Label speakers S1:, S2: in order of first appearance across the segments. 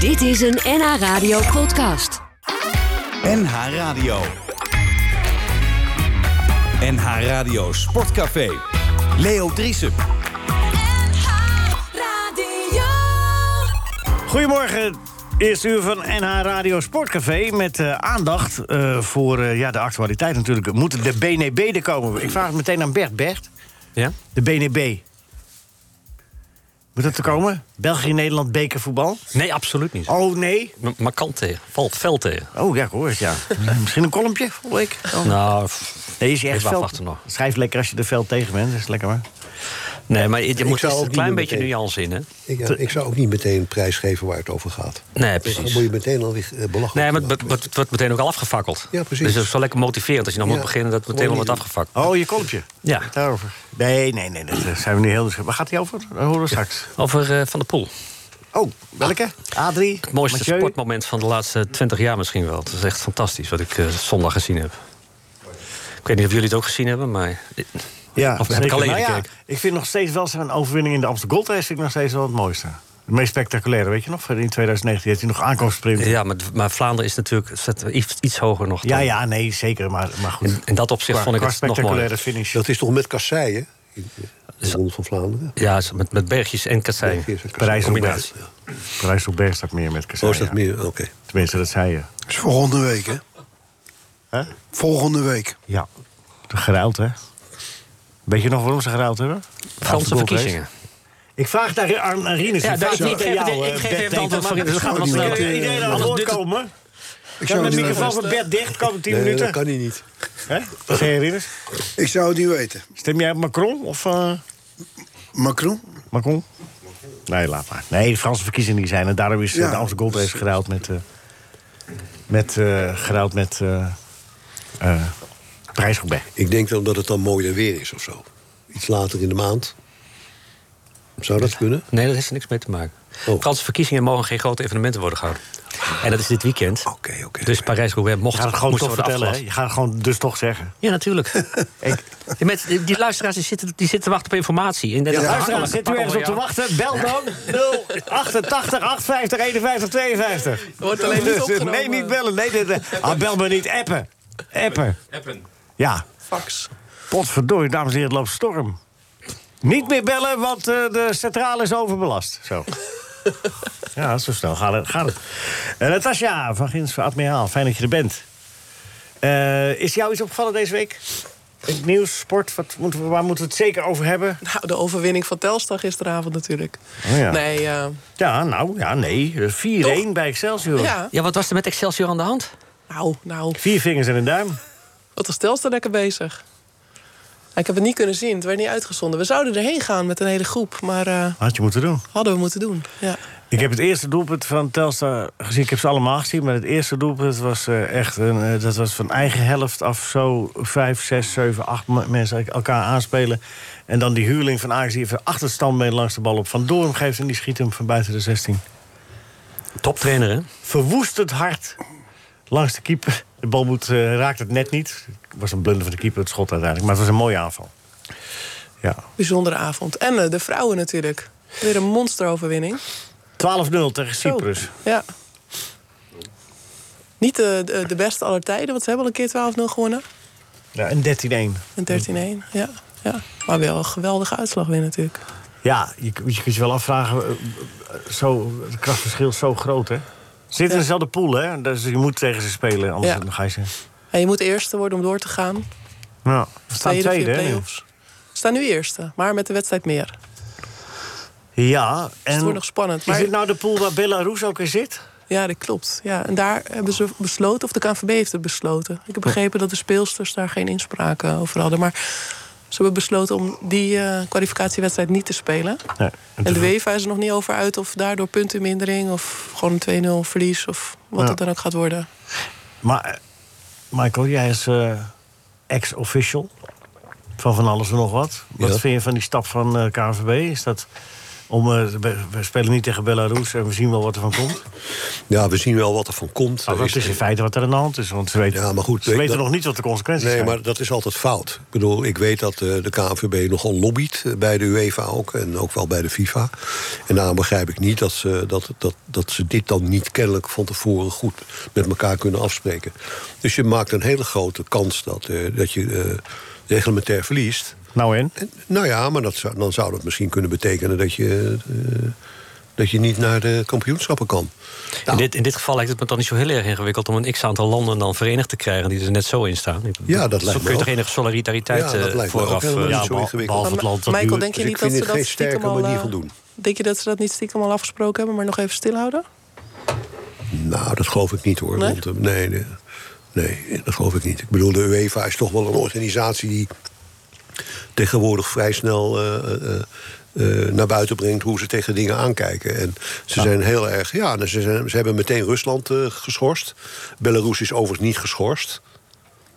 S1: Dit is een NH Radio podcast.
S2: NH Radio. NH Radio Sportcafé. Leo Driesen.
S3: Radio.
S4: Goedemorgen. Eerste uur van NH Radio Sportcafé met eh, aandacht eh, voor eh, ja, de actualiteit natuurlijk. Moet de BNB er komen? Ik vraag het meteen aan Bert. Bert,
S5: Ja?
S4: de BNB. Moet dat er komen? België-Nederland bekervoetbal?
S5: Nee, absoluut niet.
S4: Oh, nee.
S5: M- Markant tegen. Valt fel tegen.
S4: Oh, ja, ik hoor het, ja. Misschien een kolompje, voel ik. Oh.
S5: Nou,
S4: Nee, is echt
S5: Ik wacht
S4: veld-
S5: achter nog.
S4: Schrijf lekker als je er veld tegen bent, dat is lekker maar.
S5: nee, maar je moet
S6: zou
S5: er
S6: ook
S5: een
S6: niet
S5: klein
S6: doen
S5: beetje
S6: meteen.
S5: nuance in, hè?
S6: Ik, ja, ik zou ook niet meteen prijsgeven waar het over gaat.
S5: Nee,
S6: Dan
S5: precies.
S6: moet je meteen alweer eh, belachelijk
S5: Nee, maar het
S6: maken.
S5: wordt- wordt- wordt meteen ook al afgefakkeld.
S6: Ja, precies.
S5: Dus dat is wel lekker motiverend als je nog
S6: Ja,
S5: moet beginnen... dat het meteen al
S6: gewoon
S5: wordt
S6: niet
S5: afgefakkeld.
S4: Oh, je kolompje.
S5: Ja.
S4: Daarover. Nee, nee, nee, dat eh, zijn we nu heel... Waar gaat die over? Dat horen we straks.
S5: Over eh, Van der Poel.
S4: Oh, welke? Adrie?
S5: Ah, Het mooiste
S4: Mathieu?
S5: sportmoment van de laatste 20 jaar misschien wel. Het is echt fantastisch wat ik eh, zondag gezien heb. Ik weet niet of jullie het ook gezien hebben, maar...
S4: Ja,
S5: Of heb ik
S4: zeker.
S5: alleen
S4: Nou ja,
S5: gekeken?
S4: ik vind nog steeds wel zijn overwinning in de Amsterdam Gold Race vind ik nog steeds wel het mooiste. Het meest spectaculaire, weet je nog? In 2019 heeft hij nog aankomstsprint. Ja,
S5: Ja, maar, maar Vlaanderen is natuurlijk staat iets, iets hoger nog. dan-
S4: ja, nee, zeker. Maar, maar goed.
S5: In, in dat opzicht
S4: Qua-
S5: vond ik
S4: qua
S5: het nog mooi.
S4: spectaculaire finish.
S6: Dat is toch met kasseien? In de Ronde van Vlaanderen.
S5: Ja, met, met bergjes en kasseien.
S6: Bergjes en kasseien.
S4: Parijs op
S5: Combinatie.
S4: Berg. Parijs op Berg staat meer met
S6: Oh,
S4: Kassai.
S6: is dat meer? Oké.
S4: Tenminste, dat zei je.
S7: is volgende week, hè?
S4: Hè?
S7: Volgende week.
S4: Ja. Geruild, hè? Weet je nog waarom ze geruild hebben?
S5: Franse
S4: Amsterdam Gold Race.
S5: verkiezingen.
S4: Ik vraag daar aan, aan Rinus.
S5: Ja,
S4: ik
S5: daar-
S4: vraag
S5: ik
S4: niet aan
S5: geef het-
S4: jou,
S5: ik
S4: eh,
S5: geef
S4: Bert
S5: even het antwoord
S4: Denker.
S5: voor in. Dus we gaan
S7: Zou die
S5: snel
S7: wel-
S5: door.
S4: Iedereen aan het
S5: Anders
S4: woord
S5: duurt het-
S4: komen.
S7: Ik
S4: Kan
S7: zou,
S4: de
S7: het niet
S4: microfoon
S7: weten.
S4: van Bert dicht? Komen 10
S6: Nee, dat
S4: minuten?
S6: kan hij niet.
S4: Hè? Wat zeg je, Rinus?
S7: ik zou het niet weten.
S4: Stem jij op Macron of eh,
S7: Macron?
S4: Macron? Nee, laat maar. Nee, de Franse verkiezingen die zijn. En daarom is eh,
S7: Ja.
S4: de Amsterdam Gold Race geruild met... eh, met eh geruild met... eh eh Parijs-Roubaix.
S6: Ik denk dan dat het dan mooier weer is of zo. Iets later in de maand. Zou dat kunnen?
S5: Nee, dat heeft er niks mee te maken.
S6: Oh.
S5: Franse verkiezingen mogen geen grote evenementen worden gehouden. En dat is dit weekend.
S6: Oké, oké.
S5: Dus Parijs-Roubaix
S4: Je
S5: mocht
S4: gaat het gewoon
S5: moest
S4: toch
S5: worden
S4: vertellen, hè?
S5: afgelast.
S4: Je gaat het gewoon dus toch zeggen.
S5: Ja, natuurlijk. Die mensen- die, die luisteraars die zitten, die zitten te wachten op informatie. En dat- dat-
S4: Luisteraar,
S5: dat-
S4: zit u ergens op te wachten? Bel dan 088 850 51 52.
S5: Wordt alleen niet
S4: Dus, eh,
S5: opgenomen.
S4: Nee, niet bellen. Nee, dit, eh, ah, bel me niet. Appen. Appen.
S5: Appen.
S4: Ja.
S7: Fax.
S4: Potverdorie, dames en heren, het loopt storm. Niet meer bellen, want eh, de centrale is overbelast. Zo. ja, zo snel gaat het. Gaat het. Eh, Natasja van Gins van Admiraal, fijn dat je er bent. Eh, is jou iets opgevallen deze week? In het nieuws, sport, wat moeten we, waar moeten we het zeker over hebben?
S8: Nou, de overwinning van Telstar gisteravond natuurlijk.
S4: Oh ja.
S8: Nee, eh,
S4: Ja, nou, ja, nee. Eh, 4-1 bij Excelsior.
S8: ja.
S5: Ja, wat was er met Excelsior aan de hand?
S8: Nou, nou,
S4: Vier vingers en een duim.
S8: wat was Telstar lekker bezig. Ik heb het niet kunnen zien, het werd niet uitgezonden. We zouden erheen gaan met een hele groep, maar eh,
S4: Had je moeten doen.
S8: hadden we moeten doen. Ja.
S4: Ik heb het eerste doelpunt van Telstar gezien. Ik heb ze allemaal gezien, maar het eerste doelpunt was eh, echt... Een, eh, dat was van eigen helft af zo vijf, zes, zeven, acht me- mensen elkaar aanspelen. En dan die huurling van Ajax die even achter het standbeen langs de bal op Van Doorn geeft... en die schiet hem van buiten de 16.
S5: Toptrainer, hè?
S4: Verwoestend hard langs de keeper. De bal moet, eh, raakt het net niet. Het was een blunder van de keeper, het schot uiteindelijk. Maar het was een mooie aanval. Ja.
S8: Bijzondere avond. En eh, de vrouwen natuurlijk. Weer een monsteroverwinning.
S4: 12-0 tegen
S8: Zo.
S4: Cyprus.
S8: Ja. Niet de, de, de beste aller tijden, want ze hebben al een keer 12-0 gewonnen.
S4: Ja, en 13-1.
S8: En 13-1, ja. ja. Maar wel een geweldige uitslag weer natuurlijk.
S4: Ja, je, je kunt je wel afvragen. eh, eh, Zo, het krachtverschil is zo groot, hè? Ze zitten in dezelfde pool, hè? Dus je moet tegen ze spelen, anders
S8: Ja.
S4: dan ga je ze...
S8: En je moet eerste worden om door te gaan.
S4: Nou, we staan
S8: Tweede,
S4: tweede,
S8: via
S4: hè? nu?
S8: play-offs. We staan nu eerste, maar met de wedstrijd meer. Dus
S4: Ja, en...
S8: het wordt nog spannend.
S4: Is
S8: Maar
S4: dit nou de pool waar Belarus ook in zit?
S8: Ja, dat klopt. Ja, en daar hebben ze besloten, of de KNVB heeft het besloten. Ik heb begrepen dat de speelsters daar geen inspraak eh, over hadden. Maar ze hebben besloten om die eh, kwalificatiewedstrijd niet te spelen.
S4: Nee.
S8: En de UEFA is er nog niet over uit of daardoor puntenmindering... of gewoon een 2-0 verlies of wat
S4: Ja.
S8: dat dan ook gaat worden.
S4: Maar, eh, Michael, jij is eh, ex-official van van alles en nog wat. Wat
S6: Ja.
S4: vind je van die stap van eh KNVB? Is dat Om, eh, we- we spelen niet tegen Belarus en we zien wel wat er van komt.
S6: Ja, we zien wel wat er van komt.
S4: Maar
S6: Er
S4: dat
S6: is-
S4: is in feite wat er aan de hand is. Want ze weten,
S6: Ja, maar goed,
S4: ze
S6: ik-
S4: weten
S6: dat-
S4: nog niet wat de consequenties
S6: Nee,
S4: zijn.
S6: maar dat is altijd fout. Ik bedoel, ik weet dat eh, de KNVB nogal lobbyt eh, bij de UEFA ook en ook wel bij de FIFA. En daarom begrijp ik niet dat ze, dat, dat, dat ze dit dan niet kennelijk van tevoren goed met elkaar kunnen afspreken. Dus je maakt een hele grote kans dat, eh, dat je eh, reglementair verliest.
S4: Nou en?
S6: En, nou ja, maar dat zou, dan zou dat misschien kunnen betekenen dat je, eh, dat je niet naar de kampioenschappen kan.
S5: In,
S6: Nou,
S5: dit, in dit geval lijkt het me dan niet zo heel erg ingewikkeld om een x-aantal landen dan verenigd te krijgen die er net zo in staan.
S6: Ja, dat
S5: Zo
S6: lijkt me
S5: kun je toch
S6: ook.
S5: enige
S6: Ja,
S5: solidariteit
S6: dat
S5: eh,
S6: lijkt me ook
S5: vooraf...
S6: helemaal
S5: eh,
S6: niet
S5: ja,
S6: zo
S5: maar-
S6: ingewikkeld.
S4: behalve
S8: Maar
S4: het land dat
S8: Michael,
S4: nu-
S8: denk je
S6: Dus
S8: niet
S6: ik vind
S8: dat ze
S6: het
S8: dat
S6: geen sterke
S8: stiekem al...
S6: manier
S8: eh,
S6: van doen.
S8: Denk je dat ze dat niet stiekem al afgesproken hebben, maar nog even stilhouden?
S6: Nou, dat geloof ik niet hoor.
S8: Nee?
S6: Want, eh, nee, nee, nee, dat geloof ik niet. Ik bedoel, de UEFA is toch wel een organisatie die tegenwoordig vrij snel eh, eh, eh, naar buiten brengt hoe ze tegen dingen aankijken. En ze zijn heel erg. Ja, en ze, zijn, ze hebben meteen Rusland eh, geschorst. Belarus is overigens niet geschorst.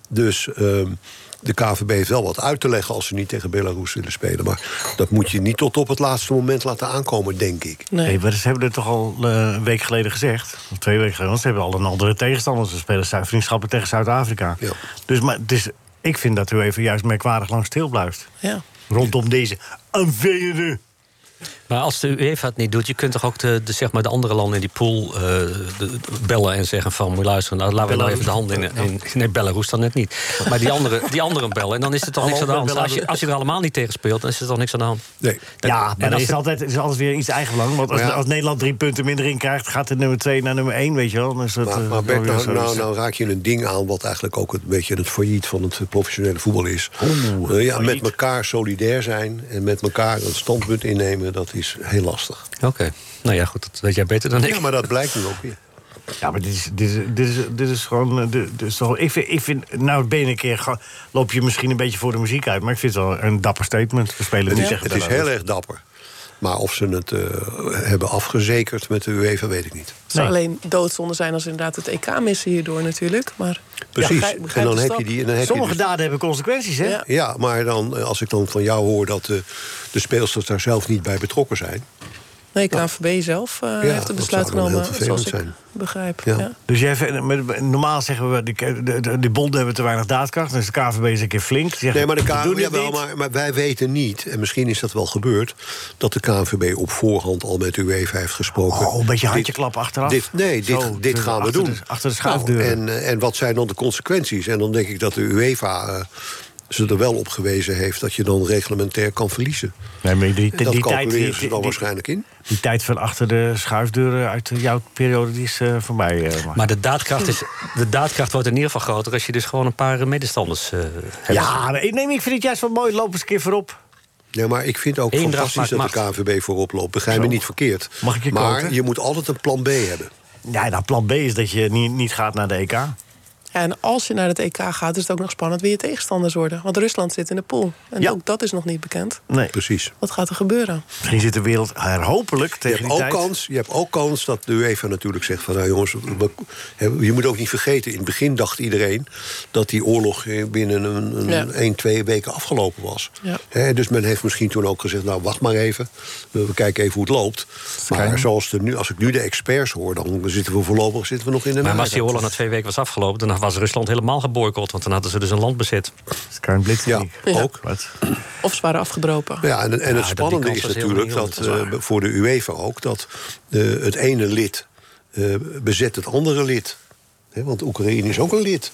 S6: Dus ehm, de KVB heeft wel wat uit te leggen als ze niet tegen Belarus willen spelen. Maar dat moet je niet tot op het laatste moment laten aankomen, denk ik.
S4: Nee. maar ze hebben het toch al eh, een week geleden gezegd. Of twee weken geleden. Want ze hebben al een andere tegenstander. Ze spelen Zuid- vriendschappen tegen Zuid-Afrika.
S6: Ja.
S4: Dus, maar, dus ik vind dat u even juist merkwaardig lang stil blijft.
S8: Ja.
S4: Rondom deze aanvelende...
S5: Maar als de UEFA het niet doet, je kunt toch ook de, de, zeg maar de andere landen in die pool eh, de- bellen en zeggen van... moet je luisteren, nou, laten we nou
S4: Belarus.
S5: even de handen in, in... Nee, Belarus dan net niet. Maar die anderen, die anderen bellen en dan is er toch
S4: Hallo,
S5: niks aan de hand.
S4: Belarus.
S5: Als je, als je er allemaal niet tegen speelt, dan is er toch niks aan de hand.
S6: Nee.
S5: Dat-
S4: ja,
S5: en
S4: maar dat
S5: als
S4: is
S5: je-
S4: altijd, is altijd weer iets eigenbelang. Want als,
S6: Maar ja.
S4: als Nederland drie punten minder in krijgt... gaat de nummer twee naar nummer één, weet je wel. Dan is dat,
S6: Maar,
S4: eh,
S6: maar Bert,
S4: wel weer
S6: nou,
S4: zo.
S6: nou, nou raak je een ding aan wat eigenlijk ook een beetje het failliet van het eh, professionele voetbal is. Eh, ja, met
S4: failliet.
S6: elkaar solidair zijn en met elkaar een standpunt innemen, dat is heel lastig.
S5: Oké, nou ja, goed, dat weet jij beter dan ik.
S6: Ja, maar dat blijkt nu ook weer.
S4: Ja, maar dit is, dit is, dit is, dit is gewoon... eh, Dit, dit is toch, ik, vind, ik vind... Nou, ben je een keer... ge- loop je misschien een beetje voor de muziek uit... maar ik vind het wel een dapper statement. We spelen
S6: Het
S4: niet
S6: is,
S4: tegen
S6: het is
S4: Belarus.
S6: heel erg dapper. Maar of ze het eh, hebben afgezekerd met de UEFA, weet ik niet.
S8: Het zou
S4: Nee.
S8: alleen doodzonde zijn als inderdaad het EK missen hierdoor natuurlijk. Maar
S6: Precies.
S8: begrijp-
S6: en
S8: begrijp
S6: dan
S8: de
S6: heb
S8: stap.
S6: je die. En dan heb je
S4: Sommige
S6: dus-
S4: daden hebben consequenties, hè?
S8: Ja.
S6: ja, maar dan, eh, als ik dan van jou hoor dat eh, de speelsters daar zelf niet bij betrokken zijn.
S8: Nee, KNVB zelf eh, heeft
S6: dat
S8: het besluit
S6: zou dan heel
S8: genomen,
S6: vervelend
S8: zoals ik
S6: zijn.
S8: begrijp.
S6: Ja.
S8: Ja.
S4: Dus jij vindt- met- normaal zeggen we, die, de, de, die bonden hebben te weinig daadkracht. Dus de KVB is een keer flink. Die Zeggen,
S6: Nee, maar, de
S4: "We doen
S6: KNVB,
S4: dit
S6: jawel,
S4: niet."
S6: maar, maar wij weten niet, en misschien is dat wel gebeurd... dat de KNVB op voorhand al met UEFA heeft gesproken.
S4: Oh, een beetje
S6: Dit-
S4: handjeklap achteraf.
S6: Dit, nee, dit,
S4: Zo,
S6: dit
S4: te-
S6: gaan we
S4: achter
S6: doen.
S4: de- achter de schaafdeuren.
S6: Nou, en, eh, en wat zijn dan de consequenties? En dan denk ik dat de UEFA eh, ze er wel op gewezen heeft... dat je dan reglementair kan verliezen.
S4: Nee, maar die, die,
S6: dat
S4: die tijd, die,
S6: calculeren ze
S4: die,
S6: dan
S4: die-
S6: waarschijnlijk in.
S4: die tijd van achter de schuifdeuren uit eh, jouw periode die is eh, voorbij. eh, Mark.
S5: Maar de daadkracht, is, de daadkracht wordt in ieder geval groter... als je dus gewoon een paar eh, medestanders eh, hebt.
S4: ja, nee, nee, maar ik vind het juist wel mooi. Loop eens een keer voorop.
S6: Ja, maar ik vind ook
S5: Eendracht
S6: fantastisch dat
S5: maakt
S6: de KNVB voorop loopt. Begrijp me
S4: Zo.
S6: niet verkeerd.
S4: Mag ik je
S6: maar
S4: quoten?
S6: je moet altijd een plan B hebben.
S4: Ja, nou, plan B is dat je niet, niet gaat naar de EK.
S8: En als je naar het EK gaat, is het ook nog spannend wie je tegenstanders worden. Want Rusland zit in de pool. En
S4: Ja.
S8: ook dat is nog niet bekend.
S4: Nee.
S6: Precies.
S8: Wat gaat er gebeuren?
S4: Misschien zit de wereld er hopelijk
S6: Je
S4: tegen
S6: hebt,
S4: die
S6: ook
S4: tijd.
S6: kans, je hebt ook kans dat de UEFA natuurlijk zegt van... nou jongens, we- hè, je moet ook niet vergeten... in het begin dacht iedereen dat die oorlog eh, binnen een,
S8: Ja.
S6: een, één, twee weken afgelopen was.
S8: Ja.
S6: Hè, dus men heeft misschien toen ook gezegd... nou, wacht maar even, we we kijken even hoe het loopt. Maar zoals de, nu, als ik nu de experts hoor, dan zitten we voorlopig zitten we nog in de
S5: Maar als die
S6: nare.
S5: oorlog na twee weken was afgelopen... dan was Rusland helemaal geboycott, want dan hadden ze dus een land bezet.
S4: Sky Blitz.
S6: Ja,
S8: Ja.
S6: ook.
S4: Wat?
S8: Of ze waren afgedropen.
S6: Ja, en, en
S4: Nou,
S5: Ja,
S6: het
S5: die
S6: spannende
S5: kans
S6: is
S5: was heel
S6: natuurlijk
S5: reëel,
S6: dat
S5: dat is waar.
S6: eh, voor de UEFA ook dat eh, het ene lid eh, bezet het andere lid. Hè, want Oekraïne is ook een lid.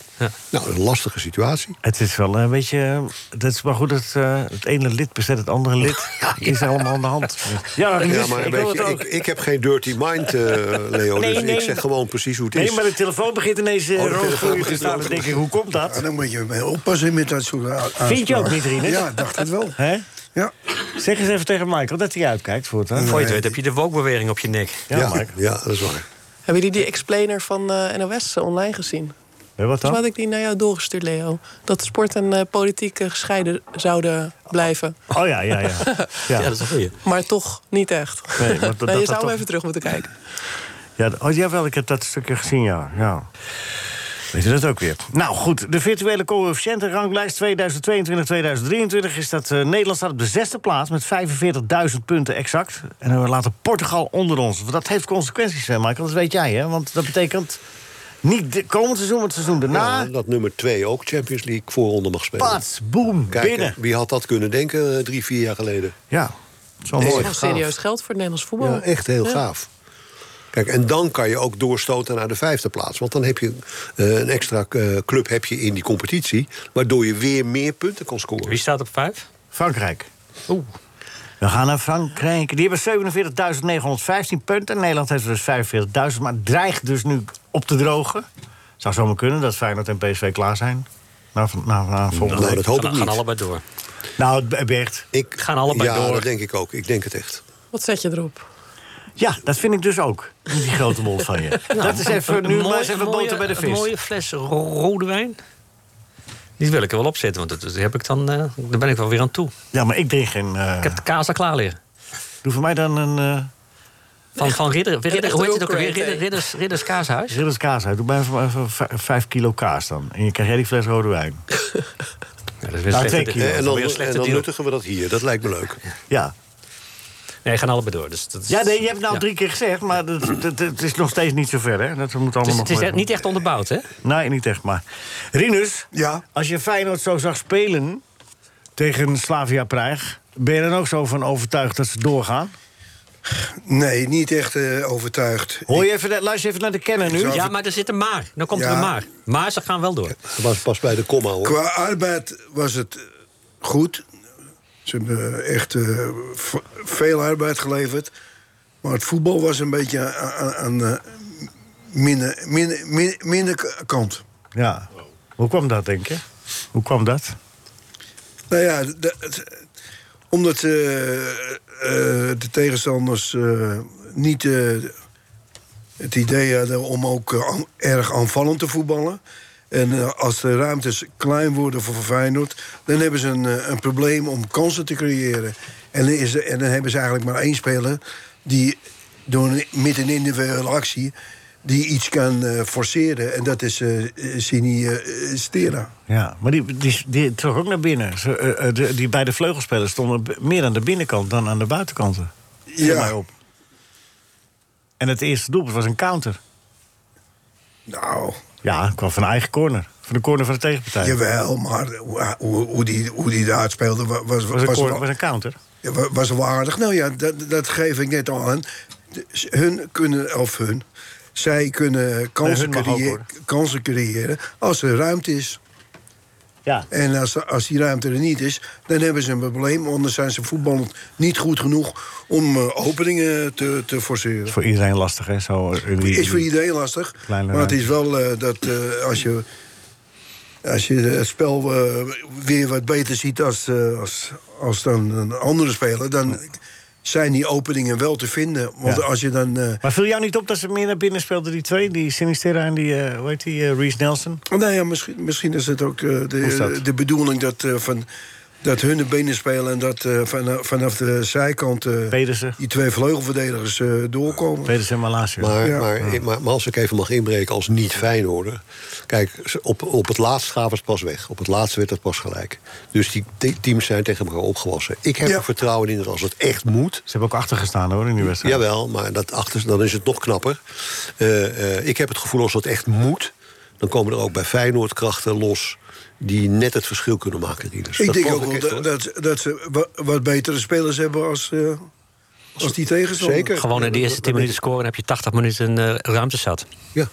S6: Nou, een lastige situatie.
S4: Het is wel een beetje. Dat is maar goed dat eh, het ene lid bezet het andere lid. Is allemaal aan de hand. Ja, dus
S6: Ja, maar
S4: ik
S6: weet
S4: wil
S6: je,
S4: het ook.
S6: ik, ik heb geen dirty mind, eh, Leo.
S4: Nee,
S6: dus
S4: nee.
S6: ik zeg gewoon precies hoe het
S4: Nee,
S6: is.
S4: maar de telefoon begint ineens eh,
S6: Oh, de
S4: rood
S6: telefoon
S4: voor je te
S6: begint
S4: staan.
S6: rood.
S4: Dan denk ik, hoe komt
S7: Ja,
S4: dat?
S7: dan moet je mee oppassen met dat soort a-
S4: je
S7: aanspraken.
S4: ook niet, Rinus?
S7: Ja, ik dacht het wel.
S4: Hè?
S7: Ja.
S4: Zeg eens even tegen Michael dat hij uitkijkt voor het. hè?
S5: Voor je het weet heb je de wokbeweging op je nek.
S4: Ja,
S6: ja,
S4: Mike.
S6: ja, dat is waar.
S8: Hebben jullie die explainer van eh, NOS online gezien?
S4: Hè, Wat
S8: Volgens mij
S4: dan?
S8: had ik die naar jou doorgestuurd, Leo. Dat sport en eh, politiek eh, gescheiden zouden blijven.
S4: Oh ja, ja, ja.
S5: Ja,
S4: ja.
S5: dat is een goeie.
S8: Maar toch niet echt.
S4: Nee, maar dat- dat-
S8: Nee, je
S4: dat
S8: zou hem
S4: toch-
S8: even terug moeten kijken.
S4: ja. Oh, jawel, ik heb dat stukje gezien, ja. ja. Weet je dat ook weer? Nou goed, de virtuele coëfficiëntenranglijst 2022-2023 is dat eh, Nederland staat op de zesde plaats met 45.000 punten exact. En we laten Portugal onder ons. Want Dat heeft consequenties, hè, Michael, dat weet jij, hè? Want dat betekent niet de- komend seizoen, maar het seizoen daarna.
S6: Ja, dat nummer 2 ook Champions League voorronde mag spelen.
S4: Pats, boem,
S6: Kijk,
S4: binnen.
S6: Wie had dat kunnen denken eh, drie, vier jaar geleden?
S4: Ja, zo
S6: Deze
S4: mooi.
S8: Gewoon serieus geld voor het Nederlands voetbal.
S6: Ja, echt heel
S8: Ja.
S6: gaaf. Kijk, en dan kan je ook doorstoten naar de vijfde plaats. Want dan heb je eh, een extra eh, club heb je in die competitie... waardoor je weer meer punten kan
S5: Wie
S6: scoren.
S5: staat op vijf?
S4: Frankrijk. We gaan naar Frankrijk. Die hebben 47.915 punten. Nederland heeft er dus 45.000, maar dreigt dus nu op te drogen. Zou zomaar kunnen dat Feyenoord en PSV klaar zijn. Na, van- na, na volgende
S6: Nou,
S4: week.
S6: dat hoop ik
S5: gaan,
S6: niet.
S5: gaan allebei door.
S4: Nou, het Bert.
S6: Ik,
S5: gaan allebei
S6: ja,
S5: door.
S6: dat denk ik ook. Ik denk het echt.
S8: Wat zet je erop?
S4: Ja, dat vind ik dus ook. Die grote mond van je. dat is even, nu maar eens even boter bij de vis.
S5: Een mooie fles ro- rode wijn. Die wil ik er wel opzetten, want dat, dat heb ik dan, eh, daar ben ik wel weer aan toe.
S4: Ja, maar ik drink geen... eh,
S5: Ik heb de kaas al klaar liggen.
S4: Doe voor mij dan een eh
S5: Van, van Ridder, Ridder,
S8: echte
S5: hoe heet het ook
S8: Rookray
S5: alweer? Ridder,
S8: thee.
S5: ridders, ridders Kaashuis.
S4: Ridders kaas uit. Doe mij even, even vij- vijf kilo kaas dan. En je krijgt jij die fles rode wijn.
S5: Ja, dat is weer
S4: Nou,
S5: een
S4: twee
S5: slechte
S4: kilo.
S5: deal.
S6: eh, en
S5: Dat is
S6: dan,
S5: weer een
S6: en
S5: slechte
S6: dan
S5: deal.
S6: nuttigen we dat hier. Dat lijkt me leuk.
S4: Ja.
S5: Nee, gaan allebei door. Dus dat is-
S4: Ja, nee, je hebt nou
S5: Ja.
S4: drie keer gezegd, maar dat- dat- dat- het is nog steeds niet zover. Hè? Dat moet allemaal
S5: Dus
S4: nog
S5: het is
S4: maar-
S5: echt niet echt onderbouwd, hè?
S4: Nee, niet echt, maar... Rinus,
S7: Ja.
S4: als je Feyenoord zo zag spelen tegen Slavia Praag... ben je dan ook zo van overtuigd dat ze doorgaan?
S7: Nee, niet echt eh, overtuigd.
S4: Hoor je even, de- luister even naar de kennen nu.
S7: Zo.
S5: Ja, maar er zit een maar. Dan komt er
S7: Ja.
S5: een maar. Maar ze gaan wel door.
S6: Dat was pas bij de komma, hoor.
S7: Qua arbeid was het goed. Ze hebben echt eh, v- veel arbeid geleverd. Maar het voetbal was een beetje aan, aan- aan de minder, minder, minder, minder k- kant.
S4: Ja. Hoe kwam dat, denk je? Hoe kwam dat?
S7: Nou ja, dat- het- omdat eh, eh, de tegenstanders eh, niet eh, het idee hadden om ook eh, aan- erg aanvallend te voetballen. En eh, als de ruimtes klein worden voor Feyenoord, dan hebben ze een, eh, een probleem om kansen te creëren. En dan, is er- en dan hebben ze eigenlijk maar één speler die door een, met een individuele actie die iets kan eh, forceren. En dat is eh eh, Sini eh, Stera.
S4: Ja, maar die, die, die trok ook naar binnen. Ze, eh, eh, de- die beide vleugelspelers stonden b- meer aan de binnenkant dan aan de buitenkanten. Viel mij op. En het eerste doelpunt was een counter.
S7: Nou,
S4: Ja, het kwam van eigen corner. Van de corner van de tegenpartij.
S7: Jawel, maar hoe, hoe, hoe die, hoe die daar speelde wa- was,
S4: was,
S7: was,
S4: een
S7: was,
S4: corner,
S7: wel-
S4: was een counter.
S7: ja, wa- was wel aardig. Nou ja, dat, dat geef ik net al aan. De- s- Hun kunnen, of hun, zij kunnen kansen,
S4: hun mag ook,
S7: creëer-
S4: hoor.
S7: kansen creëren als er ruimte is.
S4: Ja.
S7: En als, als die ruimte er niet is, dan hebben ze een probleem. Anders zijn ze voetballend niet goed genoeg om eh, openingen te, te forceren.
S4: Voor iedereen lastig, hè? Zo, eh, die-
S7: Is voor iedereen lastig.
S4: Kleine
S7: maar het
S4: ruimte.
S7: is wel eh, dat eh, als, je, als je het spel eh, weer wat beter ziet als, eh, als, als dan een andere speler, dan zijn die openingen wel te vinden. Want
S4: Ja.
S7: als je dan. eh,
S4: Maar viel jou niet op dat ze meer naar binnen speelden, die twee? Die Sinistera en die, eh hoe heet die, eh, Reece Nelson?
S7: nou ja, misschien, misschien is het ook eh,
S4: is
S7: de,
S4: dat?
S7: de bedoeling dat, eh, van, dat hun de benen spelen en dat eh, van, vanaf de zijkant eh,
S4: Pedersen.
S7: die twee vleugelverdedigers eh, doorkomen.
S4: Pedersen en Malasia.
S6: Maar,
S7: Ja.
S6: maar, maar, maar als ik even mag inbreken als niet Feyenoorder... Kijk, ze- op, op het laatst gaven ze het pas weg. Op het laatst werd het pas gelijk. Dus die te- teams zijn tegen elkaar opgewassen. Ik heb
S7: Ja.
S6: er vertrouwen in dat als het echt moet...
S4: Ze hebben ook achtergestaan, hoor, in die wedstrijd.
S6: Jawel, maar dat achter, dan is het nog knapper. Eh, eh, ik heb het gevoel als dat echt moet... dan komen er ook bij Feyenoord krachten los... die net het verschil kunnen maken. Rinus.
S7: Ik
S6: Dus Dat
S7: denk
S6: geloof
S7: ook wel
S6: echt, hoor.
S7: dat, dat, dat ze wa- wat betere spelers hebben als, eh, als die tegenstander.
S6: Zeker.
S5: Gewoon in de eerste 10 minuten scoren en heb je 80 minuten eh, ruimte zat.
S6: Ja.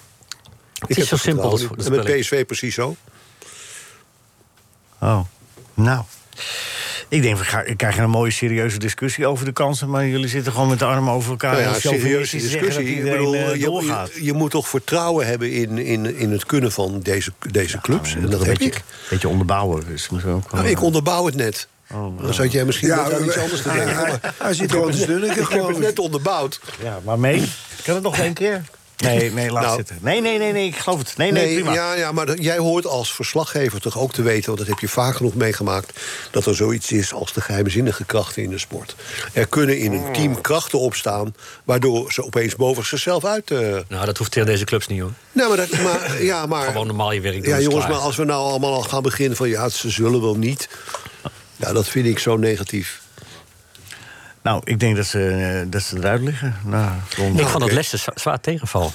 S5: is zo simpel, dat- dat
S6: En met
S5: spelletje.
S6: PSV precies zo.
S4: Oh, nou. Ik denk, we ga- we krijgen een mooie serieuze discussie over de kansen... maar jullie zitten gewoon met de armen over elkaar.
S6: Nou
S4: en
S6: ja,
S4: chauvinistisch
S6: serieuze
S4: zeggen dat
S6: discussie. Ik
S4: iedereen,
S6: bedoel,
S4: eh,
S6: je-
S4: doorgaat.
S6: je, je moet toch vertrouwen hebben in, in, in het kunnen van deze, deze clubs. en dat
S4: een
S6: heb
S4: beetje,
S6: ik.
S4: Een beetje onderbouwen. Dus misschien ook wel-
S6: Nou, ik onderbouw het net. Dan zat jij misschien net aan iets anders te denken.
S7: hij, hij zit gewoon te
S6: Ik
S7: dunniken,
S6: heb
S7: geloof
S6: het
S7: ik.
S6: net onderbouwd.
S4: Ja, maar mee. Kan het nog één keer? Nee, nee, laat
S6: Nou.
S4: zitten. Nee, nee, nee, nee, ik geloof het. Nee, nee,
S6: Nee,
S4: prima.
S6: ja, ja, maar dat- jij hoort als verslaggever toch ook te weten... want dat heb je vaak genoeg meegemaakt... dat er zoiets is als de geheimzinnige krachten in de sport. Er kunnen in
S5: Hmm.
S6: een team krachten opstaan... waardoor ze opeens boven zichzelf uit... eh,
S5: Nou, dat hoeft tegen deze clubs niet hoor.
S6: Nou, maar, dat, maar, ja, maar
S5: Gewoon normaal je werk doen,
S6: Ja,
S5: is
S6: jongens,
S5: klaar.
S6: maar als we nou allemaal al gaan beginnen van... ja, ze zullen wel niet. Ja, dat vind ik zo negatief.
S4: Nou, ik denk dat ze, eh, dat ze eruit liggen. Nou, rond-
S5: ik vond dat
S6: oké.
S5: Leicester zwa- zwaar tegenval.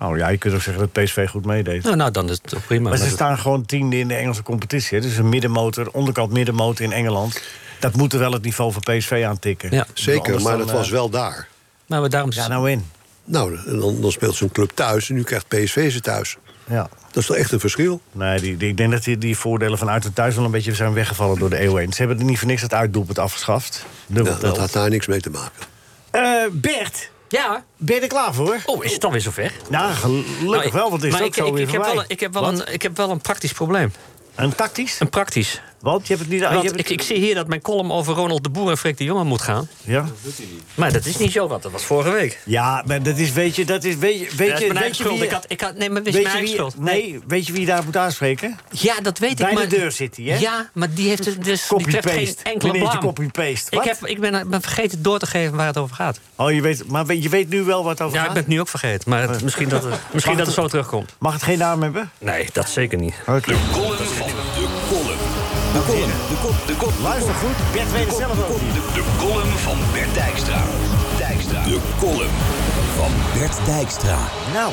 S4: oh ja, je kunt ook zeggen dat PSV goed meedeed.
S5: Nou, nou dan is het ook prima.
S4: maar ze
S5: Maar dat-
S4: staan gewoon tiende in de Engelse competitie. hè. Dus een middenmotor, onderkant middenmotor in Engeland. Dat moet er wel het niveau van PSV aantikken.
S5: Ja,
S4: Ik bedoel,
S6: Zeker,
S4: anders
S6: maar
S4: dan,
S6: dat was
S4: eh,
S6: wel daar.
S5: maar we- daarom
S4: Ja, nou in.
S6: Nou, en dan, dan speelt zo'n club thuis en nu krijgt PSV ze thuis.
S4: Ja.
S6: Dat is toch echt een verschil?
S4: Nee, die, die- ik denk dat die, die voordelen van uit en thuis wel een beetje zijn weggevallen door de eeuw heen. Ze hebben er niet voor niks het uitdoelpunt afgeschaft. Dubbel
S6: Nou, dat had daar niks mee te maken.
S4: Bert,
S5: ja.
S4: ben je er klaar voor?
S5: Oh, is het dan weer zover?
S4: Nou, gelukkig
S5: Nou, ik-
S4: wel, want is
S5: maar
S4: dat
S5: ik,
S4: zo
S5: ik,
S4: weer
S5: ik heb
S4: voorbij.
S5: wel, een- ik, heb wel
S4: Wat?
S5: een, ik heb wel een praktisch probleem.
S4: Een tactisch?
S5: Een praktisch.
S4: Want je hebt het niet... je
S5: Want
S4: hebt het-
S5: ik, ik zie hier dat mijn column over Ronald de Boer en Freek de Jonge moet gaan.
S4: Ja?
S5: Maar dat is niet zo, want dat was vorige week.
S4: ja, maar dat is, weet je, dat is, weet je,
S5: Dat
S4: weet
S5: is
S4: je,
S5: mijn
S4: weet
S5: eigen
S4: je
S5: schuld.
S4: wie-
S5: Ik had, ik had, nee, maar wist
S4: Weet
S5: mijn
S4: je
S5: eigen
S4: wie,
S5: schuld.
S4: nee, weet je wie je daar moet aanspreken?
S5: Ja, dat weet
S4: Bij
S5: ik.
S4: de
S5: maar-
S4: deur zit hij, hè?
S5: Ja, maar die heeft het dus die treft geen
S4: Copy-paste.
S5: enkele
S4: Meneertje
S5: blaam.
S4: copy-paste.
S5: Ik,
S4: Wat?
S5: heb, ik ben, ben vergeten door te geven waar het over gaat.
S4: Oh, je weet, maar weet- je weet nu wel wat het over
S5: Ja, ik
S4: gaat?
S5: ben het nu ook vergeten. Maar het- misschien dat, het- misschien dat het zo terugkomt.
S4: Mag het geen naam hebben?
S5: Nee, dat zeker niet.
S2: Column van de column. De column. De kop. De kop.
S4: Luister goed, Bert weet het zelf ook niet.
S2: De column van Bert Dijkstra. Dijkstra. De column van Bert Dijkstra.
S4: Nou,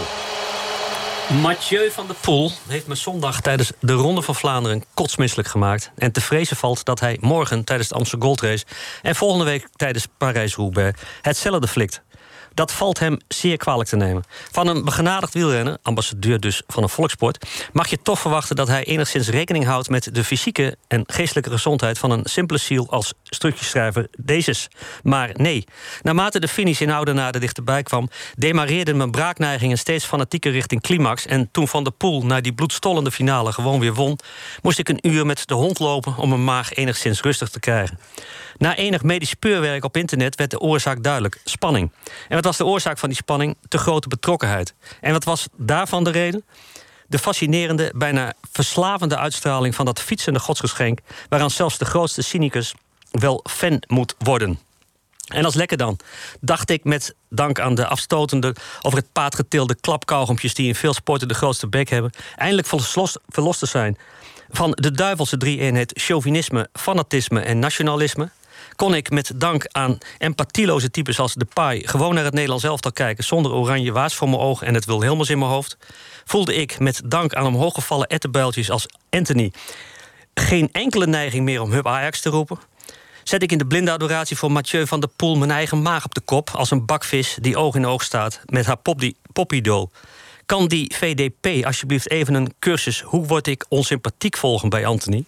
S5: Mathieu van der Poel heeft me zondag tijdens de Ronde van Vlaanderen kotsmisselijk gemaakt. En te vrezen valt dat hij morgen tijdens de Amsterdam Gold Race en volgende week tijdens Parijs-Roubaix hetzelfde flikt. Dat valt hem zeer kwalijk te nemen. Van een begenadigd wielrenner, ambassadeur dus van een volkssport, mag je toch verwachten dat hij enigszins rekening houdt met de fysieke en geestelijke gezondheid van een simpele ziel als stukjeschrijver Dezes. Maar nee, naarmate de finish in Oudenaarde dichterbij kwam, demareerden mijn braakneigingen steeds fanatieker richting climax. En toen Van der Poel naar die bloedstollende finale gewoon weer won, moest ik een uur met de hond lopen om mijn maag enigszins rustig te krijgen. Na enig medisch speurwerk op internet werd de oorzaak duidelijk: spanning. En wat was de oorzaak van die spanning? Te grote betrokkenheid. En wat was daarvan de reden? De fascinerende, bijna verslavende uitstraling van dat fietsende godsgeschenk, waaraan zelfs de grootste cynicus wel fan moet worden. En als lekker dan, dacht ik met dank aan de afstotende, over het paard getilde klapkauwgompjes die in veel sporten de grootste bek hebben, eindelijk verlos- verlost te zijn van de duivelse drie-eenheid chauvinisme, fanatisme en nationalisme. Kon ik met dank aan empathieloze types als de Pai gewoon naar het Nederlands elftal kijken zonder oranje waas voor mijn ogen en het Wilhelmus in mijn hoofd? Voelde ik met dank aan omhooggevallen ettenbuiltjes als Anthony geen enkele neiging meer om Hub Ajax te roepen? Zet ik in de blinde adoratie voor Mathieu van der Poel mijn eigen maag op de kop als een bakvis die oog in oog staat met haar popdi- popidool? Kan die VDP alsjeblieft even een cursus hoe word ik onsympathiek volgen bij Anthony?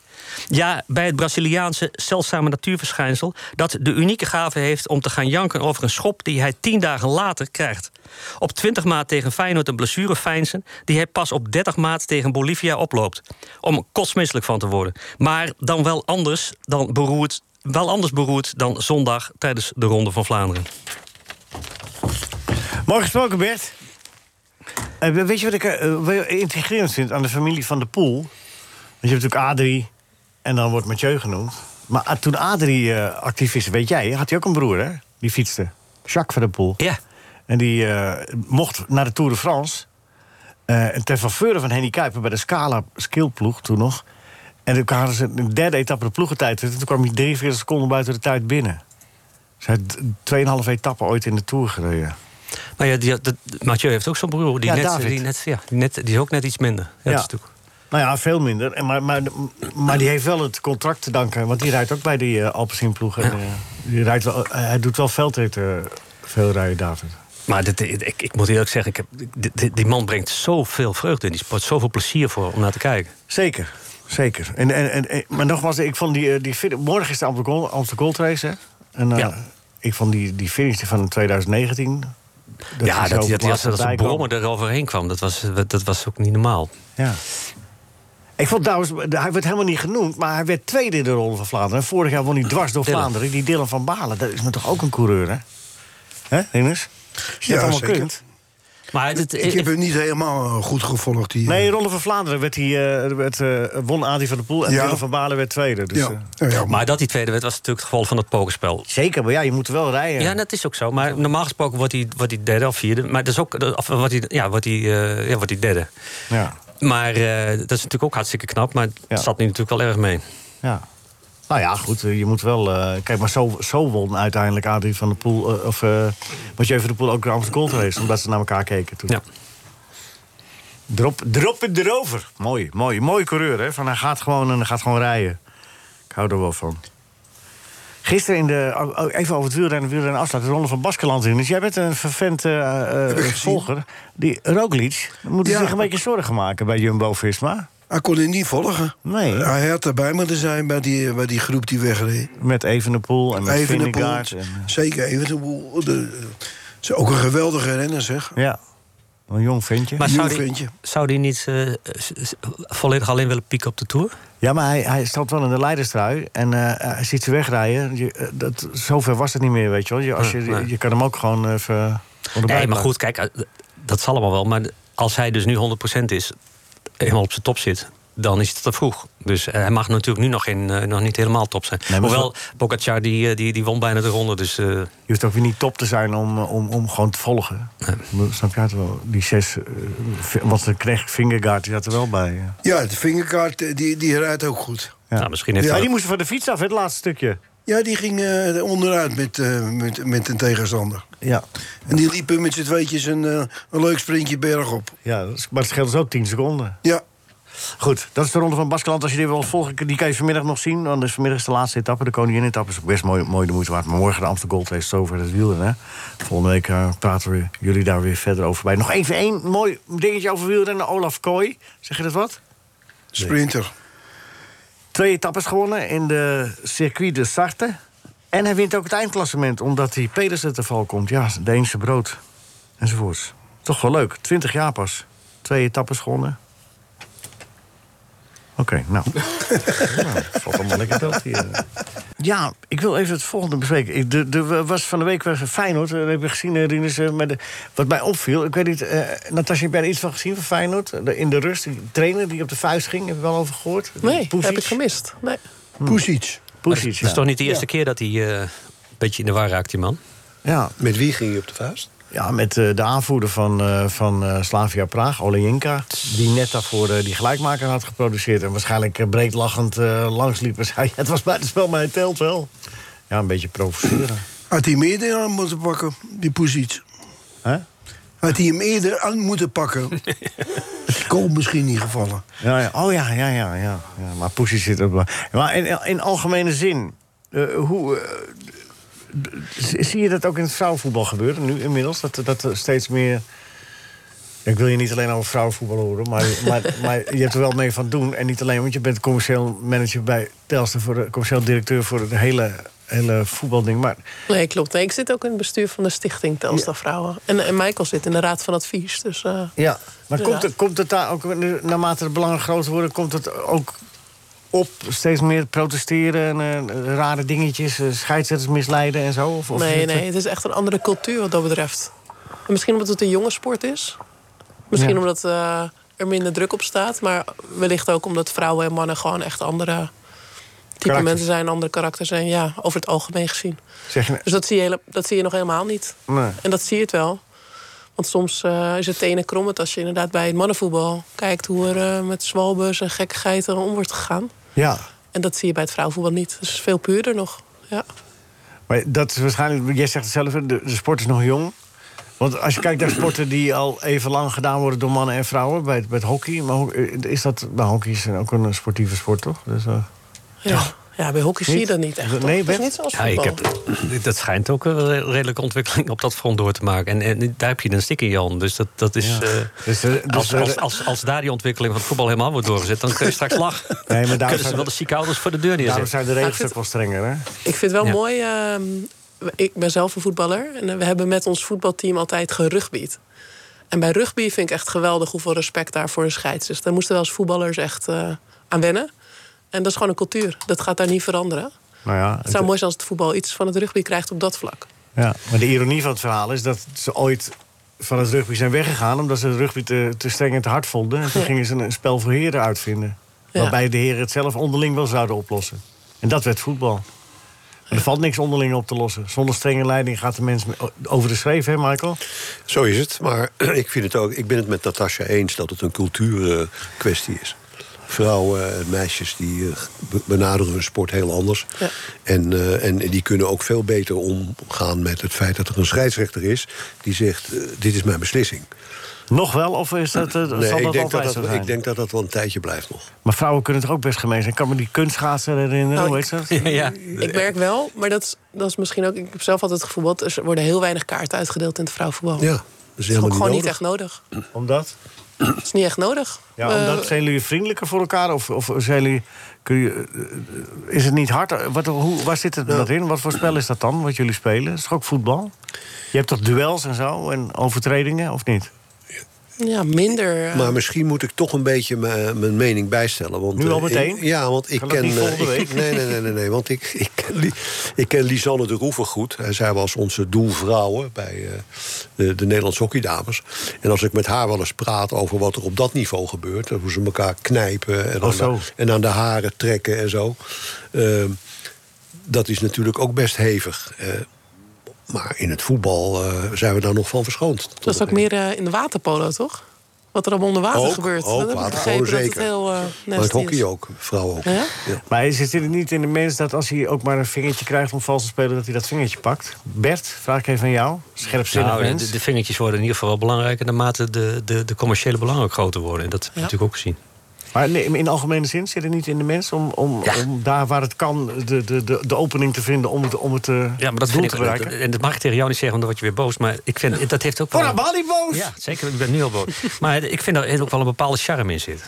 S5: Ja, bij het Braziliaanse zeldzame natuurverschijnsel dat de unieke gave heeft om te gaan janken over een schop die hij tien dagen later krijgt. Op 20 maart tegen Feyenoord een blessure feinzen die hij pas op 30 maart tegen Bolivia oploopt. Om er kotsmisselijk van te worden. Maar dan wel anders dan beroerd wel anders beroerd dan zondag tijdens de Ronde van Vlaanderen.
S4: mooi gesproken, Bert. Eh, we- weet je wat ik eh, wel intrigerend vind aan de familie van de Poel? Want je hebt natuurlijk Adrie en dan wordt Mathieu genoemd. Maar ah, toen Adrie eh, actief is, weet jij, had hij ook een broer, hè? Die fietste. Jacques van der Poel.
S5: Ja,
S4: En die eh, mocht naar de Tour de France. Eh, en ter faveur van Henny Kuiper bij de Scala skillploeg toen nog. En toen hadden ze een derde etappe de ploegentijd. En toen kwam hij 43 seconden buiten de tijd binnen. Ze had 2,5 etappen ooit in de Tour gereden.
S5: maar ja, die, dat, Mathieu heeft ook zo'n broer. Die,
S4: Ja,
S5: net,
S4: David.
S5: die, net, ja, die, net, die is ook net iets minder.
S4: Ja.
S5: Ja, dat is natuurlijk-
S4: Nou ja, veel minder. En Maar, maar, maar die heeft wel het contract te danken. Want die rijdt ook bij die eh Alpecin-ploeg. En, eh, die rijdt wel, hij doet wel veldritten, veel rijden, David.
S5: Maar dit, dit- ik, ik moet eerlijk zeggen, ik heb, dit- dit- die man brengt zoveel vreugde in die sport. Zoveel plezier voor om naar te kijken.
S4: Zeker, zeker. En, en, en, en- maar nogmaals, ik vond die, eh, die fin- morgen is de Amsterdam Gold- Amsterdam Gold Race, hè? En, eh,
S5: Ja.
S4: Ik vond die, die finish van 2019... dat
S5: ja,
S4: die zo
S5: dat, dat,
S4: vlak
S5: dat, dat
S4: erbij
S5: een
S4: kwam.
S5: brommer eroverheen kwam, dat was, dat was ook niet normaal.
S4: Ja. Ik vond trouwens, hij werd helemaal niet genoemd... maar hij werd tweede in de Ronde van Vlaanderen. En vorig jaar won hij dwars door
S5: Dylan.
S4: Vlaanderen. Die Dylan van Balen, dat is me toch ook een coureur, hè? Hè, Rinus? Als je
S7: Ja,
S4: dat allemaal
S7: zeker.
S4: kunt.
S5: Maar het, het-
S7: Ik heb hem niet helemaal eh, goed gevolgd. Die,
S4: Nee, Ronde van Vlaanderen werd die, eh, werd, eh, won Adi van der Poel... en
S7: Ja.
S4: Willem van Balen werd tweede. Dus,
S7: ja.
S4: eh,
S7: Nou ja, maar
S5: maar dat die tweede werd, was natuurlijk het geval van het pokerspel.
S4: zeker, maar ja, je moet wel rijden.
S5: Ja, dat is ook zo. Maar normaal gesproken wordt hij, wordt hij derde of vierde. Maar dat is ook. dat- Of wordt hij, ja, wordt hij, eh, ja, wordt hij derde.
S4: ja.
S5: Maar eh, dat is natuurlijk ook hartstikke knap. Maar het
S4: Ja.
S5: zat nu natuurlijk wel erg mee.
S4: Ja. Nou ja, goed, eh, je moet wel... eh, kijk, maar zo, zo won uiteindelijk Adrie van der Poel... eh, of eh Mathieu van der Poel ook de Amsterdam Gold Race... omdat ze naar elkaar keken toen.
S5: Ja.
S4: Drop, droppen erover. Mooi, mooi. Mooi coureur, hè. Van, hij gaat gewoon en hij gaat gewoon rijden. Ik hou er wel van. Gisteren in de... oh, oh, Even over het wielrennen, wielrennen afslag. De Ronde van Baskeland in. Dus jij bent een vervent eh, eh,
S7: ik gezien.
S4: volger. Die Roglic, dan moet hij
S7: Ja.
S4: zich een beetje zorgen maken bij Jumbo-Visma.
S7: hij kon het niet volgen.
S4: Nee.
S7: Hij had erbij moeten zijn bij die, bij die groep die wegreed.
S4: Met Evenepoel en met Vingegaard.
S7: Evenepoel,
S4: en- eh,
S7: zeker Evenepoel. De- Ze is ook een geweldige renner, zeg.
S4: Ja, een jong ventje.
S5: Maar
S7: Nieuw
S5: zou die,
S7: ventje.
S5: zou die niet eh, s- s- volledig alleen willen pieken op de tour?
S4: ja, maar hij, hij stapt wel in de leiderstrui. En eh, hij ziet ze wegrijden. Je, eh, dat, zover was het niet meer, weet je wel. Je, als je,
S5: Ja, nee.
S4: je kan hem ook gewoon even... onderbij
S5: Nee, maar
S4: plaatsen.
S5: goed, kijk, eh, dat zal allemaal wel. Maar als hij dus nu 100% is, helemaal op zijn top zit, dan is het te vroeg. Dus eh, hij mag natuurlijk nu nog, geen, eh, nog niet helemaal top zijn.
S4: Nee, maar
S5: Hoewel, Pogacar die, eh, die, die won bijna de ronde, dus... eh,
S4: Je hoeft ook weer niet top te zijn om, eh, om, om gewoon te volgen. Snap je het wel? Die zes... eh, v- want de knecht Vingegaard, die zat er wel bij. eh.
S7: Ja, de vingerkaart, eh, die, die rijdt ook goed.
S4: Ja.
S5: nou, misschien heeft
S7: Ja,
S4: Maar
S5: hij...
S4: die moesten van de fiets af, hè, het laatste stukje.
S7: Ja, die ging eh, onderuit met, eh, met, met een tegenstander.
S4: Ja,
S7: En die liepen met z'n tweetjes een, eh, een leuk sprintje berg op.
S4: ja dat is- maar het scheelt dus ook 10 seconden.
S7: Ja,
S4: Goed, dat is de ronde van Baskeland. Als je die wil volgen, die kan je vanmiddag nog zien. Want dus vanmiddag is de laatste etappe. De koningin-etappe is ook best mooi, mooi de moeite waard. Maar morgen de Amsterdam Gold Race is over het wielrennen. Volgende week eh, praten we jullie daar weer verder over bij. Nog even één mooi dingetje over wielrennen. Olaf Kooi, zeg je dat wat?
S7: sprinter.
S4: Twee etappes gewonnen in de circuit de Sarthe. En hij wint ook het eindklassement, omdat die Pedersen te val komt. Ja, Deense brood. Enzovoorts. Toch wel leuk. 20 jaar pas. Twee etappes gewonnen. Oké, nou. nou. Valt allemaal lekker dat hier. Ja, ik wil even het volgende bespreken. Ik- de- de- was van de week was Feyenoord. Dat heb je gezien, eh, Rinus. eh, met de- Wat mij opviel, ik weet niet... eh Natasja, heb jij er iets van gezien van Feyenoord? De- in de rust, die trainer die op de vuist ging. Heb je wel over gehoord?
S8: Nee,
S4: Poesic.
S8: heb ik gemist. Nee.
S7: Poesic.
S4: Poesic,
S5: Het is
S4: ja.
S5: toch niet de eerste keer dat hij eh, een beetje in de war raakt, die man?
S4: Ja,
S6: Met wie ging je op de vuist?
S4: ja, met eh, de aanvoerder van, eh, van eh, Slavia Praag, Olejinka... die net daarvoor eh, die gelijkmaker had geproduceerd... en waarschijnlijk eh, breedlachend eh, langsliep en zei... het was buitenspel, maar het telt wel. Ja, een beetje provoceren.
S7: Had hij hem eerder aan moeten pakken, die Poesic.
S4: Hè?
S7: Had hij hem eerder aan moeten pakken. Het kon misschien niet gevallen.
S4: Ja, ja. Oh ja, ja, ja, ja. ja maar Poesie zit op... Maar in, in algemene zin, eh, hoe... eh, d- z- zie je dat ook in het vrouwenvoetbal gebeuren nu inmiddels? Dat, dat er steeds meer... Ik wil je niet alleen over vrouwenvoetbal horen, maar, maar, maar je hebt er wel mee van doen. En niet alleen, want je bent commercieel manager bij Telstra... Voor de, commercieel directeur voor het hele, hele voetbalding. Maar
S8: Nee, klopt. Nee, ik zit ook in het bestuur van de stichting Telstra Vrouwen. En, en Michael zit in de raad van advies. Dus eh,
S4: Ja, maar
S8: Ja.
S4: komt, het, komt het daar ook, nu- naarmate de belangen groter worden, komt het ook op steeds meer protesteren, en, eh, rare dingetjes, eh, scheidsrechters misleiden en zo? Of, of is
S8: nee,
S4: het-
S8: nee, het is echt een andere cultuur wat dat betreft. En misschien omdat het een jonge sport is. Misschien
S4: Ja.
S8: omdat eh, er minder druk op staat. Maar wellicht ook omdat vrouwen en mannen gewoon echt andere type
S4: Karakters.
S8: mensen zijn, andere karakters zijn. Ja, over het algemeen gezien.
S4: Zeg je,
S8: Dus dat zie je, hele- dat zie je nog helemaal niet.
S4: nee.
S8: En dat zie je het wel. Want soms eh, is het tenen krommend als je inderdaad bij het mannenvoetbal kijkt hoe er eh, met zwalbus en gekkigheid er om wordt gegaan.
S4: Ja,
S8: En dat zie je bij het vrouwenvoetbal niet. Dat is veel puurder nog. Ja.
S4: maar dat is waarschijnlijk, jij zegt het zelf, de, de sport is nog jong. Want als je kijkt naar sporten die al even lang gedaan worden door mannen en vrouwen, bij het, bij het hockey, maar ho- eh, is dat, nou, hockey is ook een sportieve sport, toch? Dus, eh,
S8: Ja. ja, bij hockey zie je
S4: Niet?
S8: dat niet echt.
S4: Nee,
S8: toch? Het is
S4: Bert?
S8: niet zoals
S5: Ja, ik
S8: voetbal.
S5: heb, dat schijnt ook een re- redelijke ontwikkeling op dat front door te maken. En, en daar heb je een stik in, Jan. Dus dat, dat is... eh,
S4: dus, eh, dus,
S5: als,
S4: eh,
S5: als, als, als daar die ontwikkeling van het voetbal helemaal wordt doorgezet, dan kun je straks lachen.
S4: Nee, maar daarom
S5: kunnen
S4: zijn
S5: ze wel
S4: de-
S5: de zieke ouders voor de deur
S4: daarom
S5: neerzetten.
S4: zijn de regels ook wel strenger, hè?
S8: Ik vind het wel
S5: Ja.
S8: mooi. ehm, ik ben zelf een voetballer. En eh, we hebben met ons voetbalteam altijd gerugbied. En bij rugby vind ik echt geweldig hoeveel respect daar voor een scheids is. Daar moesten we als voetballers echt eh, aan wennen. En dat is gewoon een cultuur. Dat gaat daar niet veranderen.
S4: Nou ja,
S8: Het zou mooi zijn als het voetbal iets van het rugby krijgt op dat vlak.
S4: Ja, maar de ironie van het verhaal is dat ze ooit van het rugby zijn weggegaan... omdat ze het rugby te, te streng en te hard vonden. En toen
S8: Ja.
S4: gingen ze een spel voor heren uitvinden.
S8: Ja.
S4: Waarbij de heren het zelf onderling wel zouden oplossen. En dat werd voetbal. Maar er valt niks onderling op te lossen. Zonder strenge leiding gaat de mens me- over de schreef, hè Michael?
S6: Zo is het, maar ik, vind het ook, ik ben het met Natasja eens dat het een cultuurkwestie is. Vrouwen en meisjes die eh, be- benaderen hun sport heel anders.
S8: Ja.
S6: En, eh, en die kunnen ook veel beter omgaan met het feit dat er een scheidsrechter is... die zegt, eh, dit is mijn beslissing.
S4: Nog wel, of is dat, eh, zal
S6: ik,
S4: dat
S6: denk
S4: altijd
S6: dat
S4: zo
S6: dat,
S4: zijn?
S6: ik denk dat dat wel een tijdje blijft nog.
S4: Maar vrouwen kunnen het er ook best gemeen zijn. Ik kan me die kunstschaatsen herinneren,
S8: Nou,
S4: hoe
S8: ik-
S4: heet dat?
S5: ja.
S8: Ik merk wel, maar dat is, dat is misschien ook... Ik heb zelf altijd het gevoel, dat er worden heel weinig kaarten uitgedeeld in het vrouwenvoetbal.
S6: Ja,
S8: dat
S6: dat
S8: is
S6: is
S8: ook
S6: helemaal
S8: gewoon
S6: niet
S8: niet
S6: nodig.
S8: echt nodig.
S4: Omdat?
S8: Dat is niet echt nodig.
S4: Ja,
S8: Eh,
S4: omdat zijn jullie vriendelijker voor elkaar? Of, of zijn jullie, kun je, eh, is het niet hard? Wat, hoe, waar zit het dat in? Wat voor spel is dat dan, wat jullie spelen? Is het ook voetbal? Je hebt toch duels en zo en overtredingen, of niet?
S8: ja, minder... eh,
S6: Maar misschien moet ik toch een beetje mijn eh, mijn mening bijstellen. Want,
S4: Nu al
S6: eh,
S4: meteen?
S6: ik- ja, want ik
S4: Kan dat
S6: ken.
S4: niet
S6: eh,
S4: volgende
S6: ik-
S4: week?
S6: nee, nee, nee, nee, nee. Want ik, ik, ken, Li- ik ken Lisanne de Roever goed. Eh, Zij was onze doelvrouwen bij eh, de, de Nederlandse hockeydames. En als ik met haar wel eens praat over wat er op dat niveau gebeurt. eh, Hoe ze elkaar knijpen en,
S4: Oh,
S6: aan,
S4: zo.
S6: de, en aan de haren trekken en zo. ehm, dat is natuurlijk ook best hevig. eh, maar in het voetbal eh, zijn we daar nog van verschoond.
S8: dat is ook meer eh, in de waterpolo, toch? Wat er allemaal onder water
S6: Ook,
S8: gebeurt. dat
S6: ook,
S8: heb ik
S6: waterpolo
S8: begrepen dat het
S6: zeker.
S8: heel eh
S6: Maar het
S8: nasty is. Nou,
S6: hockey ook, vrouwen ook.
S8: Ja?
S6: Ja.
S4: Maar zit het niet in de mens dat als hij ook maar een vingertje krijgt om vals te spelen, dat hij dat vingertje pakt? Bert, vraag ik even aan jou. Scherpzinnig
S5: Nou, de,
S4: mens.
S5: de vingertjes worden in ieder geval wel belangrijker naarmate de, de, de commerciële belangen ook groter worden. En dat heb je
S8: Ja.
S5: natuurlijk ook gezien.
S4: Maar nee, in algemene zin zit het niet in de mens om, om, om daar waar het kan de, de, de, de opening te vinden om het, om het eh,
S5: Ja, maar dat
S4: doel
S5: vind
S4: te
S5: ik.
S4: bereiken?
S5: En dat mag ik tegen jou niet zeggen, want dan word je weer boos. Maar ik vind dat heeft ook wel.
S4: Voor Bali boos!
S5: Ja, zeker. Ik ben nu al boos. maar ik vind dat er ook wel een bepaalde charme in zit.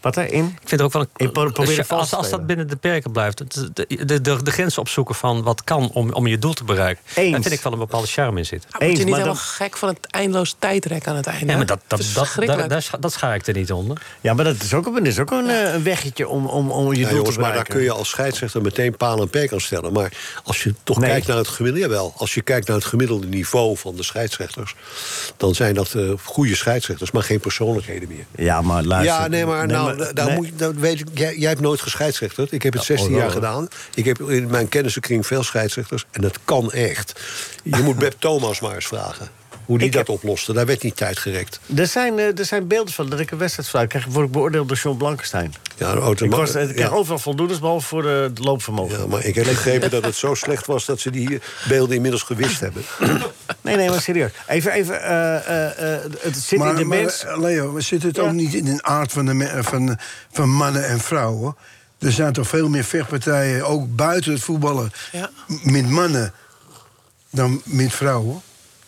S4: Wat erin?
S5: Ik vind er ook wel een.
S4: Ik pro- probeer
S5: een-
S4: het vals
S5: als,
S4: te
S5: als dat
S4: spelen.
S5: binnen de perken blijft. het- De, de, de, de grenzen opzoeken van wat kan om, om je doel te bereiken.
S4: Eens.
S5: Daar vind ik wel een bepaalde charme in zitten.
S8: Ja, Word je
S4: Eens,
S8: niet
S4: maar
S8: helemaal
S4: dan-
S8: gek van het eindeloos tijdrek aan het einde?
S5: Ja, maar dat, dat, dat, dat,
S8: Verschrikkelijk.
S5: daar scha- dat schaar ik er niet onder.
S4: Ja, Ah, maar dat is ook, een- dat is ook een, eh, een weggetje om, om, om je
S6: Ja,
S4: doel
S6: jongens,
S4: te
S6: maar
S4: bereiken.
S6: daar kun je als scheidsrechter meteen paal en perk aan stellen. Maar als je toch
S4: Nee.
S6: kijkt naar het gemiddelde, jawel, als je kijkt naar het gemiddelde niveau van de scheidsrechters, dan zijn dat eh, goede scheidsrechters, maar geen persoonlijkheden meer.
S4: Ja, maar luister.
S6: Ja, nee, maar, nou, da- daar
S4: nee.
S6: Moet, je- dat weet ik, jij, jij hebt nooit gescheidsrechterd. Ik heb het 16
S4: oh,
S6: jaar
S4: wel,
S6: gedaan. Ik heb in mijn kennissenkring veel scheidsrechters. En dat kan echt. Je moet Beb Thomas maar eens vragen hoe die
S4: Ik
S6: dat
S4: heb-
S6: oploste. Daar werd niet tijd gerekt.
S4: Er zijn, eh, er zijn beelden van dat ik een wedstrijd krijg. Word ik beoordeeld door John Blankenstein.
S6: Ja, een auto-
S4: Ik, was, eh, ik kreeg
S6: ja.
S4: overal voldoendes, behalve voor de, het loopvermogen.
S6: Ja, maar ik heb begrepen dat het zo slecht was dat ze die beelden inmiddels gewist hebben.
S4: Nee, nee, maar serieus. Even, even eh, eh, eh, het zit in de mens.
S7: eh, Leo, zit het
S4: Ja.
S7: ook niet in de aard van, de, me- van, van mannen en vrouwen? Er zijn toch veel meer vechtpartijen, ook buiten het voetballen,
S8: Ja.
S7: m- met mannen dan met vrouwen?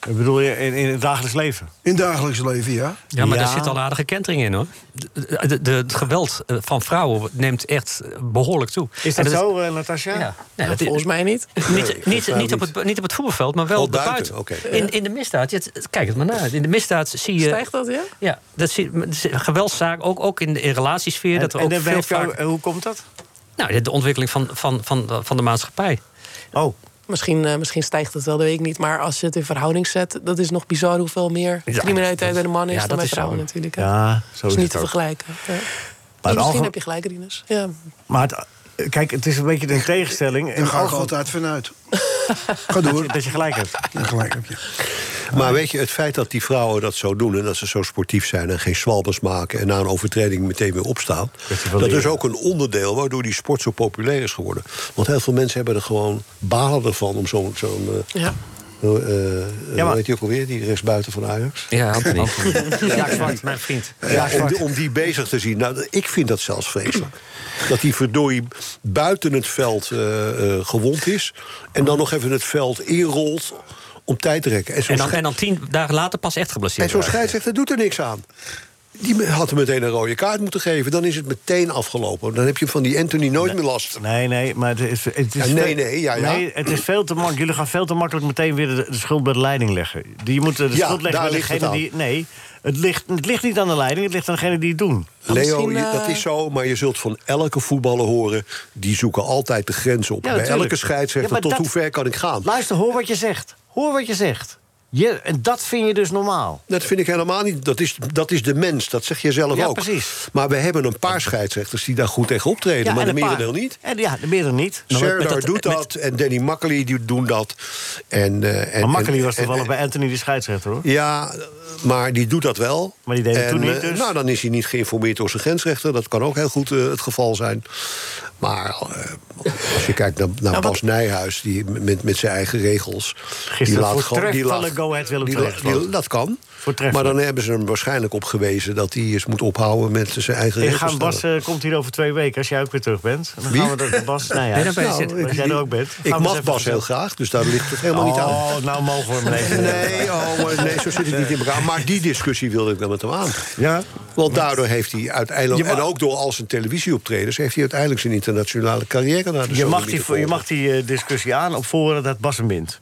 S4: Ik bedoel je in, in het dagelijks leven?
S7: In het dagelijks leven, ja.
S5: Ja, maar
S4: Ja.
S5: daar zit al een aardige kentering in hoor. De- de- de- de- het geweld eh, van vrouwen neemt echt eh, behoorlijk toe.
S4: Is
S5: En
S4: dat, zo, eh, Natasja?
S5: Ja.
S4: Ja.
S5: Nee, dat is-
S8: Volgens mij niet.
S5: Niet, niet, niet, op het, niet op het voetbalveld, maar wel
S6: Oh, buiten,
S5: buiten.
S6: oké.
S5: In, in de misdaad, ja, het- kijk het maar na. In de misdaad zie je...
S8: Stijgt dat, ja?
S5: Ja, dat zie, geweldszaak, ook, ook in de in relatiesfeer.
S4: En,
S5: dat er
S4: en
S5: ook
S4: dan
S5: veel
S4: werk je
S5: vaak,
S4: ook- hoe komt dat?
S5: nou, de ontwikkeling van, van, van, van de maatschappij.
S4: Oh,
S8: Misschien, eh, misschien stijgt het wel, dat weet ik niet. Maar als je het in verhouding zet, dat is nog bizar hoeveel meer
S5: Ja,
S8: criminaliteit
S5: dat-
S8: bij de man is
S5: ja,
S8: dan
S5: dat
S8: bij
S5: is zo.
S8: vrouwen natuurlijk. hè.
S4: ja, zo
S8: dat
S4: is
S8: is niet te
S4: het ook.
S8: vergelijken. Ja.
S4: Maar
S8: Dus
S4: het
S8: misschien
S4: algemeen-
S8: heb je gelijk, Rinus. Ja.
S4: Maar het, eh, kijk, het is een beetje een tegenstelling. In
S7: Daar
S4: het
S7: ga ik
S4: algemeen-
S7: altijd vanuit. Ga door.
S4: Dat je gelijk hebt.
S7: Ja, gelijk heb je.
S6: Maar weet je, het feit dat die vrouwen dat zo doen... en dat ze zo sportief zijn en geen zwalbers maken... en na een overtreding meteen weer opstaan...
S4: Kwestie van
S6: dat is
S4: leren.
S6: ook een onderdeel waardoor die sport zo populair is geworden. Want heel veel mensen hebben er gewoon balen ervan... om zo'n... zo'n eh,
S8: Ja.
S6: eh, eh,
S4: maar-
S6: hoe heet die ook alweer, die rechtsbuiten van Ajax?
S5: Ja, Anthony. Jaak Zwart, mijn vriend.
S6: Ja, om, Eh, die, om die bezig te zien. Nou, ik vind dat zelfs vreselijk. Dat die verdorie buiten het veld eh, eh, gewond is... en dan nog even het veld inrolt om tijd te rekken. zo'n
S5: En dan,
S6: sche-
S5: en dan tien dagen later pas echt
S6: En
S5: geblesseerd.
S6: zo'n
S5: raakt.
S6: scheidsrechter doet er niks aan. Die me- had hem meteen een rode kaart moeten geven. Dan is het meteen afgelopen. Dan heb je van die Anthony nooit meer last.
S4: Nee, nee, maar het is, het is
S6: Ja, nee, nee, ja, ja.
S4: Nee, het is veel te makkelijk. Jullie gaan veel te makkelijk meteen weer de, de schuld bij de leiding leggen. Die- Je moet eh, de
S6: Ja,
S4: schuld leggen
S6: daar
S4: bij
S6: ligt het
S4: degene
S6: aan.
S4: die... Nee, het ligt, het ligt niet aan de leiding, het ligt aan degene die het doen.
S6: Leo,
S8: misschien,
S6: je-
S8: eh,
S6: dat is zo, maar je zult van elke voetballer horen... die zoeken altijd de grenzen op.
S4: Ja,
S6: Bij
S4: natuurlijk.
S6: elke scheidsrechter,
S4: Ja, maar
S6: tot
S4: dat-
S6: hoe ver kan ik gaan?
S4: Luister, hoor wat je zegt. Hoor wat je zegt. Je, en dat vind je dus normaal.
S6: Dat vind ik helemaal niet. Dat is, dat is de mens, dat zeg je zelf
S4: Ja,
S6: ook.
S4: precies.
S6: Maar we hebben een paar scheidsrechters die daar goed tegen optreden. maar de
S4: en een paar-
S6: merendeel niet.
S4: En, ja, de merendeel niet.
S5: met- met
S6: Serdar
S5: dat-
S6: doet
S5: met-
S6: dat en Danny Makkely die doen dat. En, eh, en,
S4: Maar Makkely
S6: en-
S4: was
S6: en-
S4: toevallig bij Anthony de scheidsrechter, hoor.
S6: Ja, maar die doet dat wel.
S4: Maar die deed het
S6: En,
S4: toen niet,
S6: eh,
S4: dus?
S6: Nou, dan is hij niet geïnformeerd door zijn grensrechter. Dat kan ook heel goed eh, het geval zijn. Maar eh, als je kijkt naar, naar Bas Nijhuis, die met, met zijn eigen regels...
S4: Gisteren voortreffelijk Go Ahead Willem
S6: die
S4: II
S6: laat-
S4: gesloten.
S6: die- Dat kan. Maar
S4: Voortreffelijk.
S6: dan hebben ze hem waarschijnlijk op gewezen... dat hij eens moet ophouden met zijn eigen
S4: Ik
S6: regels.
S4: ga
S6: stellen.
S4: Bas eh, komt hier over twee weken, als jij ook weer terug bent. En Dan
S6: Wie?
S4: gaan we dat Bas, nou ja,
S5: Nee, daar ben je
S4: als-
S5: zitten.
S4: als jij er ook bent. gaan we
S6: ik
S4: eens
S6: mag
S4: even
S6: Bas heel
S4: gezellig-
S6: graag, dus daar ligt het helemaal niet aan.
S4: Oh, nou mogen we hem lezen.
S6: Nee, oh, nee, zo zit het niet in elkaar. Maar die discussie wilde ik wel met hem aan.
S4: Ja?
S6: Want daardoor heeft hij uiteindelijk,
S4: Je mag-
S6: en ook door al zijn televisieoptredens... heeft hij uiteindelijk zijn internationale carrière naar de
S4: Je mag,
S6: sodomieter
S4: die, je
S6: geholpen.
S4: mag die eh, discussie aan op voren dat Bas hem wint.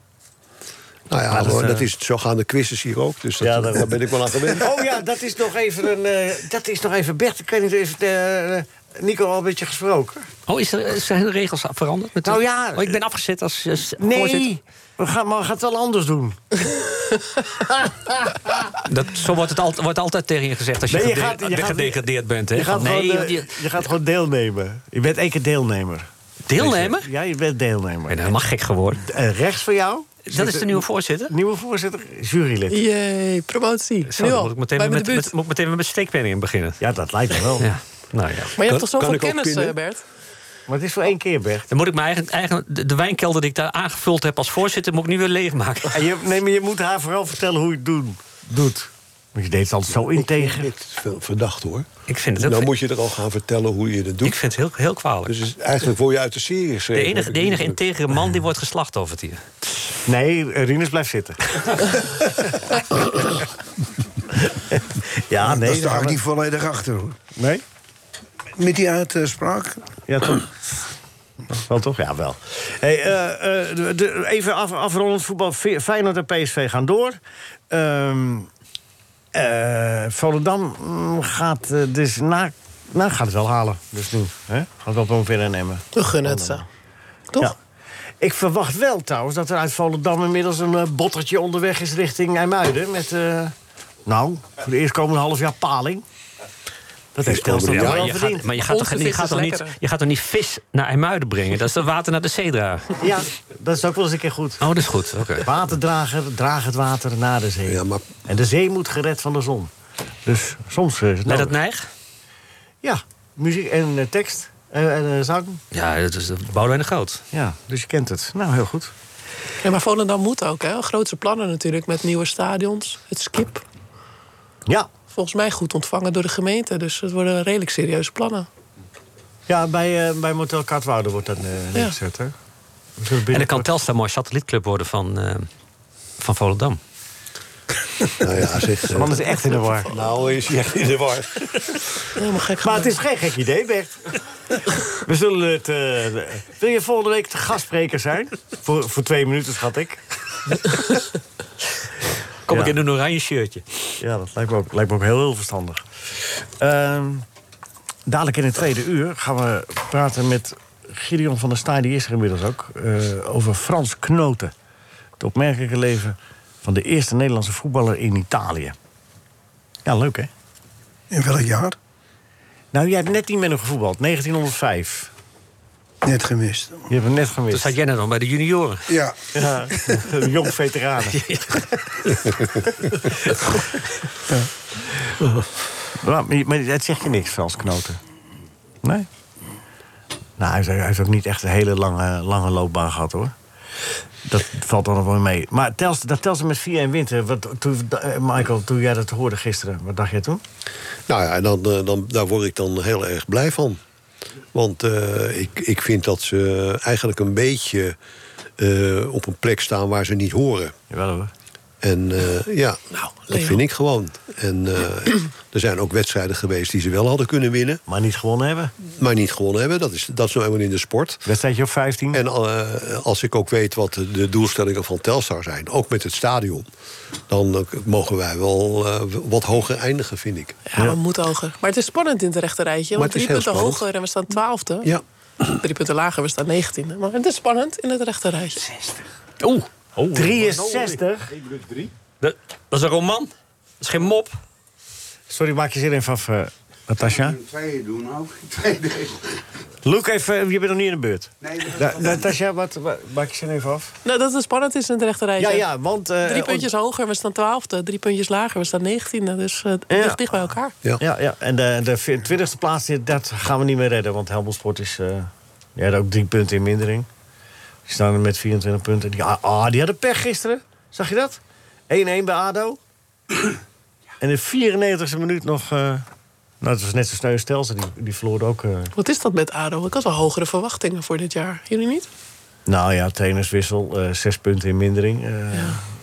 S6: Nou ja,
S4: dat,
S6: hoor,
S4: eh,
S6: dat is, zo gaan de quizzes hier ook, dus dat,
S4: Ja, dat-
S6: daar ben ik wel aan gewend.
S4: Oh ja, dat is nog even een. eh, dat is nog even Bert. Ik weet niet even. eh, Nico al een beetje gesproken.
S5: Oh, is er, zijn de regels veranderd? Met de-
S4: Nou ja,
S5: Oh, ik ben afgezet als, als voorzitter.
S4: Nee, we gaan, maar we gaan het wel anders doen.
S5: Dat, zo wordt het al, wordt altijd tegen je gezegd als je,
S4: Nee, je
S5: gede-
S4: gaat- je
S5: de-
S4: gaat-
S5: gedegradeerd bent. Hè?
S4: Je gaat,
S5: Van, nee,
S4: gewoon, eh,
S5: want je-
S4: je gaat gewoon deelnemen. Je bent één keer deelnemer.
S5: deelnemer?
S4: Ja, je bent deelnemer.
S5: Ik ben helemaal gek geworden.
S4: Eh, rechts van jou?
S5: Dat is de nieuwe voorzitter.
S4: Nieuwe voorzitter, jurylid.
S8: Jee, promotie.
S5: Zo,
S8: nu
S5: dan
S8: al.
S5: moet ik meteen
S8: bij
S5: met,
S8: me de
S5: met,
S8: buurt.
S5: moet ik meteen weer met steekpennen in beginnen.
S4: Ja, dat lijkt me wel.
S5: Ja. Nou ja.
S8: maar je hebt toch
S6: kan
S8: zoveel
S6: ik ook
S8: kennis,
S6: pinnen?
S8: eh, Bert?
S4: Maar het is voor één keer, Bert.
S5: Dan moet ik mijn eigen, eigen, de, de wijnkelder die ik daar aangevuld heb als voorzitter... moet ik nu weer leegmaken.
S4: En je, nee, maar je moet haar vooral vertellen hoe je het doen, doet. Want je deed het altijd zo integer.
S6: Dit is veel verdacht, hoor.
S5: Ik vind het, ook,
S6: Nou moet je er al gaan vertellen hoe je dat
S5: ik
S6: doet.
S5: vind het heel, heel kwalijk.
S6: Dus is- eigenlijk word je uit de serie
S5: de
S6: geschreven.
S5: enige, de enige integere man die wordt geslachtofferd hier.
S4: Nee, eh, Rinus blijft zitten. ja, nee.
S7: Daar
S4: dan
S7: sta
S4: gaan
S7: ik
S4: we-
S7: niet volledig achter, hoor.
S4: Nee?
S7: Met die uitspraak.
S4: Ja, toch. Wel toch? Ja, wel. Hey, eh, eh, de- de- even af, afrondend voetbal. Fe- Feyenoord en PSV gaan door. Ehm eh, Volendam mm, gaat eh, dus na... Nou, gaat het wel halen. Dus nu. Hè? Gaat wel promoveren en Emmen.
S8: We gunnen het ze. Toch?
S4: Ja. Ik verwacht wel trouwens dat er uit Volendam inmiddels een eh, bottertje onderweg is richting IJmuiden. Met, eh, nou, voor de eerstkomende half jaar paling. Dat heeft Telstra
S5: Ja,
S4: wel
S5: maar, je
S4: verdiend.
S5: gaat, maar je gaat toch,
S8: Onze
S5: je
S8: vis
S5: gaat
S8: is
S5: toch niet,
S8: lekkerder.
S5: je gaat toch niet vis naar IJmuiden brengen? Dat is de water naar de Zedra.
S4: Ja, dat is ook wel eens een keer goed.
S5: Oh, dat is goed. Oké.
S4: Waterdrager, draag het water naar de zee.
S6: Ja, maar-
S4: En de zee moet gered van de zon. Dus soms eh, is het
S5: Met
S4: nodig.
S5: dat neig?
S4: Ja, muziek en eh, tekst eh, en eh, zang.
S5: Ja, dat is Boudewijn de Groot.
S4: Ja, dus je kent het. Nou, heel goed.
S8: Ja, maar Volendam moet ook, hè? Grootse plannen natuurlijk met nieuwe stadions. Het skip.
S4: Ja,
S8: Volgens mij goed ontvangen door de gemeente. Dus het worden redelijk serieuze plannen.
S4: ja bij, eh bij Motel Katwoude wordt dat eh neergezet, hè? Dus dat
S5: En dan kan
S4: binnenkort-
S5: Telstar mooi satellietclub worden van, eh, van Volendam.
S6: Nou ja, zeg...
S4: De
S6: eh,
S4: man is echt in de war.
S6: nou is hij echt in de war.
S8: Helemaal gek.
S4: Maar het is geen gek idee, Bert. We zullen het... eh, wil je volgende week de gastspreker zijn? Voor, voor twee minuten, schat ik.
S5: Kom
S4: Ja.
S5: ik in een oranje shirtje.
S4: Ja, dat lijkt me ook, lijkt me ook heel, heel verstandig. Ehm, dadelijk in het tweede uur gaan we praten met Gideon van der Staaij, die is er inmiddels ook, eh, over Frans Knoten. Het opmerkelijke leven van de eerste Nederlandse voetballer in Italië. Ja, leuk hè?
S7: In welk jaar?
S4: Nou, jij hebt net niet met hem gevoetbald, 1905.
S7: Net gemist.
S4: Je hebt hem net gemist.
S5: Dat zat jij net nog bij de junioren.
S7: Ja,
S4: Ja, een jong veteranen. Maar- maar, maar dat zeg je niks, Frans Knoten. Nee? Nou, hij heeft, hij heeft ook niet echt een hele lange, lange loopbaan gehad, hoor. Dat valt dan nog wel mee. Maar Telstra, dat Telstra met 4 en winter. Wat, toen, eh, Michael, toen jij dat hoorde gisteren, wat dacht jij toen?
S6: Nou ja, en dan, eh, dan, daar word ik dan heel erg blij van. Want eh, ik, ik vind dat ze eigenlijk een beetje eh, op een plek staan waar ze niet horen.
S4: Jawel hoor.
S6: En eh, ja, dat
S8: Nou, Leo.
S6: vind ik gewoon. En eh, er zijn ook wedstrijden geweest die ze wel hadden kunnen winnen,
S4: Maar niet gewonnen hebben.
S6: maar niet gewonnen hebben. Dat is, dat is nou helemaal in de sport.
S4: Wedstrijdje op 15.
S6: En eh, als ik ook weet wat de doelstellingen van Telstar zijn, ook met het stadion, dan eh, mogen wij wel eh, wat hoger eindigen, vind ik.
S8: Ja, we moeten hoger. Maar het is spannend in het rechte rijtje.
S6: Maar
S8: Want
S6: het is
S8: drie punten
S6: heel spannend.
S8: hoger en we staan twaalfde.
S6: Ja.
S8: Drie punten lager, we staan negentiende. Maar het is spannend in het rechte rijtje.
S4: 63.
S5: Dat, dat is een roman. Dat is geen mop.
S4: Sorry, maak je zin even af, eh, Natasja.
S3: Tweeën doen ook. Tweeën
S4: Luc, even, eh, je bent nog niet in de beurt.
S3: Nee, dat is
S4: Na- Natasja, wat, wa- maak je zin even af?
S8: Nou, dat het spannend is in het rechterrijtje.
S4: Ja, ja, want... eh,
S8: Drie
S4: on-
S8: puntjes hoger, we staan twaalfde. Drie puntjes lager, we staan negentiende. Dus eh, het
S4: Ja.
S8: ligt dicht bij elkaar.
S6: Ja.
S4: Ja, ja, en de, de vi- twintigste plaats, die- dat gaan we niet meer redden. Want Helmond Sport is, eh, die had ook drie punten in mindering. Die staan er met 24 punten. Die, ah, ah, die hadden pech gisteren. Zag je dat? 1-1 bij ADO. En in de 94e minuut nog... eh, nou, het was net zo sneu als Telstra, Die, die verloor ook... eh,
S8: Wat is dat met ADO? Ik had wel hogere verwachtingen voor dit jaar. Jullie niet?
S4: nou ja, trainerswissel. eh, zes punten in mindering. eh,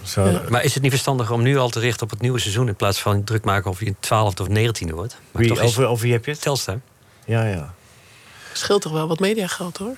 S4: zo,
S5: Maar is het niet verstandiger om nu al te richten op het nieuwe seizoen... in plaats van druk maken of je 12e of 19e wordt? Maar
S4: Wie,
S5: toch is
S4: over, over wie heb je het?
S5: Telstar.
S4: Ja, ja.
S8: Scheelt toch wel wat mediageld hoor.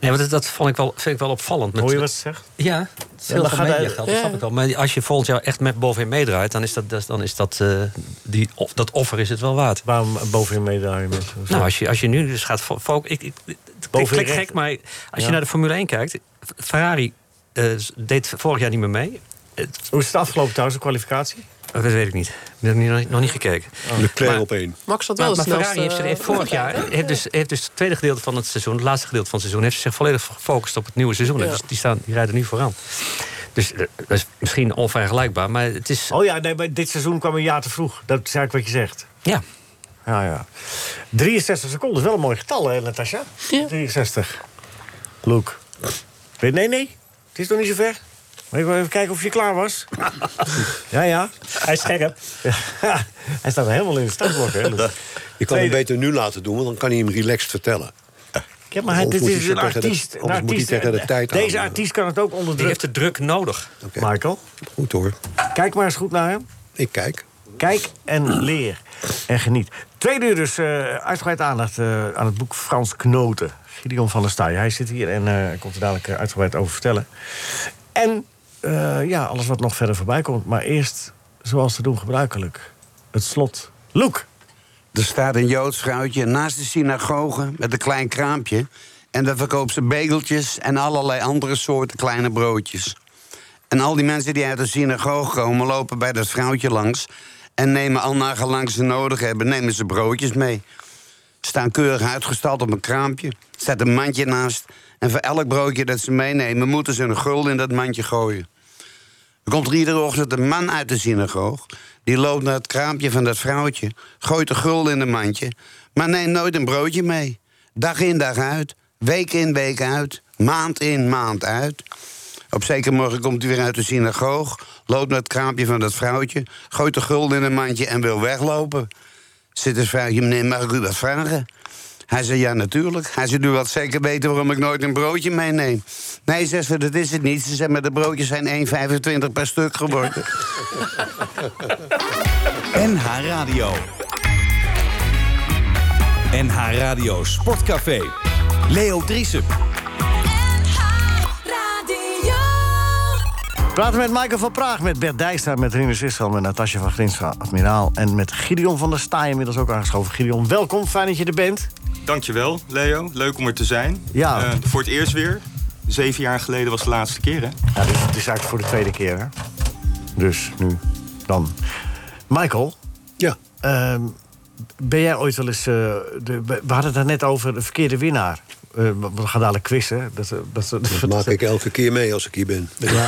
S5: Nee, want dat, dat vond ik wel, vind ik wel opvallend. Met-
S4: Hoor je wat ze zegt?
S5: Ja,
S4: Ja,
S5: veel
S4: dan
S5: van
S4: gaat hij-
S5: media geld, dat
S8: Ja.
S5: snap ik al. Maar als je volgend jaar echt met bovenin meedraait... dan is dat, dat- dan is dat, eh, die, of, dat offer is het wel waard.
S4: Waarom bovenin meedraaien met...
S5: Nou, als je, als je nu dus gaat fo- fo- Ik, ik, het
S4: Bovenin
S5: klinkt
S4: recht.
S5: gek, maar als
S4: Ja.
S5: je naar de Formule 1 kijkt... Ferrari eh, deed vorig jaar niet meer mee. Het, Oh,
S4: Hoe is het afgelopen trouwens, de kwalificatie?
S5: dat weet ik niet. Ik heb nog niet- nog niet gekeken.
S6: Leclerc
S5: Maar-
S6: op één.
S8: Max had wel eh,
S5: Maar,
S8: de
S5: maar
S8: snelste...
S5: Ferrari heeft, zich- heeft vorig jaar, heeft dus, heeft dus het tweede gedeelte van het seizoen, het laatste gedeelte van het seizoen, heeft zich volledig gefocust op het nieuwe seizoen.
S8: Ja.
S5: Dus die, staan, die rijden nu vooraan. Dus eh, dat is misschien onvergelijkbaar, maar het is.
S4: Oh ja, nee, maar dit seizoen kwam een jaar te vroeg. Dat is eigenlijk wat je zegt.
S5: Ja.
S4: Ja, ja. 63 seconden is wel een mooi getal, hè, Natasja?
S8: Ja.
S4: 63. Look. Nee, nee, nee. Het is nog niet zo ver. Maar ik wil even kijken of je klaar was. ja, ja. Hij is scherp. Ja, hij staat helemaal in de startblok, hè, Loek.
S6: Je kan
S4: Tweede-
S6: hem beter nu laten doen, want dan kan hij hem relaxed vertellen.
S4: Ja, maar hij,
S6: Anders
S4: dit
S6: moet hij
S4: is
S6: zo
S4: een
S6: tegen de-
S4: artiest. Een
S6: anders moet hij
S4: artiest,
S6: tegen de
S4: eh,
S6: tijd
S4: Deze
S6: aanhouden.
S4: artiest kan het ook onder
S5: Die heeft
S4: druk.
S5: de druk nodig.
S6: Oké.
S4: Michael,
S6: Goed hoor,
S4: kijk maar eens goed naar hem.
S6: ik kijk.
S4: Kijk en leer en geniet. Tweede uur dus eh uitgebreid aandacht eh, aan het boek Frans Knoten. Gideon van der Staaij. Hij zit hier en eh, hij komt er dadelijk eh, uitgebreid over vertellen. En eh, ja, alles wat nog verder voorbij komt. Maar eerst, zoals te doen gebruikelijk, het slot. Loek!
S3: Er staat een Joods vrouwtje naast de synagoge met een klein kraampje. En daar verkoopt ze begeltjes en allerlei andere soorten kleine broodjes. En al die mensen die uit de synagoge komen, lopen bij dat vrouwtje langs. En nemen al nagelang ze nodig hebben, nemen ze broodjes mee. Staan keurig uitgestald op een kraampje. Staat een mandje naast. En voor elk broodje dat ze meenemen, moeten ze een gulden in dat mandje gooien. Er komt er iedere ochtend een man uit de synagoog. Die loopt naar het kraampje van dat vrouwtje, gooit de gulden in een mandje, maar neemt nooit een broodje mee. Dag in, dag uit, week in, week uit, maand in, maand uit. Op zeker morgen komt hij weer uit de synagoog, loopt naar het kraampje van dat vrouwtje, gooit de gulden in een mandje en wil weglopen. Zit het vrouwtje, meneer, mag ik u wat vragen? Hij zei, ja, natuurlijk. Hij zei, u wilt zeker weten waarom ik nooit een broodje meeneem. Nee, zegt ze, dat is het niet. Ze zei, maar de broodjes zijn 1,25 per stuk geworden.
S2: NH Radio. NH Radio Sportcafé. Leo Driessen.
S1: Radio.
S4: Praten met Michael van Praag, met Bert Dijkstra, met Rinus Israël, met Natasja van Grinstra, admiraal. En met Gideon van der Staaij inmiddels ook aangeschoven. Gideon, welkom, fijn dat je er bent.
S9: Dankjewel, Leo. Leuk om er te zijn.
S4: Ja.
S9: Eh, voor het eerst weer. Zeven jaar geleden was de laatste keer, hè?
S4: Ja, dit, dit is eigenlijk voor de tweede keer, hè? Dus nu, dan. Michael,
S6: Ja,
S4: ehm, ben jij ooit wel eens... eh, de, we hadden het daar net over de verkeerde winnaar. Eh, we we gaan dadelijk quizzen. Dat, eh, dat, dat,
S6: dat maak ik elke keer mee als ik hier ben. met de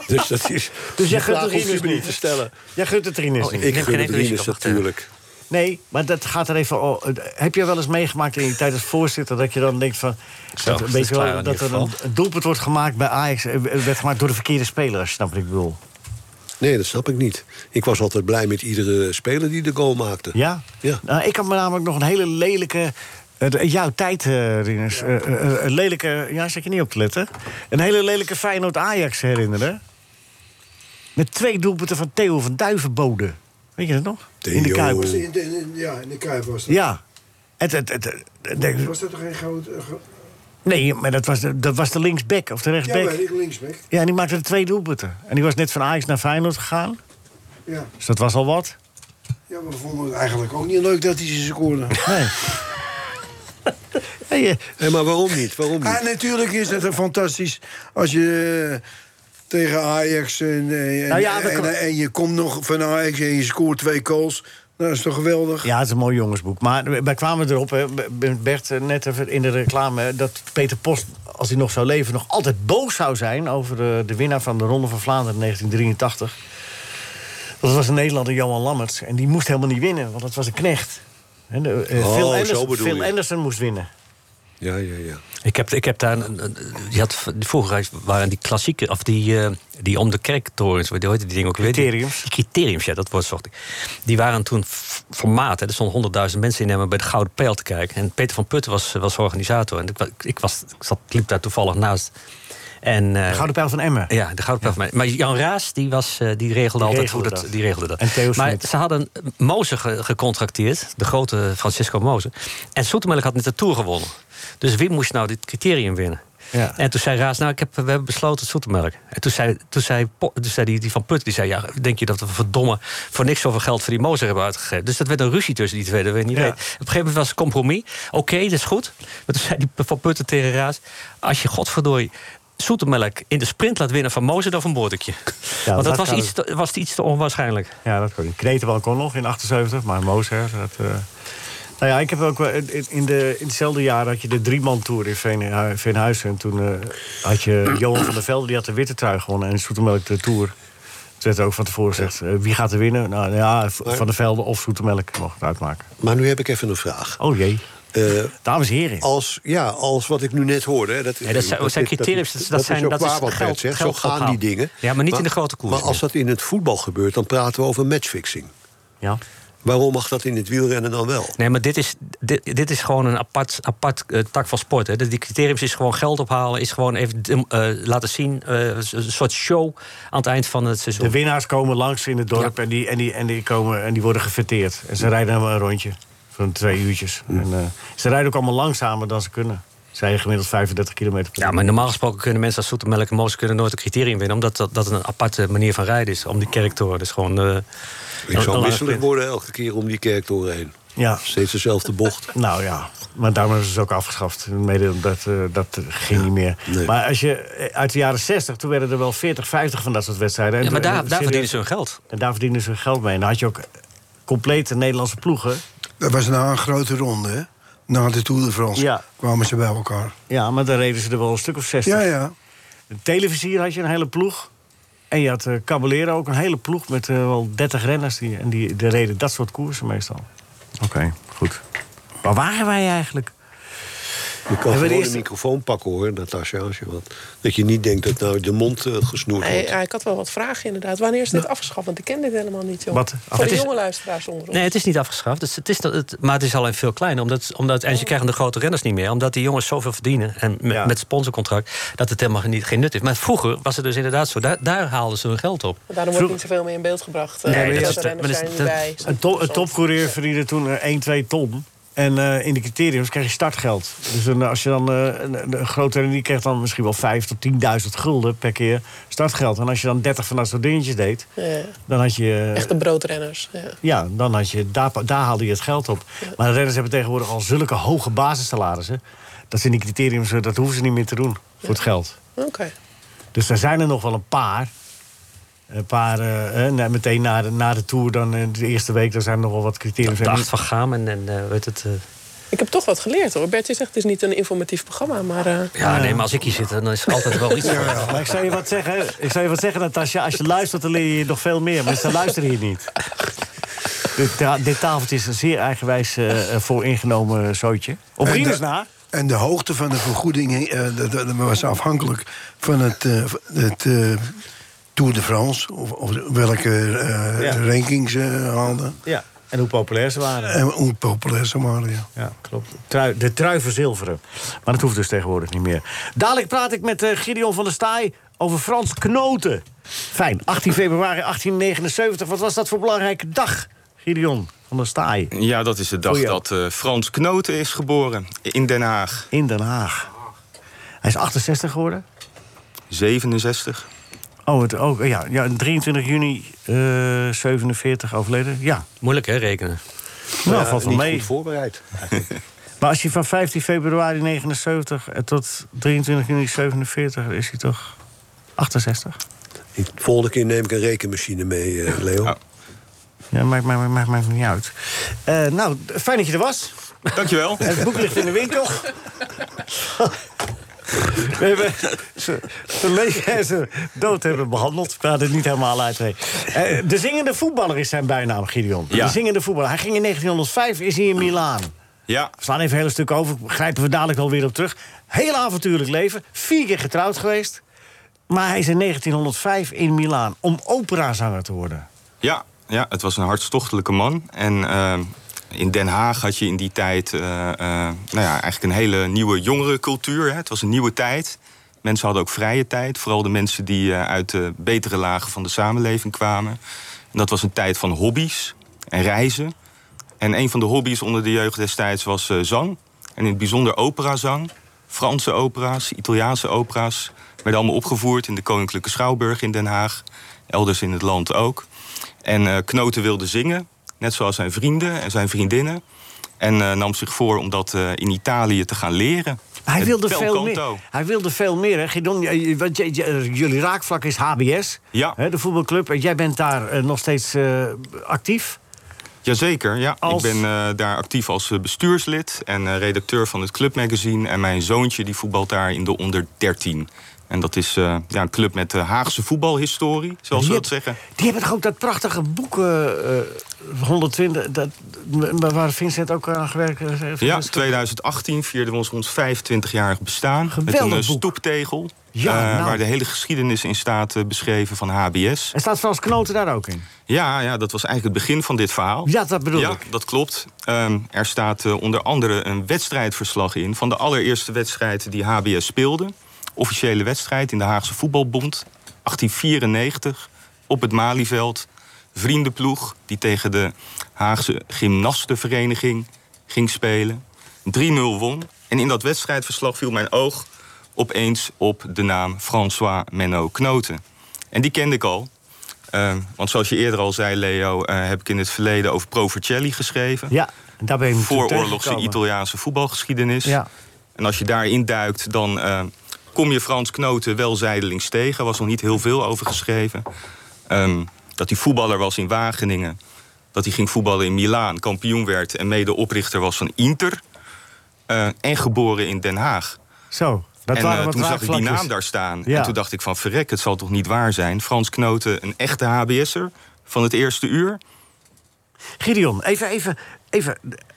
S6: quiz. dus dat is...
S4: Dus jij
S6: die
S4: gunt
S6: vraag
S4: het
S6: hoef je
S4: Rinus
S6: me
S4: niet.
S6: niet te stellen.
S4: Jij gunt het Rinus niet.
S6: Oh, Ik
S5: neem
S6: gun
S5: geen
S6: het dus
S5: enkel risico,
S6: Rinus
S5: wacht,
S6: natuurlijk.
S4: Nee, maar dat gaat er even... o- eh, heb je wel eens meegemaakt in je tijd als voorzitter... dat je dan denkt van...
S5: Zo,
S4: dat,
S5: dat
S4: weet
S5: is
S4: je wel,
S5: klaar in
S4: dat er
S5: ieder
S4: een,
S5: geval.
S4: een doelpunt wordt gemaakt bij Ajax... eh, werd gemaakt door de verkeerde speler, als je snapt wat ik bedoel.
S6: Nee, dat snap ik niet. Ik was altijd blij met iedere speler die de goal maakte.
S4: Ja?
S6: Ja.
S4: Nou, ik had me namelijk nog een hele lelijke... eh, de- jouw tijd, eh Rinus. eh, eh, een lelijke... Ja, zit je niet op te letten. Een hele lelijke Feyenoord-Ajax herinneren. Met twee doelpunten van Theo van Duivenbode. Weet je dat nog? In de
S6: Theo.
S4: Kuip.
S6: Was
S7: In de- in- ja, in de Kuip was dat.
S4: Ja. Het, het, het, het- denk-
S7: Was dat toch geen groot... eh, gro-
S4: nee, maar dat was de, dat was de linksback of de
S7: ja,
S4: rechtsback.
S7: weet ik, linksback.
S4: Ja, en die maakte er twee doelpunten. En die was net van Ajax naar Feyenoord gegaan.
S7: Ja.
S4: Dus dat was al wat.
S7: ja, maar we vonden het eigenlijk ook niet leuk dat hij ze scoorde.
S4: Nee. Hey, eh,
S6: Hé, eh, maar waarom niet? Waarom niet?
S7: Ah, Ja, natuurlijk is het een fantastisch als je eh, tegen Ajax en, eh, en,
S4: Nou ja, we
S7: en,
S4: kan-
S7: en je komt nog van Ajax en je scoort twee goals. Nou, dat is toch geweldig?
S4: Ja, het is een mooi jongensboek. Maar we- wij kwamen erop, hè, B- B- Bert, eh, net even in de reclame... dat Peter Post, als hij nog zou leven, nog altijd boos zou zijn... over eh, de, de winnaar van de Ronde van Vlaanderen in 1983. Dat was een Nederlander, Johan Lammerts. En die moest helemaal niet winnen, want dat was een knecht. Hè, de, eh,
S6: Oh,
S4: Phil,
S6: zo
S4: Anderson,
S6: bedoel
S4: Phil
S6: je.
S4: Anderson moest winnen.
S6: Ja, ja, ja.
S5: Ik heb, ik heb daar. een- een- je had, v- vroeger waren die klassieke. of die, eh, die om de kerktorens. hoe heette die dingen ook? weer? Die-
S4: Criteriums.
S5: Die criteriums, ja, dat woord zocht ik. Die waren toen f- formaat. Hè. Er stonden honderdduizend mensen in hem bij de Gouden Pijl te kijken. En Peter van Putten was, was organisator. En ik, wa- ik, was, ik zat, liep daar toevallig naast. En, eh,
S4: De Gouden Pijl van Emmen.
S5: ja, de gouden Pijl van mij. Maar Jan Raas, die, was, eh, die regelde altijd
S4: regelde
S5: hoe dat,
S4: dat.
S5: Die regelde dat.
S4: En Theo
S5: maar
S4: Smit.
S5: ze hadden Mozer ge- gecontracteerd, de grote Francisco Mozer. En Soetemelk had net de Tour gewonnen. Dus wie moest nou dit criterium winnen?
S4: Ja.
S5: En toen zei Raas, nou, ik heb, we hebben besloten Soetemelk. En toen zei, toen zei, Po- toen zei die, die van Put, die zei... ja, denk je dat we verdomme voor niks zoveel geld voor die Mozer hebben uitgegeven? Dus dat werd een ruzie tussen die twee, dat weet ik niet
S4: Ja.
S5: weten. Op een gegeven moment was het compromis. Oké, dat is goed. Maar toen zei die van Putten tegen Raas... als je godverdorie Soetemelk in de sprint laat winnen van Mozer... dan vermoord ik je. Want
S4: dat
S5: dat was
S4: kan
S5: iets, te, was iets te onwaarschijnlijk.
S4: Ja, dat kon niet. Kretenbal kon nog in 78, maar Mozer... Dat, eh, Nou ja, ik heb ook wel... In, in de, in hetzelfde jaar had je de drieman-tour in Veen, Veenhuizen. En toen eh, had je Johan van der Velde, die had de witte trui gewonnen. En Soetemelk de Tour. Toen werd ook van tevoren gezegd, eh, wie gaat er winnen? Nou ja, V- Van der Velde of Soetemelk mocht het uitmaken.
S6: Maar nu heb ik even een vraag.
S4: Oh jee.
S6: Eh,
S4: Dames en heren.
S6: als, ja, als wat ik nu net hoorde. Hè, dat,
S5: Nee, dat zijn- dat zijn criteriums, dat- dat
S6: is
S5: zijn-
S6: ook
S5: dat
S6: waar
S5: is
S6: wat Bert
S5: geld-
S6: zegt. Zo
S5: geld
S6: gaan die
S5: ophaal.
S6: dingen.
S5: Ja, maar niet in de grote koers
S6: Maar als
S5: meer.
S6: dat in het voetbal gebeurt, dan praten we over matchfixing.
S4: Ja.
S6: Waarom mag dat in het wielrennen dan wel?
S5: Nee, maar dit is, dit, dit is gewoon een apart, apart eh, tak van sport. Hè. Die criteriums is gewoon geld ophalen. Is gewoon even eh, laten zien. eh, een soort show aan het eind van het seizoen.
S4: De winnaars komen langs in het dorp en, die, en, die, en, die komen, en die worden gefeteerd. En ze rijden dan wel een rondje van twee uurtjes. En, eh, ze rijden ook allemaal langzamer dan ze kunnen. Ze rijden gemiddeld 35 kilometer per
S5: Ja,
S4: uur.
S5: maar normaal gesproken kunnen mensen als Soetemelk en Moos kunnen nooit een criterium winnen. Omdat dat, dat een aparte manier van rijden is. Om die kerk te worden. Dus gewoon. eh,
S6: Ik
S5: een- een
S6: zou
S5: lange
S6: misselijk
S5: sprint.
S6: worden elke keer om die kerktoren heen.
S4: Ja.
S6: Steeds dezelfde bocht.
S4: Nou ja, maar daarom hebben ze het ook afgeschaft. Mede omdat eh, dat ging niet meer.
S6: nee.
S4: Maar als je eh, uit de jaren 60, toen werden er wel 40, 50 van dat soort wedstrijden. En
S5: Ja, maar
S4: toen-
S5: daar,
S4: en
S5: daar
S4: serieus-
S5: verdienen ze hun geld.
S4: En daar verdienen ze hun geld mee. En dan had je ook complete Nederlandse ploegen.
S7: Dat was na een grote ronde, hè? Na de Tour de France
S4: Ja.
S7: kwamen ze bij elkaar.
S4: Ja, maar dan reden ze er wel een stuk of 60.
S7: Ja, ja.
S4: Een televisier had je een hele ploeg. En je had eh Caballero ook een hele ploeg met eh, wel 30 renners. Die, en die, die reden dat soort koersen meestal. Oké, goed. Maar waren wij eigenlijk?
S6: Je kan
S4: we
S6: gewoon
S4: de eerste-
S6: een microfoon pakken hoor, Natasja. Als je wat, dat je niet denkt dat nou de mond eh, gesnoerd
S8: Nee,
S6: wordt.
S8: ja, ik had wel wat vragen inderdaad. Wanneer is dit afgeschaft? Want ik ken dit helemaal niet, joh.
S4: Wat?
S8: Voor
S5: Nou. Het
S8: de
S5: is-
S8: jonge luisteraars onder ons.
S5: Nee, het is niet afgeschaft. Dus het is, dat- het, maar het is alleen veel kleiner. Omdat, omdat, en ze krijgen de grote renners niet meer. Omdat die jongens zoveel verdienen. En met,
S4: Ja.
S5: met sponsorcontract. Dat het helemaal niet, geen nut is. Maar vroeger was het dus inderdaad zo. Daar, daar haalden ze hun geld op.
S8: Maar Daarom wordt niet zoveel meer in beeld gebracht. Eh,
S5: Nee, dat
S8: de
S5: is-
S8: grote renners
S5: maar dat is-
S8: zijn niet
S5: dat-
S8: bij.
S4: Een, to- een topcoureur verdiende toen eh, 1, 2 ton. En eh, in de criteriums kreeg je startgeld. Dus een- als je dan eh, een, een, een grote renner, die kreeg dan misschien wel 5 tot 10.000 gulden per keer startgeld. En als je dan 30 van dat soort dingetjes deed,
S8: Ja,
S4: dan had
S5: Eh.
S4: je. eh,
S8: Echte broodrenners. Ja.
S4: Ja, dan had je, daar, daar haalde je het geld op. Maar de renners hebben tegenwoordig al zulke hoge basissalarissen. Dat ze in die criteriums, eh, dat hoeven ze niet meer te doen voor het geld.
S8: Oké.
S4: Dus daar zijn er nog wel een paar. Een paar, eh, eh, na- meteen na de, na de tour, dan eh, de eerste week, daar zijn er nog wel wat criteriums.
S5: De
S4: En-
S5: acht van Gaam en, en eh, weet het. eh,
S8: Ik heb toch wat geleerd hoor. Bert, je zegt het is niet een informatief programma, maar eh,
S5: ja, nee, maar als ik hier zit, dan is er eh, altijd wel iets. voor.
S4: Maar ik zou je wat zeggen, ik zou je wat zeggen Natasja. Als je luistert, dan leer je nog veel meer. Maar ze luisteren hier niet. Dit, ta- dit tafeltje is een zeer eigenwijs eh, eh, vooringenomen zootje. Op
S7: En dus
S4: Rieders
S7: de-
S4: na.
S7: En de hoogte van de vergoeding eh, dat, dat was afhankelijk van het, eh, van het eh, Tour de France. Of, of welke eh
S4: Ja.
S7: rankings ze haalden.
S4: Ja. En hoe populair ze waren.
S7: En hoe populair ze waren, ja.
S4: Ja, klopt. Trui, de trui verzilveren. Maar dat hoeft dus tegenwoordig niet meer. Dadelijk praat ik met eh, Gideon van der Staaij over Frans Knoten. Fijn, 18 februari 1879. Wat was dat voor belangrijke dag, Gideon van der Staaij?
S9: Ja, dat is de dag
S4: Goeie.
S9: dat eh, Frans Knoten is geboren in Den Haag.
S4: In Den Haag. Hij is 68 geworden.
S9: 67.
S4: Oh, het, ook ja, ja, 23 juni eh 47 overleden. Ja,
S5: Moeilijk hè, rekenen.
S4: nou,
S6: Ja,
S4: valt wel
S6: niet
S4: mee.
S6: goed voorbereid.
S4: Maar als je van 15 februari eh, 79 tot 23 juni 47 is hij toch 68?
S6: De volgende keer neem ik een rekenmachine mee, eh, Leo.
S4: Ja, maakt, maakt, maakt, maakt niet uit. Eh, nou, fijn dat je er was.
S9: Dankjewel.
S4: Het boek ligt in de winkel. We hebben ze, ze leeg en ze dood hebben behandeld. We hadden het niet helemaal uit. nee. Eh, de zingende voetballer is zijn bijnaam, Gideon.
S9: Ja.
S4: De zingende voetballer. Hij ging in 1905, is hij in Milaan.
S9: Ja,
S4: We slaan even een hele stuk over, grijpen we dadelijk wel weer op terug. Heel avontuurlijk leven, vier keer getrouwd geweest. Maar hij is in 1905 in Milaan om operazanger te worden.
S9: ja, ja, het was een hartstochtelijke man. En eh, in Den Haag had je in die tijd eh, eh, nou ja, eigenlijk een hele nieuwe jongerencultuur. Hè. Het was een nieuwe tijd. Mensen hadden ook vrije tijd. Vooral de mensen die eh, uit de betere lagen van de samenleving kwamen. En dat was een tijd van hobby's en reizen. En een van de hobby's onder de jeugd destijds was eh, zang. En in het bijzonder operazang. Franse opera's, Italiaanse opera's. Werden allemaal opgevoerd in de Koninklijke Schouwburg in Den Haag. Elders in het land ook. En eh, Knoten wilde zingen. Net zoals zijn vrienden en zijn vriendinnen. En eh, nam zich voor om dat eh, in Italië te gaan leren.
S4: Hij
S9: Het
S4: wilde,
S9: bel
S4: veel meer,
S9: canto.
S4: hij wilde veel meer, hè, Gidon? J- j- Want j- j- jullie raakvlak is HBS,
S9: Ja.
S4: hè, de voetbalclub. En Jij bent daar eh, nog steeds eh, actief.
S9: Jazeker, ja.
S4: Als-
S9: Ik ben eh, daar actief als eh, bestuurslid en eh, redacteur van het clubmagazine. En mijn zoontje die voetbalt daar in de onder 13. En dat is eh, ja, een club met de Haagse voetbalhistorie, zoals we
S4: Die
S9: dat zeggen.
S4: Die hebben toch ook dat prachtige boek eh, eh, 120... Dat, waar- waar Vincent ook aan gewerkt heeft?
S9: Ja, 2018 vierden we ons ons 25-jarig bestaan.
S4: Geweldig
S9: met een eh,
S4: boek.
S9: stoeptegel.
S4: Ja,
S9: eh,
S4: nou.
S9: Waar de hele geschiedenis in staat eh, beschreven van HBS.
S4: En staat Frans Knoten daar ook in?
S9: Ja, ja, dat was eigenlijk het begin van dit verhaal.
S4: Ja, dat bedoel
S9: Ja,
S4: ik.
S9: dat klopt. Ehm, er staat eh, onder andere een wedstrijdverslag in van de allereerste wedstrijd die HBS speelde. Officiële wedstrijd in de Haagse Voetbalbond, 1894, op het Malieveld. Vriendenploeg die tegen de Haagse Gymnastenvereniging ging spelen. 3-0 won. En in dat wedstrijdverslag viel mijn oog opeens op de naam François Menno Knoten. En die kende ik al. Eh, want zoals je eerder al zei, Leo, eh, heb ik in het verleden over Provercelli geschreven.
S4: Ja, en daar ben je hem toen
S9: Vooroorlogse
S4: tegengekomen.
S9: Italiaanse voetbalgeschiedenis.
S4: Ja.
S9: En als je daarin duikt, dan eh, kom je Frans Knoten wel zijdelings tegen. Er was nog niet heel veel over geschreven. Ehm, dat hij voetballer was in Wageningen. Dat hij ging voetballen in Milaan, kampioen werd en mede oprichter was van Inter. Eh, en geboren in Den Haag.
S4: Zo, dat
S9: en
S4: waren
S9: eh,
S4: wat
S9: toen zag ik die
S4: raakvlakjes.
S9: naam daar staan.
S4: Ja.
S9: En toen dacht ik van verrek, het zal toch niet waar zijn. Frans Knoten, een echte HBS'er van het eerste uur.
S4: Gideon, even, even, even.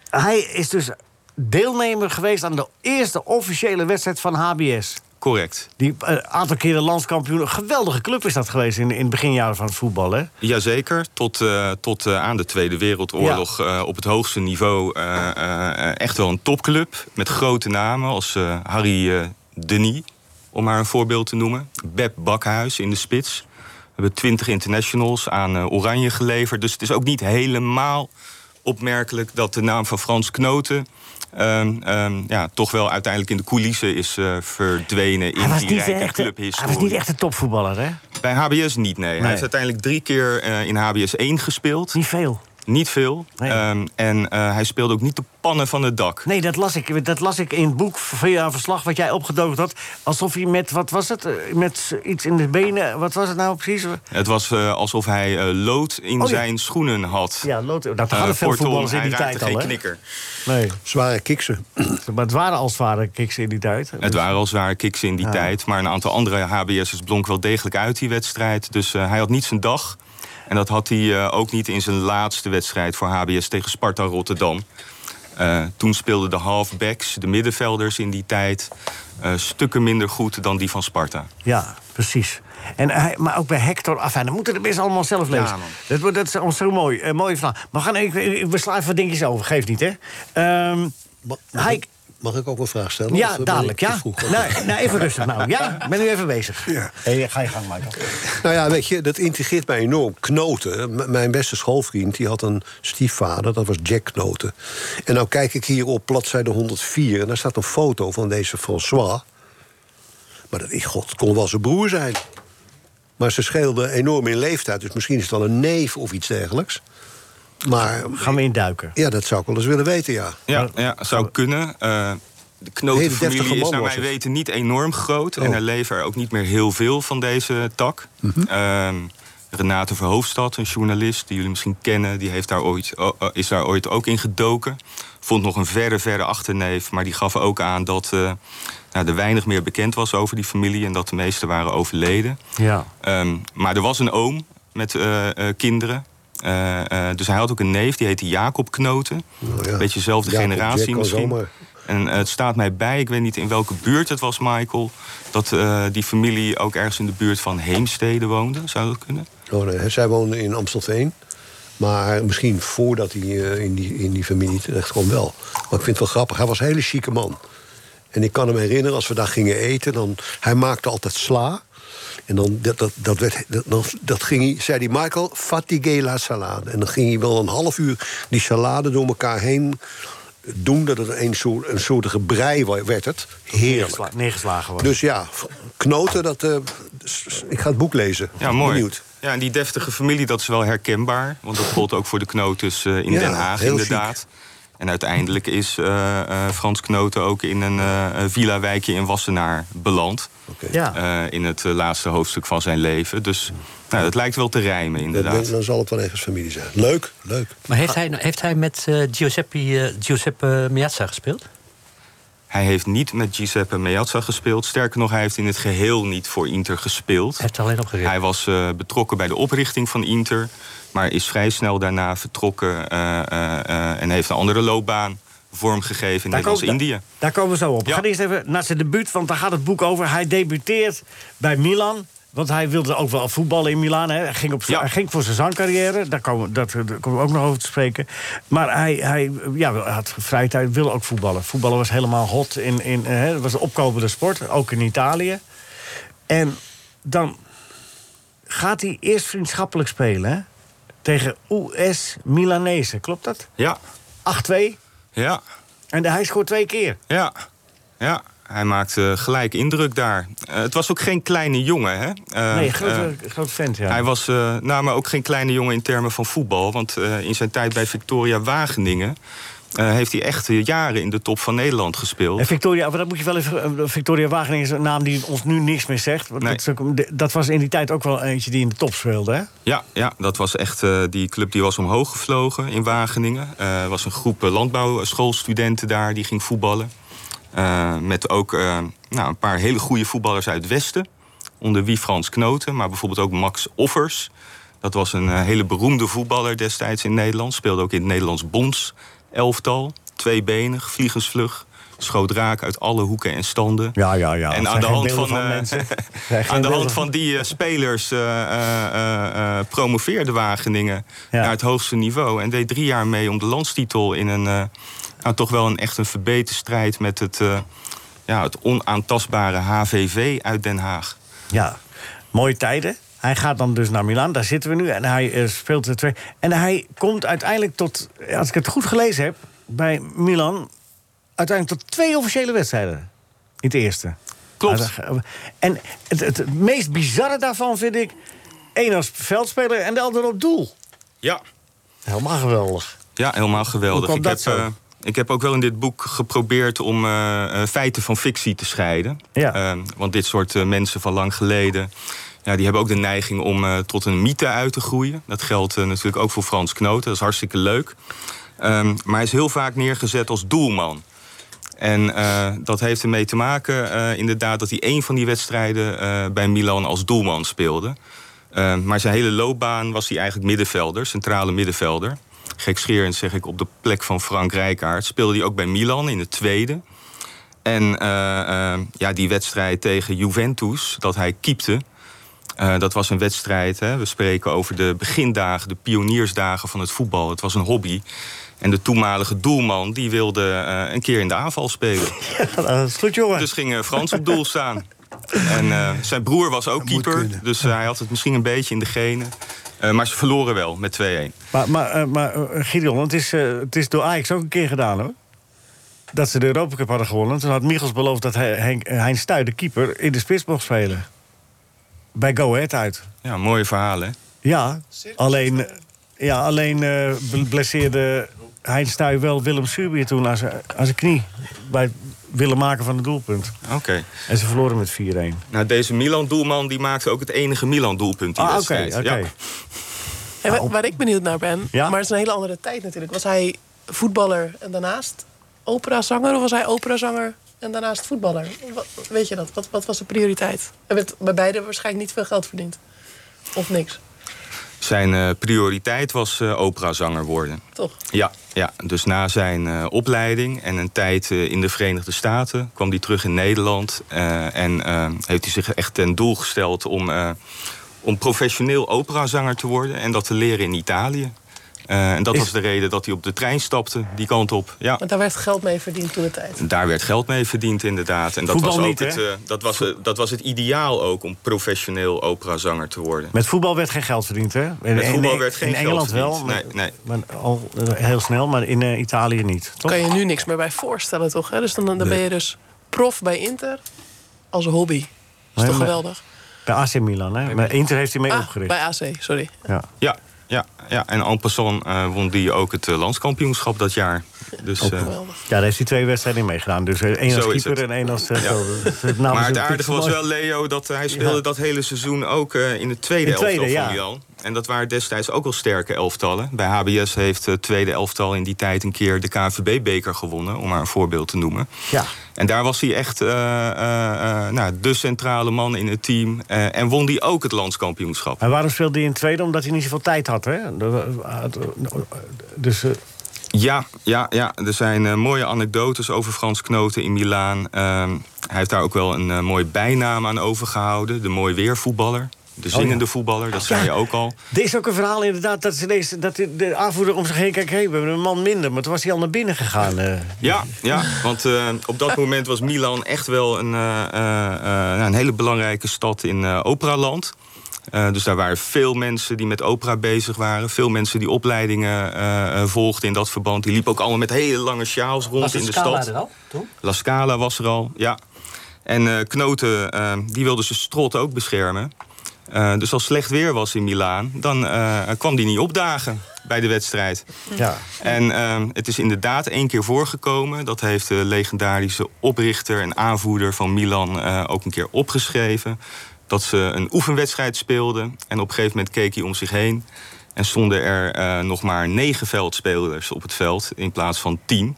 S4: Hij is dus deelnemer geweest aan de eerste officiële wedstrijd van HBS.
S9: Correct.
S4: Die een aantal keren landskampioen. Een geweldige club is dat geweest in, in het beginjaren van het voetbal. Hè?
S9: Jazeker, tot, eh, tot eh, aan de Tweede Wereldoorlog eh, op het hoogste niveau. eh, eh, eh, echt wel een topclub met grote namen als eh, Harry eh, Denis, om maar een voorbeeld te noemen. Beb Bakhuis in de spits. We hebben 20 internationals aan eh, Oranje geleverd. Dus het is ook niet helemaal opmerkelijk dat de naam van Frans Knoten... ehm, ehm, ja, toch wel uiteindelijk in de coulissen is eh, verdwenen
S4: Hij,
S9: in
S4: was
S9: die
S4: niet
S9: rijke
S4: echt, hij was
S9: clubhistorie.
S4: niet echt een topvoetballer, hè?
S9: Bij HBS niet, nee.
S4: Nee.
S9: Hij heeft uiteindelijk drie keer eh, in HBS 1 gespeeld.
S4: Niet veel.
S9: Niet veel.
S4: Nee.
S9: Ehm, en eh, hij speelde ook niet de pannen van het dak.
S4: Nee, dat las ik, dat las ik in het boek via een verslag wat jij opgedoken had. Alsof hij met, wat was het? Eh, Met iets in de benen, wat was het nou precies?
S9: Het was eh, alsof hij eh, lood in
S4: Oh, ja.
S9: zijn schoenen had.
S4: Ja, lood, dat
S9: Eh,
S4: hadden veel
S9: kortom,
S4: voetballers in
S9: hij
S4: die
S9: raakte
S4: tijd al,
S9: geen
S4: hè?
S9: knikker.
S4: Nee,
S6: Zware kiksen.
S4: maar het waren als het ware kicks in die tijd.
S9: Het waren al zware kicks in die tijd. Maar een aantal andere HBS'ers blonk wel degelijk uit die wedstrijd. Dus eh, hij had niet zijn dag. En dat had hij eh, ook niet in zijn laatste wedstrijd voor HBS tegen Sparta Rotterdam. Eh, toen speelden de halfbacks, de middenvelders in die tijd... eh, stukken minder goed dan die van Sparta.
S4: Ja, precies. En hij, maar ook bij Hector Afijn. Dat moeten de mensen allemaal zelf lezen.
S9: man.
S4: dat, wordt- dat is ons zo mooi. Een mooie vraag. Maar we, gaan, ik, ik- we slaan even wat dingetjes over. Geef niet, hè? Ehm,
S6: Mag, mag
S4: hij,
S6: ik, mag ik ook een vraag stellen? Of,
S4: ja,
S6: eh, ben
S4: dadelijk,
S6: ik
S4: ja.
S6: te vroeg?
S4: Nou, nou, even rustig nou. Ja, ben nu even bezig. Hey, ga je gang, Michael.
S6: Nou ja, weet je, dat intrigeert mij enorm. Knoten, M- mijn beste schoolvriend, die had een stiefvader, dat was Jack Knoten. En nou kijk ik hier op bladzijde 104 en daar staat een foto van deze François. Maar dat, ik- god, het kon wel zijn broer zijn. Maar ze scheelden enorm in leeftijd, dus misschien is het wel een neef of iets dergelijks. Maar
S4: Gaan we induiken.
S6: ja, dat zou ik wel eens willen weten, ja.
S9: Ja, ja zou kunnen. Eh, de
S6: Hele deftige
S9: knotenfamilie
S6: man
S9: is naar
S6: was
S9: mijn
S6: het.
S9: weten niet enorm groot. En
S6: Oh. Mhm.
S9: er leven er ook niet meer heel veel van deze tak. Ehm, Renate Verhoofdstad, een journalist die jullie misschien kennen... die heeft daar ooit, o- o- is daar ooit ook in gedoken. Vond nog een verre, verre achterneef. Maar die gaf ook aan dat eh, nou, er weinig meer bekend was over die familie... en dat de meesten waren overleden.
S4: Ja.
S9: Ehm, maar er was een oom met eh, eh, kinderen. Eh, eh, dus hij had ook een neef, die heette Jacob Knoten.
S6: Nou ja.
S9: Een beetje dezelfde
S6: Jacob
S9: generatie
S6: Jacko
S9: misschien.
S6: zomaar.
S9: En eh, het staat mij bij, ik weet niet in welke buurt het was, Michael... dat eh, die familie ook ergens in de buurt van Heemstede woonde. Zou dat kunnen?
S6: Oh, nee, Zij woonde in Amstelveen. Maar misschien voordat hij eh, in, die, in die familie terecht kwam wel. Maar ik vind het wel grappig. Hij was een hele chique man. En ik kan hem herinneren, als we daar gingen eten... Dan, hij maakte altijd sla. En dan, dat, dat, dat, werd, dat, dan- dat ging hij, zei hij, Michael, fatigue la salade. En dan ging hij wel een half uur die salade door elkaar heen doen... dat het een soort, een soortige brei wa- werd het. Heerlijk.
S4: Neergesla- neergeslagen worden.
S6: Dus ja, knoten, dat, eh, s- s- ik ga het boek lezen.
S9: Ja, mooi.
S6: Benieuwd.
S9: Ja, en die deftige familie, dat is wel herkenbaar. Want dat gold ook voor de Knotens eh, in
S6: Ja,
S9: Den Haag,
S6: heel
S9: inderdaad. En uiteindelijk is eh, eh, Frans Knoten ook in een eh, villa-wijkje in Wassenaar beland.
S4: Ja.
S6: Ah.
S9: Eh, in het eh, laatste hoofdstuk van zijn leven. Dus nou, het lijkt wel te rijmen,
S6: Dan,
S9: inderdaad.
S6: dan zal het wel ergens familie zijn. Leuk, leuk.
S4: Ah.
S5: Maar heeft hij, heeft hij met eh, Giuseppe, eh, Giuseppe Miazza gespeeld?
S9: Hij heeft niet met Giuseppe Meazza gespeeld. Sterker nog, hij heeft in het geheel niet voor Inter gespeeld.
S5: Hij heeft alleen opgegeven.
S9: Hij was eh, betrokken bij de oprichting van Inter, maar is vrij snel daarna vertrokken eh, eh, eh, en heeft een andere loopbaan vormgegeven in
S4: Daar komen-
S9: Nederlands-Indië.
S4: daar- Daar komen we zo op. We
S9: Ja.
S4: gaan eerst even naar zijn debuut, want daar gaat het boek over. Hij debuteert bij Milan. Want hij wilde ook wel voetballen in Milaan. Hè. Hij, ging op,
S9: Ja.
S4: hij ging voor zijn zangcarrière. Daar komen, dat, daar komen we ook nog over te spreken. Maar hij, hij ja, hij had vrije tijd, wilde ook voetballen. Voetballen was helemaal hot. In, in, eh, hè, het was een opkomende sport, ook in Italië. En dan gaat hij eerst vriendschappelijk spelen. Hè? Tegen US Milanese, klopt dat?
S9: Ja,
S4: 8-2.
S9: ja,
S4: En hij scoort twee keer.
S9: ja, ja. Hij maakte gelijk indruk daar. Eh, het was ook geen kleine jongen, hè? Eh,
S4: Nee,
S9: eh,
S4: groot, groot vent, ja.
S9: Hij was eh, nou, maar ook geen kleine jongen in termen van voetbal. Want eh, in zijn tijd bij Victoria Wageningen... eh, heeft hij echt eh, jaren in de top van Nederland gespeeld.
S4: En Victoria, maar dat moet je wel even. eh, Victoria Wageningen is een naam die ons nu niks meer zegt. Want
S9: Nee.
S4: dat, is ook- dat was in die tijd ook wel eentje die in de top speelde. Hè?
S9: Ja, ja dat was echt, eh, die club die was omhoog gevlogen in Wageningen. Eh, Er was een groep eh, landbouwschoolstudenten daar die ging voetballen. Eh, met ook eh, nou, een paar hele goede voetballers uit het Westen. Onder wie Frans Knoten, maar bijvoorbeeld ook Max Offers. Dat was een eh, hele beroemde voetballer destijds in Nederland. Speelde ook in het Nederlands Bonds elftal. Tweebenig, vliegensvlug. Schoot raak uit alle hoeken en standen.
S4: ja, ja.
S9: En aan de hand van, eh, aan de hand van die eh, spelers eh, eh, eh, eh, promoveerde Wageningen
S4: Ja.
S9: naar het hoogste niveau. En deed drie jaar mee om de landstitel in een eh, nou, toch wel een echt een verbeterde strijd met het, eh, ja, het onaantastbare HVV uit Den Haag.
S4: Ja, mooie tijden. Hij gaat dan dus naar Milaan, daar zitten we nu. En hij eh, speelt de twee. En hij komt uiteindelijk tot, eh, als ik het goed gelezen heb, bij Milan. uiteindelijk tot twee officiële wedstrijden. In het eerste.
S9: Klopt.
S4: En het, het, het meest bizarre daarvan vind ik. één als veldspeler en de ander op doel.
S9: Ja,
S4: Helemaal geweldig.
S9: ja helemaal geweldig.
S4: Hoe
S9: Ik
S4: kwam
S9: heb,
S4: dat zo?
S9: eh, ik heb ook wel in dit boek geprobeerd om eh, eh, feiten van fictie te scheiden.
S4: Ja.
S9: Eh, want dit soort eh, mensen van lang geleden... Ja, die hebben ook de neiging om eh, tot een mythe uit te groeien. Dat geldt eh, natuurlijk ook voor Frans Knoten. Dat is hartstikke leuk. Ehm, maar hij is heel vaak neergezet als doelman. En eh, dat heeft ermee te maken, eh, inderdaad, dat hij één van die wedstrijden eh, bij Milan als doelman speelde. Eh, maar zijn hele loopbaan was hij eigenlijk middenvelder, centrale middenvelder. Gekscherend zeg ik, op de plek van Frank Rijkaard. Speelde hij ook bij Milan in de tweede. En eh, eh, ja, die wedstrijd tegen Juventus, dat hij keepte. eh, dat was een wedstrijd, hè, we spreken over de begindagen, de pioniersdagen van het voetbal. Het was een hobby. En de toenmalige doelman die wilde eh, een keer in de aanval spelen.
S4: dat is goed, jongen.
S9: Dus ging eh, Frans op doel staan. En eh, zijn broer was ook
S7: moet
S9: keeper,
S7: kunnen.
S9: dus eh, hij had het misschien een beetje in de genen. Eh, maar ze verloren wel met 2-1.
S4: Maar, maar, eh, maar eh, Gideon, het is, eh, het is door Ajax ook een keer gedaan hoor. Dat ze de Europa Cup hadden gewonnen. Toen had Michels beloofd dat hij, Henk, eh, Hein Stuy, de keeper, in de spits mocht spelen. Bij Go Ahead uit.
S9: Ja, mooie verhalen. hè?
S4: Ja, alleen, ja, alleen eh, bl- blesseerde Hein Stuy wel Willem Suurbier toen aan zijn aan zijn knie. Bij, willen maken van het doelpunt.
S9: Oké.
S4: En ze verloren met 4-1.
S9: Nou, deze Milan-doelman die maakte ook het enige Milan-doelpunt die
S4: Ah, oké,
S9: wedstrijd.
S4: oké.
S9: Ja.
S8: En waar, waar ik benieuwd naar ben,
S4: Ja?
S8: maar het is een hele andere tijd natuurlijk. Was hij voetballer en daarnaast operazanger? Of was hij operazanger en daarnaast voetballer? Wat, weet je dat? Wat, wat was de prioriteit? Hij werd bij beide waarschijnlijk niet veel geld verdiend. Of niks,
S9: Zijn eh, prioriteit was eh, operazanger worden.
S8: toch?
S9: Ja, ja, dus na zijn eh, opleiding en een tijd eh, in de Verenigde Staten kwam hij terug in Nederland. eh, en eh, heeft hij zich echt ten doel gesteld om, eh, om professioneel operazanger te worden en dat te leren in Italië. Eh, en dat was de reden dat hij op de trein stapte, die kant op. Ja.
S8: Want daar werd geld mee verdiend toen de tijd.
S9: Daar werd geld mee verdiend, inderdaad. En dat
S4: Voetbal
S9: was, ook
S4: niet,
S9: het,
S4: hè?
S9: eh, dat, was, eh, dat was het ideaal ook om professioneel operazanger te worden.
S4: Met voetbal werd geen geld verdiend, hè? In,
S9: Met voetbal
S4: in-
S9: werd geen
S4: in
S9: geld
S4: Engeland
S9: verdiend.
S4: wel, maar,
S9: Nee,
S4: maar al, eh, heel snel, maar in eh, Italië niet, toch?
S8: Kan je nu niks meer bij voorstellen, toch? Hè? Dus dan, dan ben je dus prof bij Inter als hobby. Dat is
S4: Nee,
S8: toch
S4: maar-
S8: geweldig?
S4: Bij AC Milan, hè? Maar Inter heeft hij mee
S8: Ah,
S4: opgericht.
S8: bij AC, sorry.
S4: Ja.
S9: Ja, ja, ja. en en passant eh, won die ook het eh, landskampioenschap dat jaar. Dus, eh,
S8: Geweldig.
S4: ja, daar heeft hij twee wedstrijden in meegedaan. Dus eh, één als
S9: Zo is
S4: keeper
S9: het.
S4: en één als... eh,
S9: Ja.
S4: zo. Dus het namens
S9: maar
S4: een
S9: het
S4: Piet
S9: aardige
S4: van
S9: was
S4: Boy.
S9: wel, Leo, dat hij speelde
S4: Ja.
S9: dat hele seizoen ook eh, in het tweede
S4: In het tweede,
S9: elftal van
S4: ja.
S9: Milan. En dat waren destijds ook al sterke elftallen. Bij HBS heeft het tweede elftal in die tijd een keer de KNVB-beker gewonnen... om maar een voorbeeld te noemen.
S4: Ja.
S9: En daar was hij echt eh, eh, eh, nou, de centrale man in het team. eh, en won die ook het landskampioenschap.
S4: En waarom speelde hij in het tweede? Omdat hij niet zoveel tijd had, hè? De- eh, Dus... eh,
S9: Ja, ja, ja. er zijn eh, mooie anekdotes over Frans Knoten in Milaan. Ehm, hij heeft daar ook wel een eh, mooie bijnaam aan overgehouden. De mooi weervoetballer. De zingende voetballer, dat zei je ook al.
S4: Dit is ook een verhaal inderdaad, dat, ze deze, dat de- de aanvoerder om zich heen kijkt... hé, hey, we hebben een man minder, maar toen was hij al naar binnen gegaan. eh.
S9: Ja, ja want eh, op dat moment was Milan echt wel een, eh, eh, eh, nou, een hele belangrijke stad in eh, operaland. Eh, dus daar waren veel mensen die met opera bezig waren. Veel mensen die opleidingen eh, eh, volgden in dat verband. Die liepen ook allemaal met hele lange sjaals rond in de stad. La Scala was er al, ja. En eh, Knoten, eh, die wilde zijn strot ook beschermen. Eh, dus als slecht weer was in Milaan, dan eh, kwam die niet opdagen bij de wedstrijd.
S4: Ja.
S9: En ehm, het is inderdaad één keer voorgekomen. Dat heeft de legendarische oprichter en aanvoerder van Milan eh, ook een keer opgeschreven. Dat ze een oefenwedstrijd speelden. En op een gegeven moment keek hij om zich heen. En stonden er eh, nog maar negen veldspelers op het veld in plaats van tien.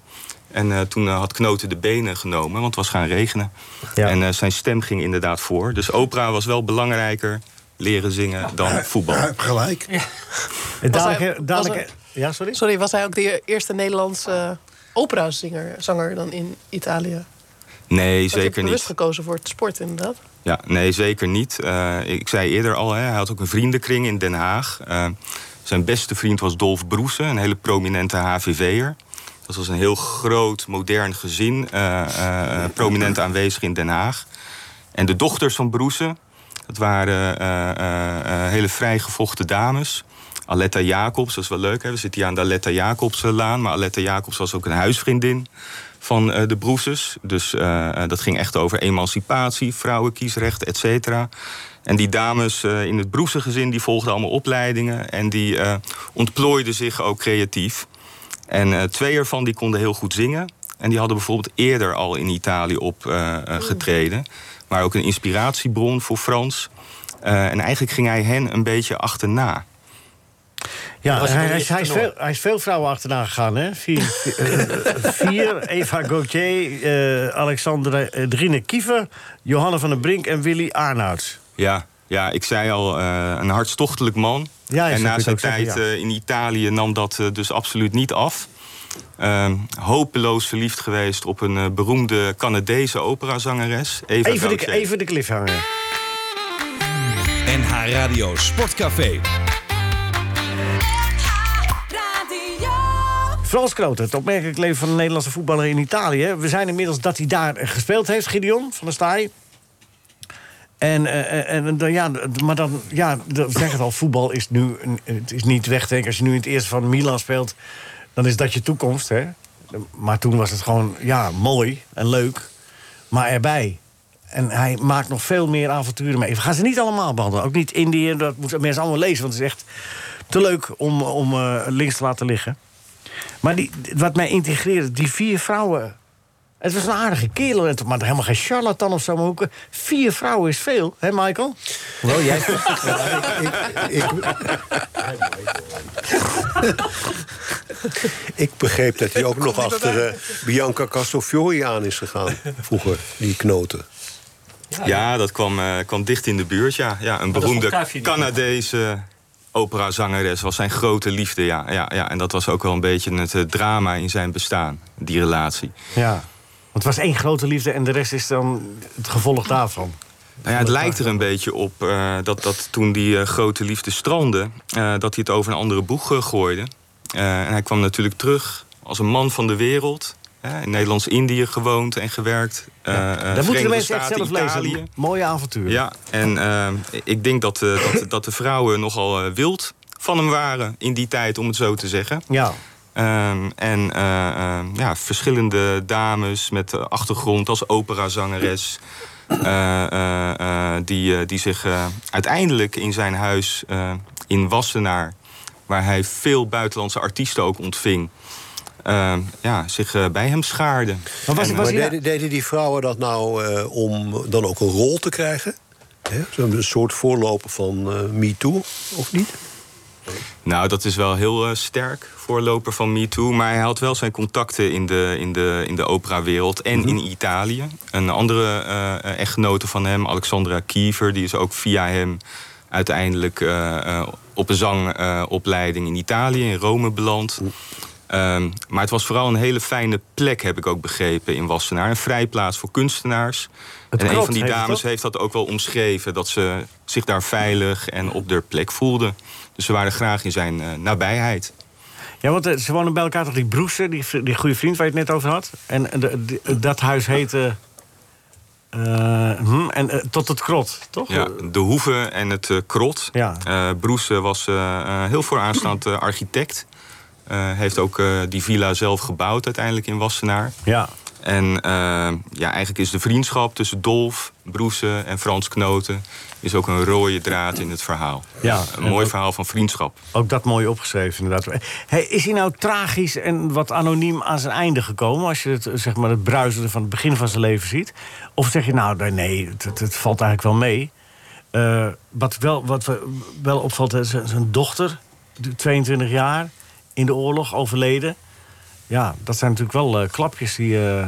S9: En eh, toen eh, had Knoten de benen genomen, want het was gaan regenen.
S4: Ja.
S9: En eh, zijn stem ging inderdaad voor. Dus opera was wel belangrijker leren zingen dan voetbal.
S7: Hij heeft gelijk.
S4: En
S8: Was hij-
S4: dadelijk,
S8: was
S4: dadelijk, ja, sorry?
S8: Sorry, was hij ook de e- eerste Nederlandse operazanger zanger dan in Italië?
S9: Nee,
S8: Had hij
S9: zeker
S8: bewust
S9: niet.
S8: gekozen voor het sport, inderdaad.
S9: Ja, nee, zeker niet. Eh, ik zei eerder al, hè, hij had ook een vriendenkring in Den Haag. Eh, zijn beste vriend was Dolf Broesen, een hele prominente HVV'er. Dat was een heel groot, modern gezin, eh, eh, eh, prominent aanwezig in Den Haag. En de dochters van Broesen, dat waren eh, eh, eh, hele vrijgevochten dames. Aletta Jacobs, dat is wel leuk. Hè? We zitten hier aan de Aletta Jacobslaan. Maar Aletta Jacobs was ook een huisvriendin van eh, de Broesers. Dus eh, eh, dat ging echt over emancipatie, vrouwenkiesrecht, et cetera. En die dames eh, in het Broesengezin die volgden allemaal opleidingen. En die eh, ontplooiden zich ook creatief. En eh, twee ervan die konden heel goed zingen. En die hadden bijvoorbeeld eerder al in Italië opgetreden. maar ook een inspiratiebron voor Frans. Eh, en eigenlijk ging hij hen een beetje achterna.
S4: Ja,
S5: was
S4: hij,
S5: een
S4: hij is, hij, is
S5: tenor.
S4: veel, hij is veel vrouwen achterna gegaan, hè? Vier, vier, eh, vier, Eva Gauthier, eh Alexandra eh, Drine Kiefer... Johanna van den Brink en Willy Arnouds.
S9: Ja, ja ik zei al, eh, een hartstochtelijk man.
S4: Ja, zo
S9: en
S4: kun
S9: na
S4: je
S9: zijn
S4: het ook zeggen,
S9: tijd eh, in Italië nam dat eh, dus absoluut niet af. Ehm, hopeloos verliefd geweest op een eh, beroemde Canadese operazangeres. Eva
S4: Even de,
S9: Gauthier.
S4: even de cliffhanger.
S2: NH Radio Sportcafé.
S4: Frans Kroot, het opmerkelijk leven van een Nederlandse voetballer in Italië. We zijn inmiddels dat hij daar eh, gespeeld heeft, Gideon van der Staaij. En, eh, eh, en dan, ja, d- maar dan, ja, d- ik zeg het al, voetbal is nu een- het is niet weg. te denken. Als je nu in het eerste van Milan speelt, dan is dat je toekomst, hè. Maar toen was het gewoon, ja, mooi en leuk, maar erbij. En hij maakt nog veel meer avonturen mee. We gaan ze niet allemaal behandelen, ook niet Indië. Dat moeten mensen allemaal lezen, want het is echt te leuk om, om eh, links te laten liggen. Maar die, wat mij integreerde, die vier vrouwen Het was een aardige kerel, en toch- maar helemaal geen charlatan of zo. Maar ook, eh, vier vrouwen is veel, hè Michael?
S10: Wel, jij...
S6: Ik begreep dat hij ook nog achter eh, Bianca Castofiori aan is gegaan. Vroeger, die knoten.
S4: Ah,
S9: Ja, dat kwam, eh, kwam dicht in de buurt, ja. ja
S4: Oh,
S9: een
S5: dat vond
S9: beroemde
S5: Kaafje niet.
S9: Canadese operazangeres was zijn grote liefde, ja, ja, ja. En dat was ook wel een beetje het eh, drama in zijn bestaan, die relatie.
S4: Ja. Want het was één grote liefde en de rest is dan het gevolg daarvan.
S9: Nou ja, het lijkt er een beetje op eh, dat, dat toen die eh, grote liefde strandde... eh, dat hij het over een andere boeg eh, gooide. Eh, en hij kwam natuurlijk terug als een man van de wereld. hè, in Nederlands-Indië gewoond en gewerkt. eh eh,
S4: dat moeten de
S9: Verenigde
S4: mensen echt
S9: Staten,
S4: zelf lezen.
S9: Italië.
S4: Een Mooie avontuur.
S9: Ja, en eh, ik denk dat, eh, dat, dat de vrouwen nogal eh, wild van hem waren in die tijd, om het zo te zeggen.
S4: Ja.
S9: Ehm, en eh, ehm, ja, verschillende dames met eh, achtergrond als operazangeres... eh, eh, eh, die, eh, die zich eh, uiteindelijk in zijn huis eh, in Wassenaar... waar hij veel buitenlandse artiesten ook ontving... eh, ja, zich eh, bij hem schaarden.
S4: Maar was,
S9: En-
S4: was
S6: Maar
S4: hij nou-
S6: deden, deden die vrouwen dat nou eh, om dan ook een rol te krijgen? Hè? Zo'n soort voorloper van eh, Me Too, of niet?
S9: Nou, dat is wel heel eh, sterk, voorloper van MeToo. Maar hij had wel zijn contacten in de, in de, in de operawereld en in Italië. Een andere eh echtgenote van hem, Alexandra Kiever... die is ook via hem uiteindelijk eh, eh, op een zangopleiding eh, in Italië, in Rome beland. Ehm, maar het was vooral een hele fijne plek, heb ik ook begrepen, in Wassenaar. Een vrijplaats voor kunstenaars.
S4: Het
S9: en een
S4: Krot
S9: van die
S4: heet het,
S9: dames
S4: toch?
S9: heeft dat ook wel omschreven... dat ze zich daar veilig en op de plek voelde. Dus ze waren graag in zijn eh, nabijheid.
S4: Ja, want eh, ze wonen bij elkaar toch die broeser, die, vri- die goede vriend waar je het net over had. En eh, de- de- dat huis heette... eh, hm, en eh, tot het krot, toch?
S9: Ja, de hoeve en het eh, krot.
S4: Ja.
S9: Eh, Broes eh, was eh, eh, heel vooraanstaand eh, architect. Eh, heeft ook eh, die villa zelf gebouwd uiteindelijk in Wassenaar.
S4: Ja.
S9: En eh, ja, eigenlijk is de vriendschap tussen Dolf, Broese en Frans Knoten... is ook een rode draad in het verhaal.
S4: Ja,
S9: een
S4: en
S9: mooi
S4: ook-
S9: verhaal van vriendschap.
S4: Ook dat mooi opgeschreven, inderdaad. Hey, is hij nou tragisch en wat anoniem aan zijn einde gekomen... als je het, eh, zeg maar, het bruisende van het begin van zijn leven ziet? Of zeg je, nou, nee, nee het, het- het valt eigenlijk wel mee. Eh, wat, wel, wat we- wel opvalt, hè, zijn, zijn dochter, de 22 jaar, in de oorlog overleden. Ja, dat zijn natuurlijk wel eh, klapjes die... eh,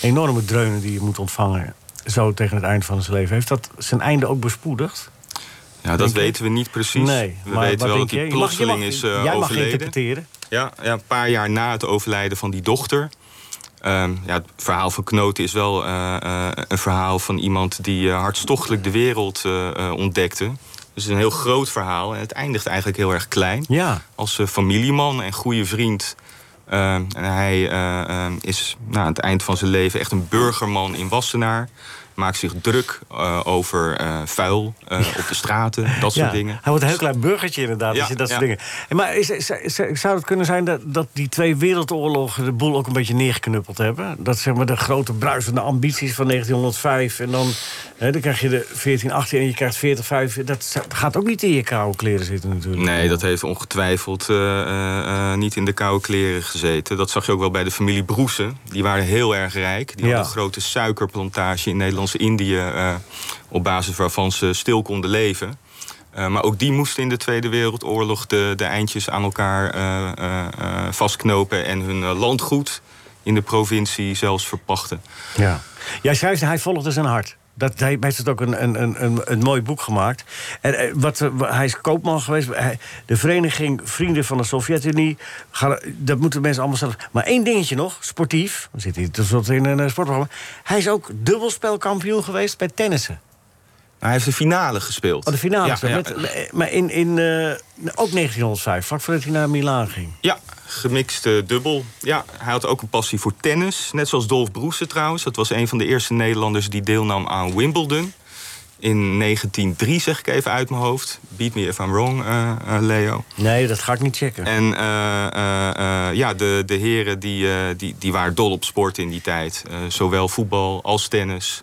S4: enorme dreunen die je moet ontvangen... zo tegen het eind van zijn leven. Heeft dat zijn einde ook bespoedigd?
S9: Ja, dat
S4: Denk je?
S9: weten we niet precies.
S4: nee.
S9: we
S4: maar
S9: weten
S4: wat
S9: wel
S4: denk
S9: dat hij
S4: je? Je mag- je mag-
S9: plotseling is eh,
S4: Jij mag
S9: overleden.
S4: interpreteren.
S9: Ja, ja, een paar jaar na het overlijden van die dochter. Ehm, ja, het verhaal van Knoten is wel eh, eh, een verhaal van iemand die eh, hartstochtelijk de wereld eh, eh, ontdekte. Dus het is een heel groot verhaal en het eindigt eigenlijk heel erg klein.
S4: Ja.
S9: Als eh, familieman en goede vriend. Ehm, en hij eh, ehm, is nou, aan het eind van zijn leven echt een burgerman in Wassenaar. Maakt zich druk eh, over eh, vuil eh, op de straten, dat soort
S4: Ja,
S9: dingen.
S4: Hij wordt een heel klein burgertje inderdaad,
S9: Ja,
S4: als je dat soort
S9: ja.
S4: dingen... En Maar is, is- is- zou het kunnen zijn dat, dat die twee wereldoorlogen... de boel ook een beetje neergeknuppeld hebben? Dat zeg maar de grote bruisende ambities van 1905... en dan, hè, dan krijg je de 14, 18 en je krijgt 40, 5... dat zou- gaat ook niet in je koude kleren zitten natuurlijk.
S9: Nee, dat heeft ongetwijfeld eh, eh, eh, niet in de koude kleren gezeten. Dat zag je ook wel bij de familie Broesen. Die waren heel erg rijk. Die
S4: Ja.
S9: hadden een grote suikerplantage in Nederlands-Indië... eh, op basis waarvan ze stil konden leven. Eh, maar ook die moesten in de Tweede Wereldoorlog de, de eindjes aan elkaar eh, eh, eh, vastknopen... en hun eh, landgoed in de provincie zelfs verpachten.
S4: Ja. Jij schrijft, hij volgde zijn hart. Dat, hij heeft het ook een, een, een, een, een mooi boek gemaakt. En eh, wat, eh, wa- hij is koopman geweest. Hij- de vereniging Vrienden van de Sovjet-Unie. Ga- Dat moeten mensen allemaal zelf. Maar één dingetje nog, sportief. We zitten hier tenslotte in een eh, sportprogramma. Hij is ook dubbelspelkampioen geweest bij tennissen.
S9: Nou, Hij heeft de finale gespeeld.
S4: Oh, de finale.
S9: Ja, ja.
S4: Met- maar in, in, eh, ook 1905, vlak voordat hij naar Milaan ging.
S9: Ja, gemixt eh, dubbel. Ja, hij had ook een passie voor tennis. Net zoals Dolf Broese trouwens. Dat was een van de eerste Nederlanders die deelnam aan Wimbledon. In 1903, zeg ik even uit mijn hoofd. Beat me if I'm wrong, eh, eh, Leo.
S4: Nee, dat ga ik niet checken.
S9: En eh, eh, eh, ja, de, de heren die, eh, die, die waren dol op sport in die tijd. Eh, zowel voetbal als tennis.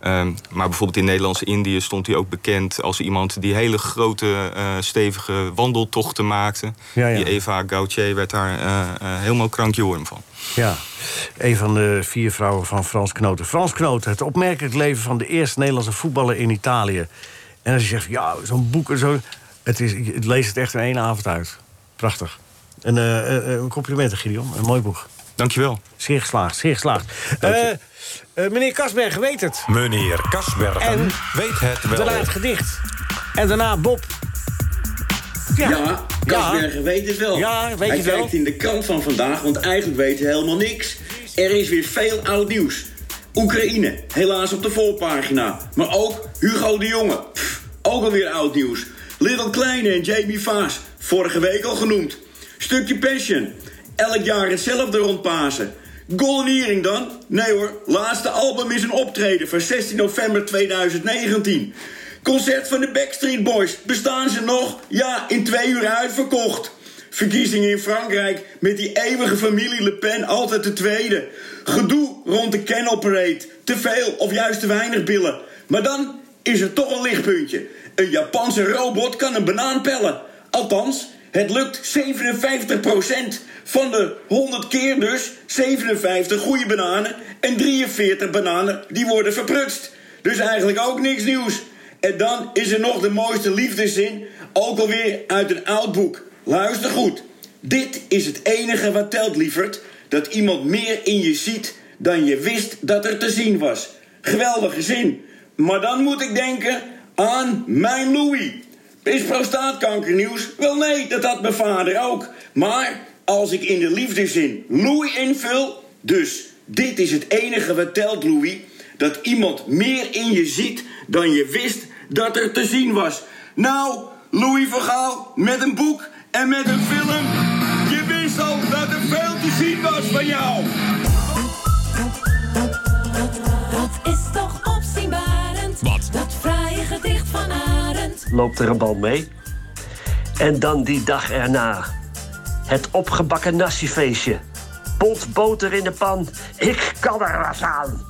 S9: Ehm, maar bijvoorbeeld in Nederlands-Indië stond hij ook bekend als iemand die hele grote, eh, stevige wandeltochten maakte.
S4: Ja, ja.
S9: Die Eva Gautier werd daar eh, eh, helemaal krankjoren van.
S4: Ja, een van de vier vrouwen van Frans Knoten. Frans Knoten, het opmerkelijk leven van de eerste Nederlandse voetballer in Italië. En als je zegt, ja, zo'n boek en zo... Het is, ik lees het echt in één avond uit. Prachtig. En eh, eh, eh, complimenten, Gideon. Een mooi boek.
S9: Dankjewel.
S4: Zeer geslaagd, zeer geslaagd. Eh, eh, meneer Kasberg, weet het.
S10: Meneer Kasbergen
S4: En
S10: weet het wel.
S4: Daarna het gedicht. En daarna Bob. Ja,
S11: Ja, Kasbergen weet het wel.
S4: Ja, weet
S11: Hij
S4: het wel.
S11: kijkt in de krant van vandaag, want eigenlijk weet hij helemaal niks. Er is weer veel oud nieuws. Oekraïne, helaas op de voorpagina. Maar ook Hugo de Jonge, pff, ook alweer oud nieuws. Little Kleine en Jamie Vaas, vorige week al genoemd. Stukje Passion, elk jaar hetzelfde rond Pasen. Goldenering dan? Nee hoor, laatste album is een optreden van 16 november 2019. Concert van de Backstreet Boys. Bestaan ze nog? Ja, in twee uur uitverkocht. Verkiezingen in Frankrijk met die eeuwige familie Le Pen altijd de tweede. Gedoe rond de Canal Parade. Te veel of juist te weinig billen. Maar dan is er toch een lichtpuntje. Een Japanse robot kan een banaan pellen. Althans, het lukt 57% van de 100 keer dus 57 goede bananen en 43 bananen die worden verprutst. Dus eigenlijk ook niks nieuws. En dan is er nog de mooiste liefdeszin, ook alweer uit een oud boek. Luister goed. Dit is het enige wat telt, lieverd. Dat iemand meer in je ziet dan je wist dat er te zien was. Geweldige zin. Maar dan moet ik denken aan mijn Louis. Is prostaatkankernieuws? Wel nee, dat had mijn vader ook. Maar als ik in de liefdeszin Louis invul... dus dit is het enige wat telt, Louis... dat iemand meer in je ziet dan je wist dat er te zien was. Nou, Louis van Gaal met een boek en met een film... je wist al dat er veel te zien was van jou.
S12: Dat is toch opzienbarend. Wat? Dat fraaie gedicht van Arend.
S13: loopt er een bal mee. En dan die dag erna. Het opgebakken nassiefeestje. Pot boter in de pan. Ik kan er wat aan.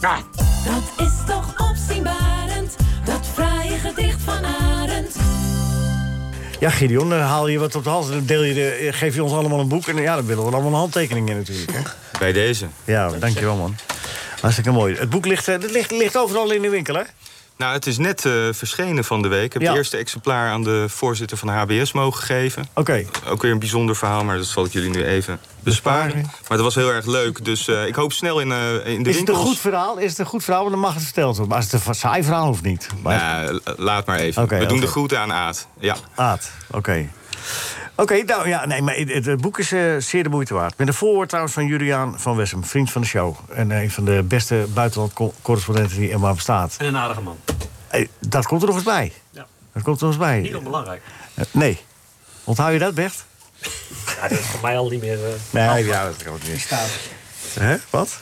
S13: Ah.
S12: Dat is toch opzienbarend. Dat fraaie gedicht van Arend.
S4: Ja, Gideon, dan haal je wat op de hals. en Dan deel je de, eh, geef je ons allemaal een boek. En ja, dan willen we allemaal een handtekening in natuurlijk. Hè?
S9: Bij deze.
S4: Ja, dankjewel man. Hartstikke mooi. Het boek ligt, eh, het ligt, ligt overal in de winkel, hè?
S9: Nou, het is net eh, verschenen van de week. Ik heb
S4: Ja.
S9: het eerste exemplaar aan de voorzitter van de HBS mogen geven.
S4: Oké.
S9: Ook weer een bijzonder verhaal, maar dat zal ik jullie nu even besparen. Maar dat was heel erg leuk, dus eh, ik hoop snel in, eh, in de
S4: Is het een
S9: winkels.
S4: goed verhaal? Is het een goed verhaal? Want Dan mag het verteld worden. Maar is het een saai verhaal of niet? Maar
S9: Ja, Nou, la- laat maar even.
S4: Oké,
S9: We doen
S4: oké.
S9: de groeten aan Aad. Ja. Nou,
S4: Aad, oké. Oké, nou ja, nee, maar het, het boek is eh, zeer de moeite waard. Met een voorwoord trouwens van Juliaan van Wessem, vriend van de show. En eh, een van de beste buitenlandcorrespondenten die er maar bestaat.
S5: En een aardige man.
S4: Hey, dat komt er nog eens bij.
S5: Ja.
S4: Dat komt er nog eens bij.
S5: Niet onbelangrijk.
S4: Eh, nee. Onthoud je dat, Bert?
S5: Ja, dat is voor mij al niet meer... eh,
S4: Nee, ja, dat kan ook niet. Hè? Wat?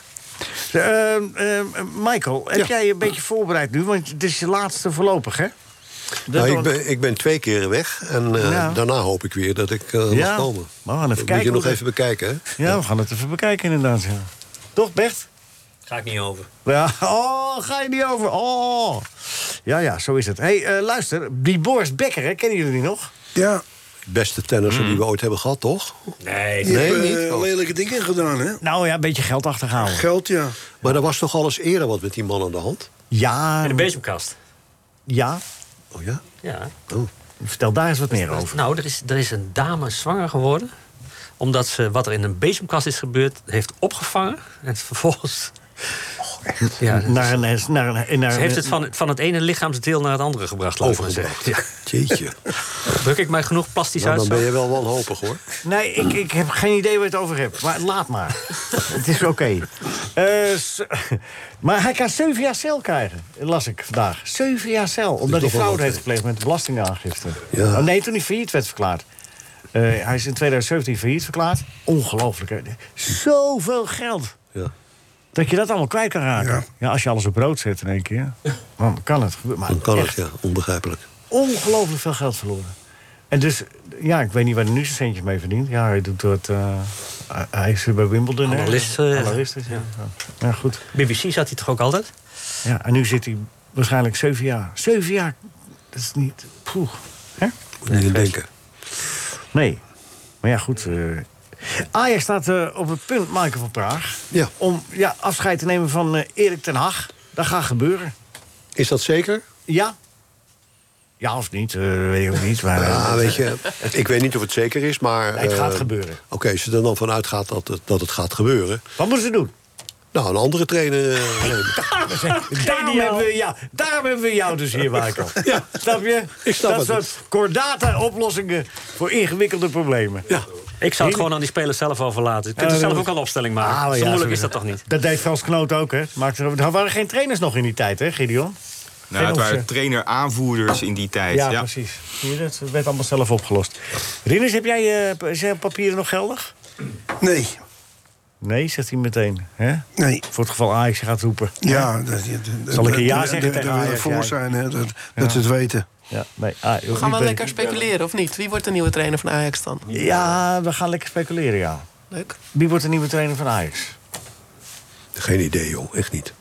S4: Eh, eh, Michael, heb jij een beetje voorbereid nu? Want dit is je laatste voorlopig, hè? Dat
S6: Nou, ik,
S4: dan-
S6: ben, ik ben twee keren weg en eh,
S4: Ja.
S6: daarna hoop ik weer dat ik eh
S4: Ja,
S6: mag komen.
S4: maar we gaan even
S6: dat
S4: kijken
S6: moet je nog
S4: hoe
S6: even bekijken, hè?
S4: Ja, we gaan het even bekijken inderdaad. ja. Toch, Bert?
S5: Ga ik niet over.
S4: Ja, oh, ga je niet over. Oh. Ja, ja, zo is het. hey, eh, luister, die Boris Becker, hè, kennen jullie die nog?
S7: Ja.
S6: Beste tennisser
S4: Hmm.
S6: die we ooit hebben gehad, toch?
S5: Nee.
S7: Die
S6: Nee, Oh.
S7: hebben,
S6: niet.
S7: eh, lelijke dingen gedaan, hè?
S4: Nou ja, een beetje geld achtergehouden.
S7: Geld, ja.
S6: Maar er was toch alles eerder wat met die man aan de hand?
S4: Ja,
S5: En de bezemkast.
S4: ja. Oh,
S6: Oh ja?
S5: Ja.
S4: Vertel daar eens wat meer over.
S5: Nou, er is, er is een dame zwanger geworden. Omdat ze wat er in een bezemkast is gebeurd, heeft opgevangen. En vervolgens... Ja,
S4: Naar een, naar een, naar
S5: ze
S4: een-
S5: heeft het van, van het ene lichaamsdeel naar het andere gebracht, laten we maar zeggen. Ja.
S6: Jeetje.
S5: Druk ik mij genoeg plastisch
S6: Nou,
S5: uit?
S6: dan
S5: zo?
S6: ben je wel wanhopig, hoor.
S4: Nee, ik, ik heb geen idee waar je het over hebt. Maar laat maar. het is oké. Eh, s- maar hij kan zeven jaar cel krijgen, las ik vandaag. Zeven jaar cel, omdat hij
S6: toch wel
S4: fraude
S6: wat,
S4: heeft
S6: hè?
S4: gepleegd met de belastingaangifte.
S6: Ja.
S4: Oh, nee, toen hij failliet werd verklaard. Eh, hij is in 2017 failliet verklaard. Ongelooflijk, hè? Zoveel geld.
S6: Ja.
S4: Dat je dat allemaal kwijt kan raken. Ja.
S7: Ja.
S4: als je alles op rood zet in één keer. Dan kan het gebeuren. Maar
S6: Dan kan
S4: echt
S6: het, ja. Onbegrijpelijk.
S4: ongelooflijk veel geld verloren. En dus, ja, ik weet niet waar hij nu zijn centjes mee verdient. Ja, hij doet dat... eh, hij is bij Wimbledon, hè?
S5: Analist, eh,
S4: Analist is, ja. ja. goed.
S5: BBC zat hij toch ook altijd?
S4: Ja, en nu zit hij waarschijnlijk zeven jaar. Zeven jaar, dat is niet... Poeh. Hè?
S6: Moet je niet aan denken.
S4: Nee. Maar ja, goed. eh Ajax staat eh, op het punt, Maaike van Praag... om ja, afscheid te nemen van eh, Erik ten Hag. Dat gaat gebeuren.
S6: Is dat zeker?
S4: Ja. Ja of niet, eh, weet ik ook niet. Maar,
S6: Ja,
S4: eh,
S6: weet je, ik weet niet of het zeker is, maar...
S4: Nee, het gaat
S6: eh,
S4: gebeuren.
S6: Oké, als je er dan vanuit gaat dat het, dat het gaat gebeuren...
S4: Wat moeten ze doen?
S6: Nou, een andere trainer eh, nemen.
S4: Daarom hebben, we, ja, daarom hebben we jou dus hier, Michael.
S6: Ja.
S4: Snap je?
S6: Ik snap
S4: dat
S6: het.
S4: soort kordate oplossingen voor ingewikkelde problemen. Ah, Ja.
S5: Ik zou het gewoon aan die spelers zelf overlaten. Je kunt er zelf ook al een opstelling
S4: Ah,
S5: maken. Zo moeilijk is dat toch niet?
S4: Dat deed Frans Knoot ook, hè? Maakte, er er waren geen trainers nog in die tijd, hè, Gideon?
S9: Nou, het waren
S4: Engelse.
S9: trainer-aanvoerders in die tijd.
S4: ja, precies. Zie je, dat werd allemaal zelf opgelost. Rinus, heb jij eh, je papieren nog geldig?
S7: Nee.
S4: Nee, zegt hij meteen. Hè?
S7: Nee.
S4: Voor het geval Ajax gaat roepen.
S7: Ja,
S4: dat,
S7: dat, dat-
S4: Zal ik een ja
S7: dat-
S4: zeggen
S7: dat-
S4: tegen
S7: dat wil
S4: Ajax?
S7: ik voor
S4: Ja.
S7: zijn, hè, dat,
S4: Ja.
S7: dat ze het weten.
S4: Ja, nee, ah, joh,
S8: Gaan
S4: ik
S8: we
S4: ben-
S8: lekker speculeren, of niet? Wie wordt de nieuwe trainer van Ajax dan?
S4: Ja, we gaan lekker speculeren, ja.
S8: Leuk.
S4: Wie wordt de nieuwe trainer van Ajax?
S6: Geen idee, joh. Echt niet.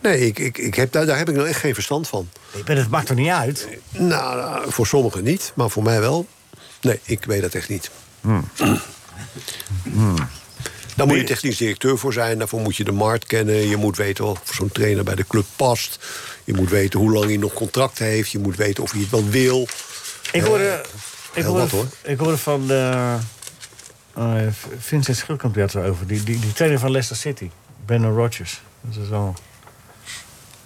S6: Nee, ik, ik, ik heb, daar, daar heb ik nou echt geen verstand van.
S4: Ik ben, het maakt er niet uit?
S6: Nou, nou, voor sommigen niet, maar voor mij wel. Nee, ik weet dat echt niet.
S5: Hmm.
S4: Hmm.
S6: Daar moet je technisch directeur voor zijn. Daarvoor moet je de markt kennen. Je moet weten of zo'n trainer bij de club past. Je moet weten hoe lang hij nog contract heeft. Je moet weten of hij het wel wil.
S4: Ik
S6: Eh,
S4: hoorde, ik
S6: heel
S4: hoorde,
S6: wat, hoor.
S4: Ik hoorde van eh, eh, Vincent Schilkamp die had erover. Die, die, die trainer van Leicester City, Brendan Rodgers. Dat is al een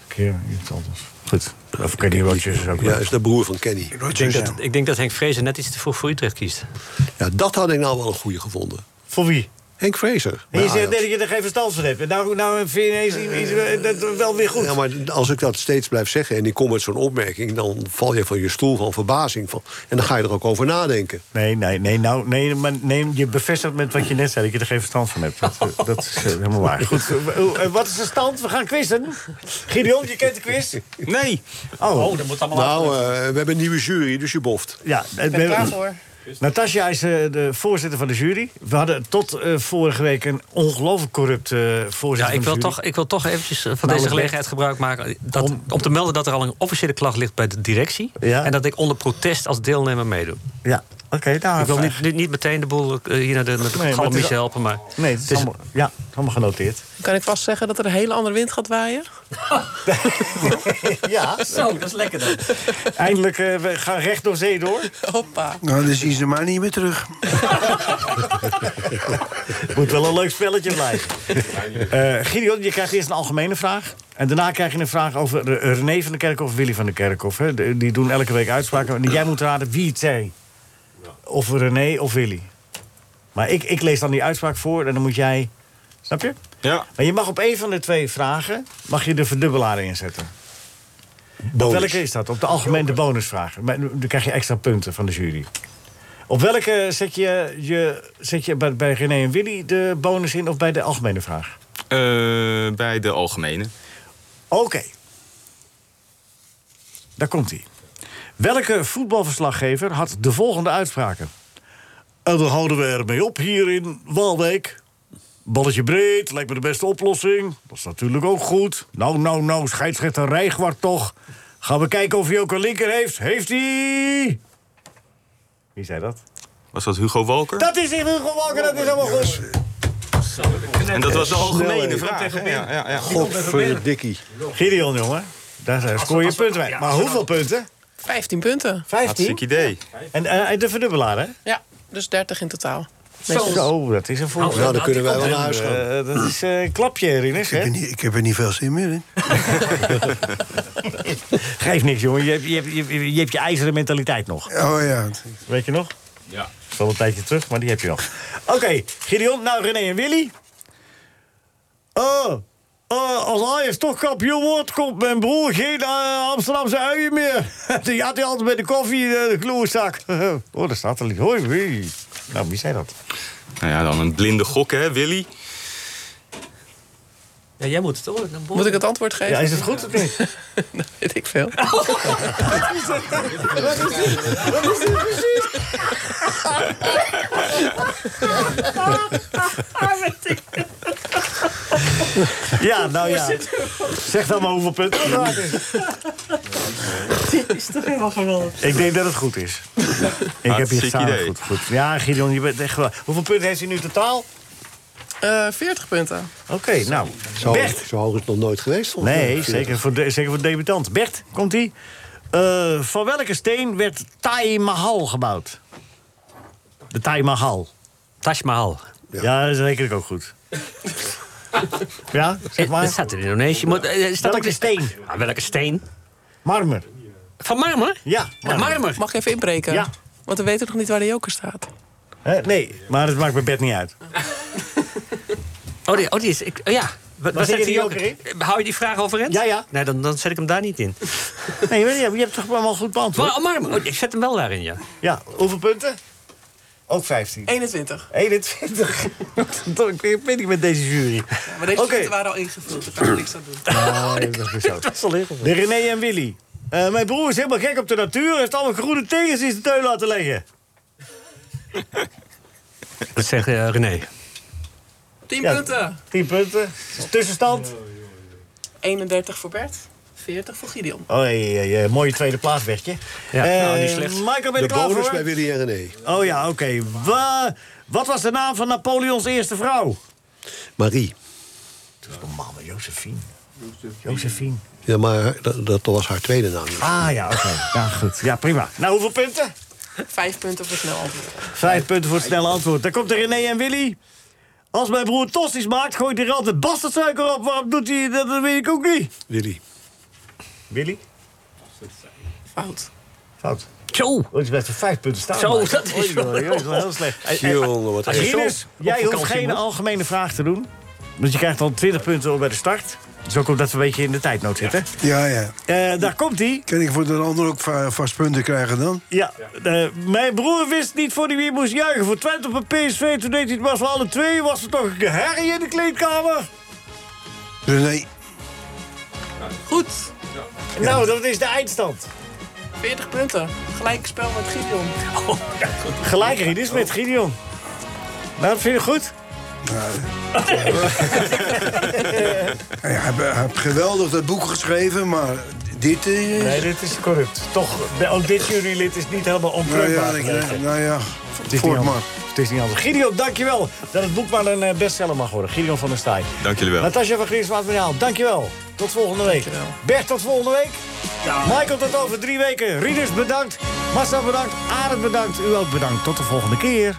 S4: keer iets anders. Goed. Of Kenny Rodgers is ook
S6: Eh, Ja, is de broer van Kenny.
S5: Ik denk, dat, ik denk dat Henk Vrezen net iets te vroeg voor Utrecht kiest.
S6: Ja, dat had ik nou wel een goede gevonden.
S4: Voor wie?
S6: Henk Fraser. Nou,
S4: En je zegt nee, dat je er geen verstand van hebt. En nou, nou vind je ineens iets- iets- dat wel weer goed.
S6: Ja, maar als ik dat steeds blijf zeggen en ik kom met zo'n opmerking... dan val je van je stoel van verbazing. Van, en dan ga je er ook over nadenken.
S4: Nee, nee, nee, nou, nee, maar nee, je bevestigt met wat je net zei, dat je er geen verstand van hebt. Dat, eh, dat is eh, helemaal waar. Goed, eh, oh, eh, wat is de stand? We gaan quizzen. Gideon, je kent de quiz?
S9: Nee.
S4: Oh, eh,
S6: Nou, eh, we hebben een nieuwe jury, dus je boft.
S4: Ja, ik ben- Natasja is eh, de voorzitter van de jury. We hadden tot eh, vorige week een ongelooflijk corrupt eh,
S5: Ja,
S4: voorzitter
S5: ik
S4: van
S5: wil,
S4: de jury.
S5: toch, ik wil toch eventjes eh, van
S4: Nou,
S5: deze
S4: leg-
S5: gelegenheid gebruik maken... Dat, om, te melden dat er al een officiële klacht ligt bij de directie...
S4: Ja.
S5: en dat ik onder protest als deelnemer meedoe.
S4: Ja, oké. nou,
S5: ik wil
S4: fijn.
S5: niet, niet, niet meteen de boel eh, hier naar de, naar de
S4: Nee, maar
S5: galmies
S4: het is al-
S5: helpen, maar...
S4: Nee, het is allemaal, ja, het is allemaal genoteerd.
S8: Kan ik vast zeggen dat er een hele andere wind gaat waaien?
S4: ja.
S5: Zo, dat is lekker dan.
S4: Eindelijk, eh, we gaan recht door zee door.
S8: Hoppa.
S7: Nou, dan zien ze maar niet meer terug.
S4: Moet wel een leuk spelletje blijven. Eh Gideon, je krijgt eerst een algemene vraag. En daarna krijg je een vraag over eh, René van der Kerkhof of Willy van der Kerkhof. Hè. De- Die doen elke week uitspraken. En jij moet raden wie het zei. Of René of Willy. Maar ik, ik lees dan die uitspraak voor en dan moet jij... Snap je?
S9: Ja.
S4: Maar je mag op één van de twee vragen mag je de verdubbelaar inzetten. Op
S6: Bonus.
S4: welke is dat? Op de algemene bonusvraag. Maar nu- Dan krijg je extra punten van de jury. Op welke zet je, je, zet je bij, bij René en Willy de bonus in of bij de algemene vraag?
S9: Eh, bij de algemene.
S4: Oké. Daar komt hij. Welke voetbalverslaggever had de volgende uitspraken? En daar houden we ermee op hier in Waalwijk. Balletje breed, lijkt me de beste oplossing. Dat is natuurlijk ook goed. Nou, nou, nou, scheidsrechter Rijgwart toch. Gaan we kijken of hij ook een linker heeft. Heeft hij? Wie zei dat?
S9: Was dat Hugo Walker?
S4: Dat is in Hugo Walker, dat is helemaal goed.
S9: en dat was de algemene
S6: Snel, hè.
S9: vraag. Ja, ja, ja.
S6: Godverdikkie.
S4: Gideon, jongen. Daar scoor je punten bij. Maar hoeveel punten?
S8: 15 punten.
S4: 15?
S9: Hartstikke idee.
S4: En eh, de verdubbelaar, hè?
S8: Ja, dus 30 in totaal.
S4: Zo, dat is een voordeel.
S6: Nou, dan kunnen wij wel naar huis gaan.
S4: Eh, dat is eh, een klapje, Rinus.
S7: Ik
S4: Hè?
S7: heb, er niet, ik heb er niet veel zin meer in.
S4: Geef niks, jongen. Je hebt je, hebt, je, je hebt je ijzeren mentaliteit nog.
S7: Oh ja.
S4: Weet je nog?
S9: Ja.
S4: Dat is al een tijdje terug, maar die heb je nog. Oké, Gideon, nou René en Willy. Oh, oh, als Ajax toch kampioen wordt, komt mijn broer geen eh, Amsterdamse uien meer. die had hij altijd bij de koffie in eh, de gloerzak. oh, daar staat er niet. Hoi, wie? Nou, wie zei dat?
S9: Nou ja, dan een blinde gok, hè, Willy?
S5: Ja, jij moet het hoor. Dan
S8: Moet ik het antwoord geven?
S4: Ja, is het goed of niet?
S8: Weet ik veel.
S5: Ah,
S4: Ja, nou ja. Zeg dan maar hoeveel punten het waard is.
S14: Dit is toch helemaal geweldig.
S4: Ik denk dat het goed is. Ik heb hier
S9: Hartstikke
S4: samen
S9: idee.
S4: goed, goed. Ja, Gideon, je bent echt wel... Hoeveel punten heeft hij nu totaal?
S8: Eh 40 punten.
S4: Oké, nou.
S6: Zo,
S4: Bert.
S6: zo hoog is het nog nooit geweest. volgens mij.
S4: Nee, zeker voor, de, zeker voor de debutant. Bert, komt-ie. Eh, van welke steen werd Taj Mahal gebouwd? De Taj Mahal. Taj Mahal. Ja, dat is zeker ook goed. ja, zeg maar.
S5: Het Eh, staat in Indonesië. Maar, eh, staat ook
S4: Welke
S5: de-
S4: steen?
S5: Ah, welke steen?
S4: Marmer.
S5: Van marmer?
S4: Ja,
S5: marmer.
S8: Mag ik even inbreken?
S5: Ja.
S8: Want we weten nog niet waar de joker staat.
S4: Hè, nee, maar dat maakt mijn bed niet uit.
S5: Ah, Oh, die, oh, die is... Ik, oh, ja. Wat,
S4: zit
S5: zegt
S4: die
S5: die
S4: joker
S5: Eh, Hou je die vraag overeind? Ja,
S4: ja.
S5: Nee, dan, dan zet ik hem daar niet in.
S4: Nee, maar je hebt toch allemaal goed beantwoord?
S5: Maar, oh, marmer. Oh, ik zet hem wel daarin, ja.
S4: Ja, hoeveel punten? Ook 15.
S8: 21.
S4: 21. ik weet niet met deze jury.
S8: Maar deze
S4: Oké.
S8: punten waren al ingevuld. Daar kan ik niks aan doen.
S4: Oh. De René en Willy. Eh, mijn broer is helemaal gek op de natuur. Heeft alle groene tegens in zijn teun laten leggen.
S5: Dat zegt eh, René.
S8: 10
S4: Ja.
S8: punten.
S4: 10 punten. Tussenstand.
S8: 31 voor Bert. 40 voor Gideon.
S4: Oh, ja, ja, ja. mooie tweede plaats, Bertje.
S5: Ja,
S4: Eh,
S5: nou, niet slecht.
S4: Michael, ben je
S6: De
S4: er klaar
S6: bonus
S4: voor?
S6: bij Willy en René.
S4: Oh ja, oké. Wa- Wat was de naam van Napoleons eerste vrouw?
S6: Marie.
S4: Dat is normaal, maar Josephine. Josephine.
S6: Ja, maar dat, dat was haar tweede naam.
S4: Ah ja, oké. Ja, goed. Ja, prima. Nou, hoeveel punten?
S8: 5 punten voor snel antwoord.
S4: Vijf punten voor het snelle antwoord. Dan komt er René en Willy. Als mijn broer tosti's maakt, gooit hij er altijd bastardsuiker op. Waarom doet hij dat? Dat weet ik ook niet.
S6: Willy.
S4: Willy?
S8: Fout.
S4: Fout.
S5: Zo.
S4: Dat is best een vijf punten staan.
S5: Zo,
S4: maar.
S5: dat is
S4: Oei,
S5: wel-
S4: joh, joh, dat is wel heel slecht.
S6: Hey, hey, Jongen, wat erg.
S4: Rinus,
S6: Zo, op
S4: jij hoeft
S6: vakantie,
S4: geen
S6: man.
S4: algemene vraag te doen. Want je krijgt al 20 punten al bij de start. Zo komt dat we een beetje in de tijdnood zitten.
S7: Ja, ja.
S4: Eh, daar komt hij.
S7: Kan ik voor de ander ook va- vast punten krijgen dan?
S4: Ja, eh, mijn broer wist niet voor die wie moest juichen. Voor Twente op PSV, toen deed hij het maar voor alle twee. Was er toch een herrie in de kleedkamer?
S7: René,
S8: Goed.
S4: Nou, dat is de eindstand.
S8: 40 punten. Gelijk spel met Gideon.
S4: Oh, Gelijk Rinus met Gideon. Nou, vind je het goed?
S7: hij hij- hij heeft geweldig dat boek geschreven, maar dit is...
S4: Nee, dit is corrupt. Toch, de- ook dit jurylid is niet helemaal
S7: nou ja,
S4: onkreukbaar.
S7: ik-
S4: gebleven.
S7: nou ja,
S4: Het is, niet
S7: voort
S4: anders.
S7: maar.
S4: het is niet anders. Gideon, dankjewel dat het boek maar een eh, bestseller mag worden. Gideon van der Staaij.
S9: Dank jullie wel.
S4: Natasja van Grieswaard Materiaal, dankjewel. Tot volgende week. Bert, tot volgende week. Michael, tot over drie weken. Rieders, bedankt. Massa, bedankt. Arend, bedankt. U ook bedankt. Tot de volgende keer.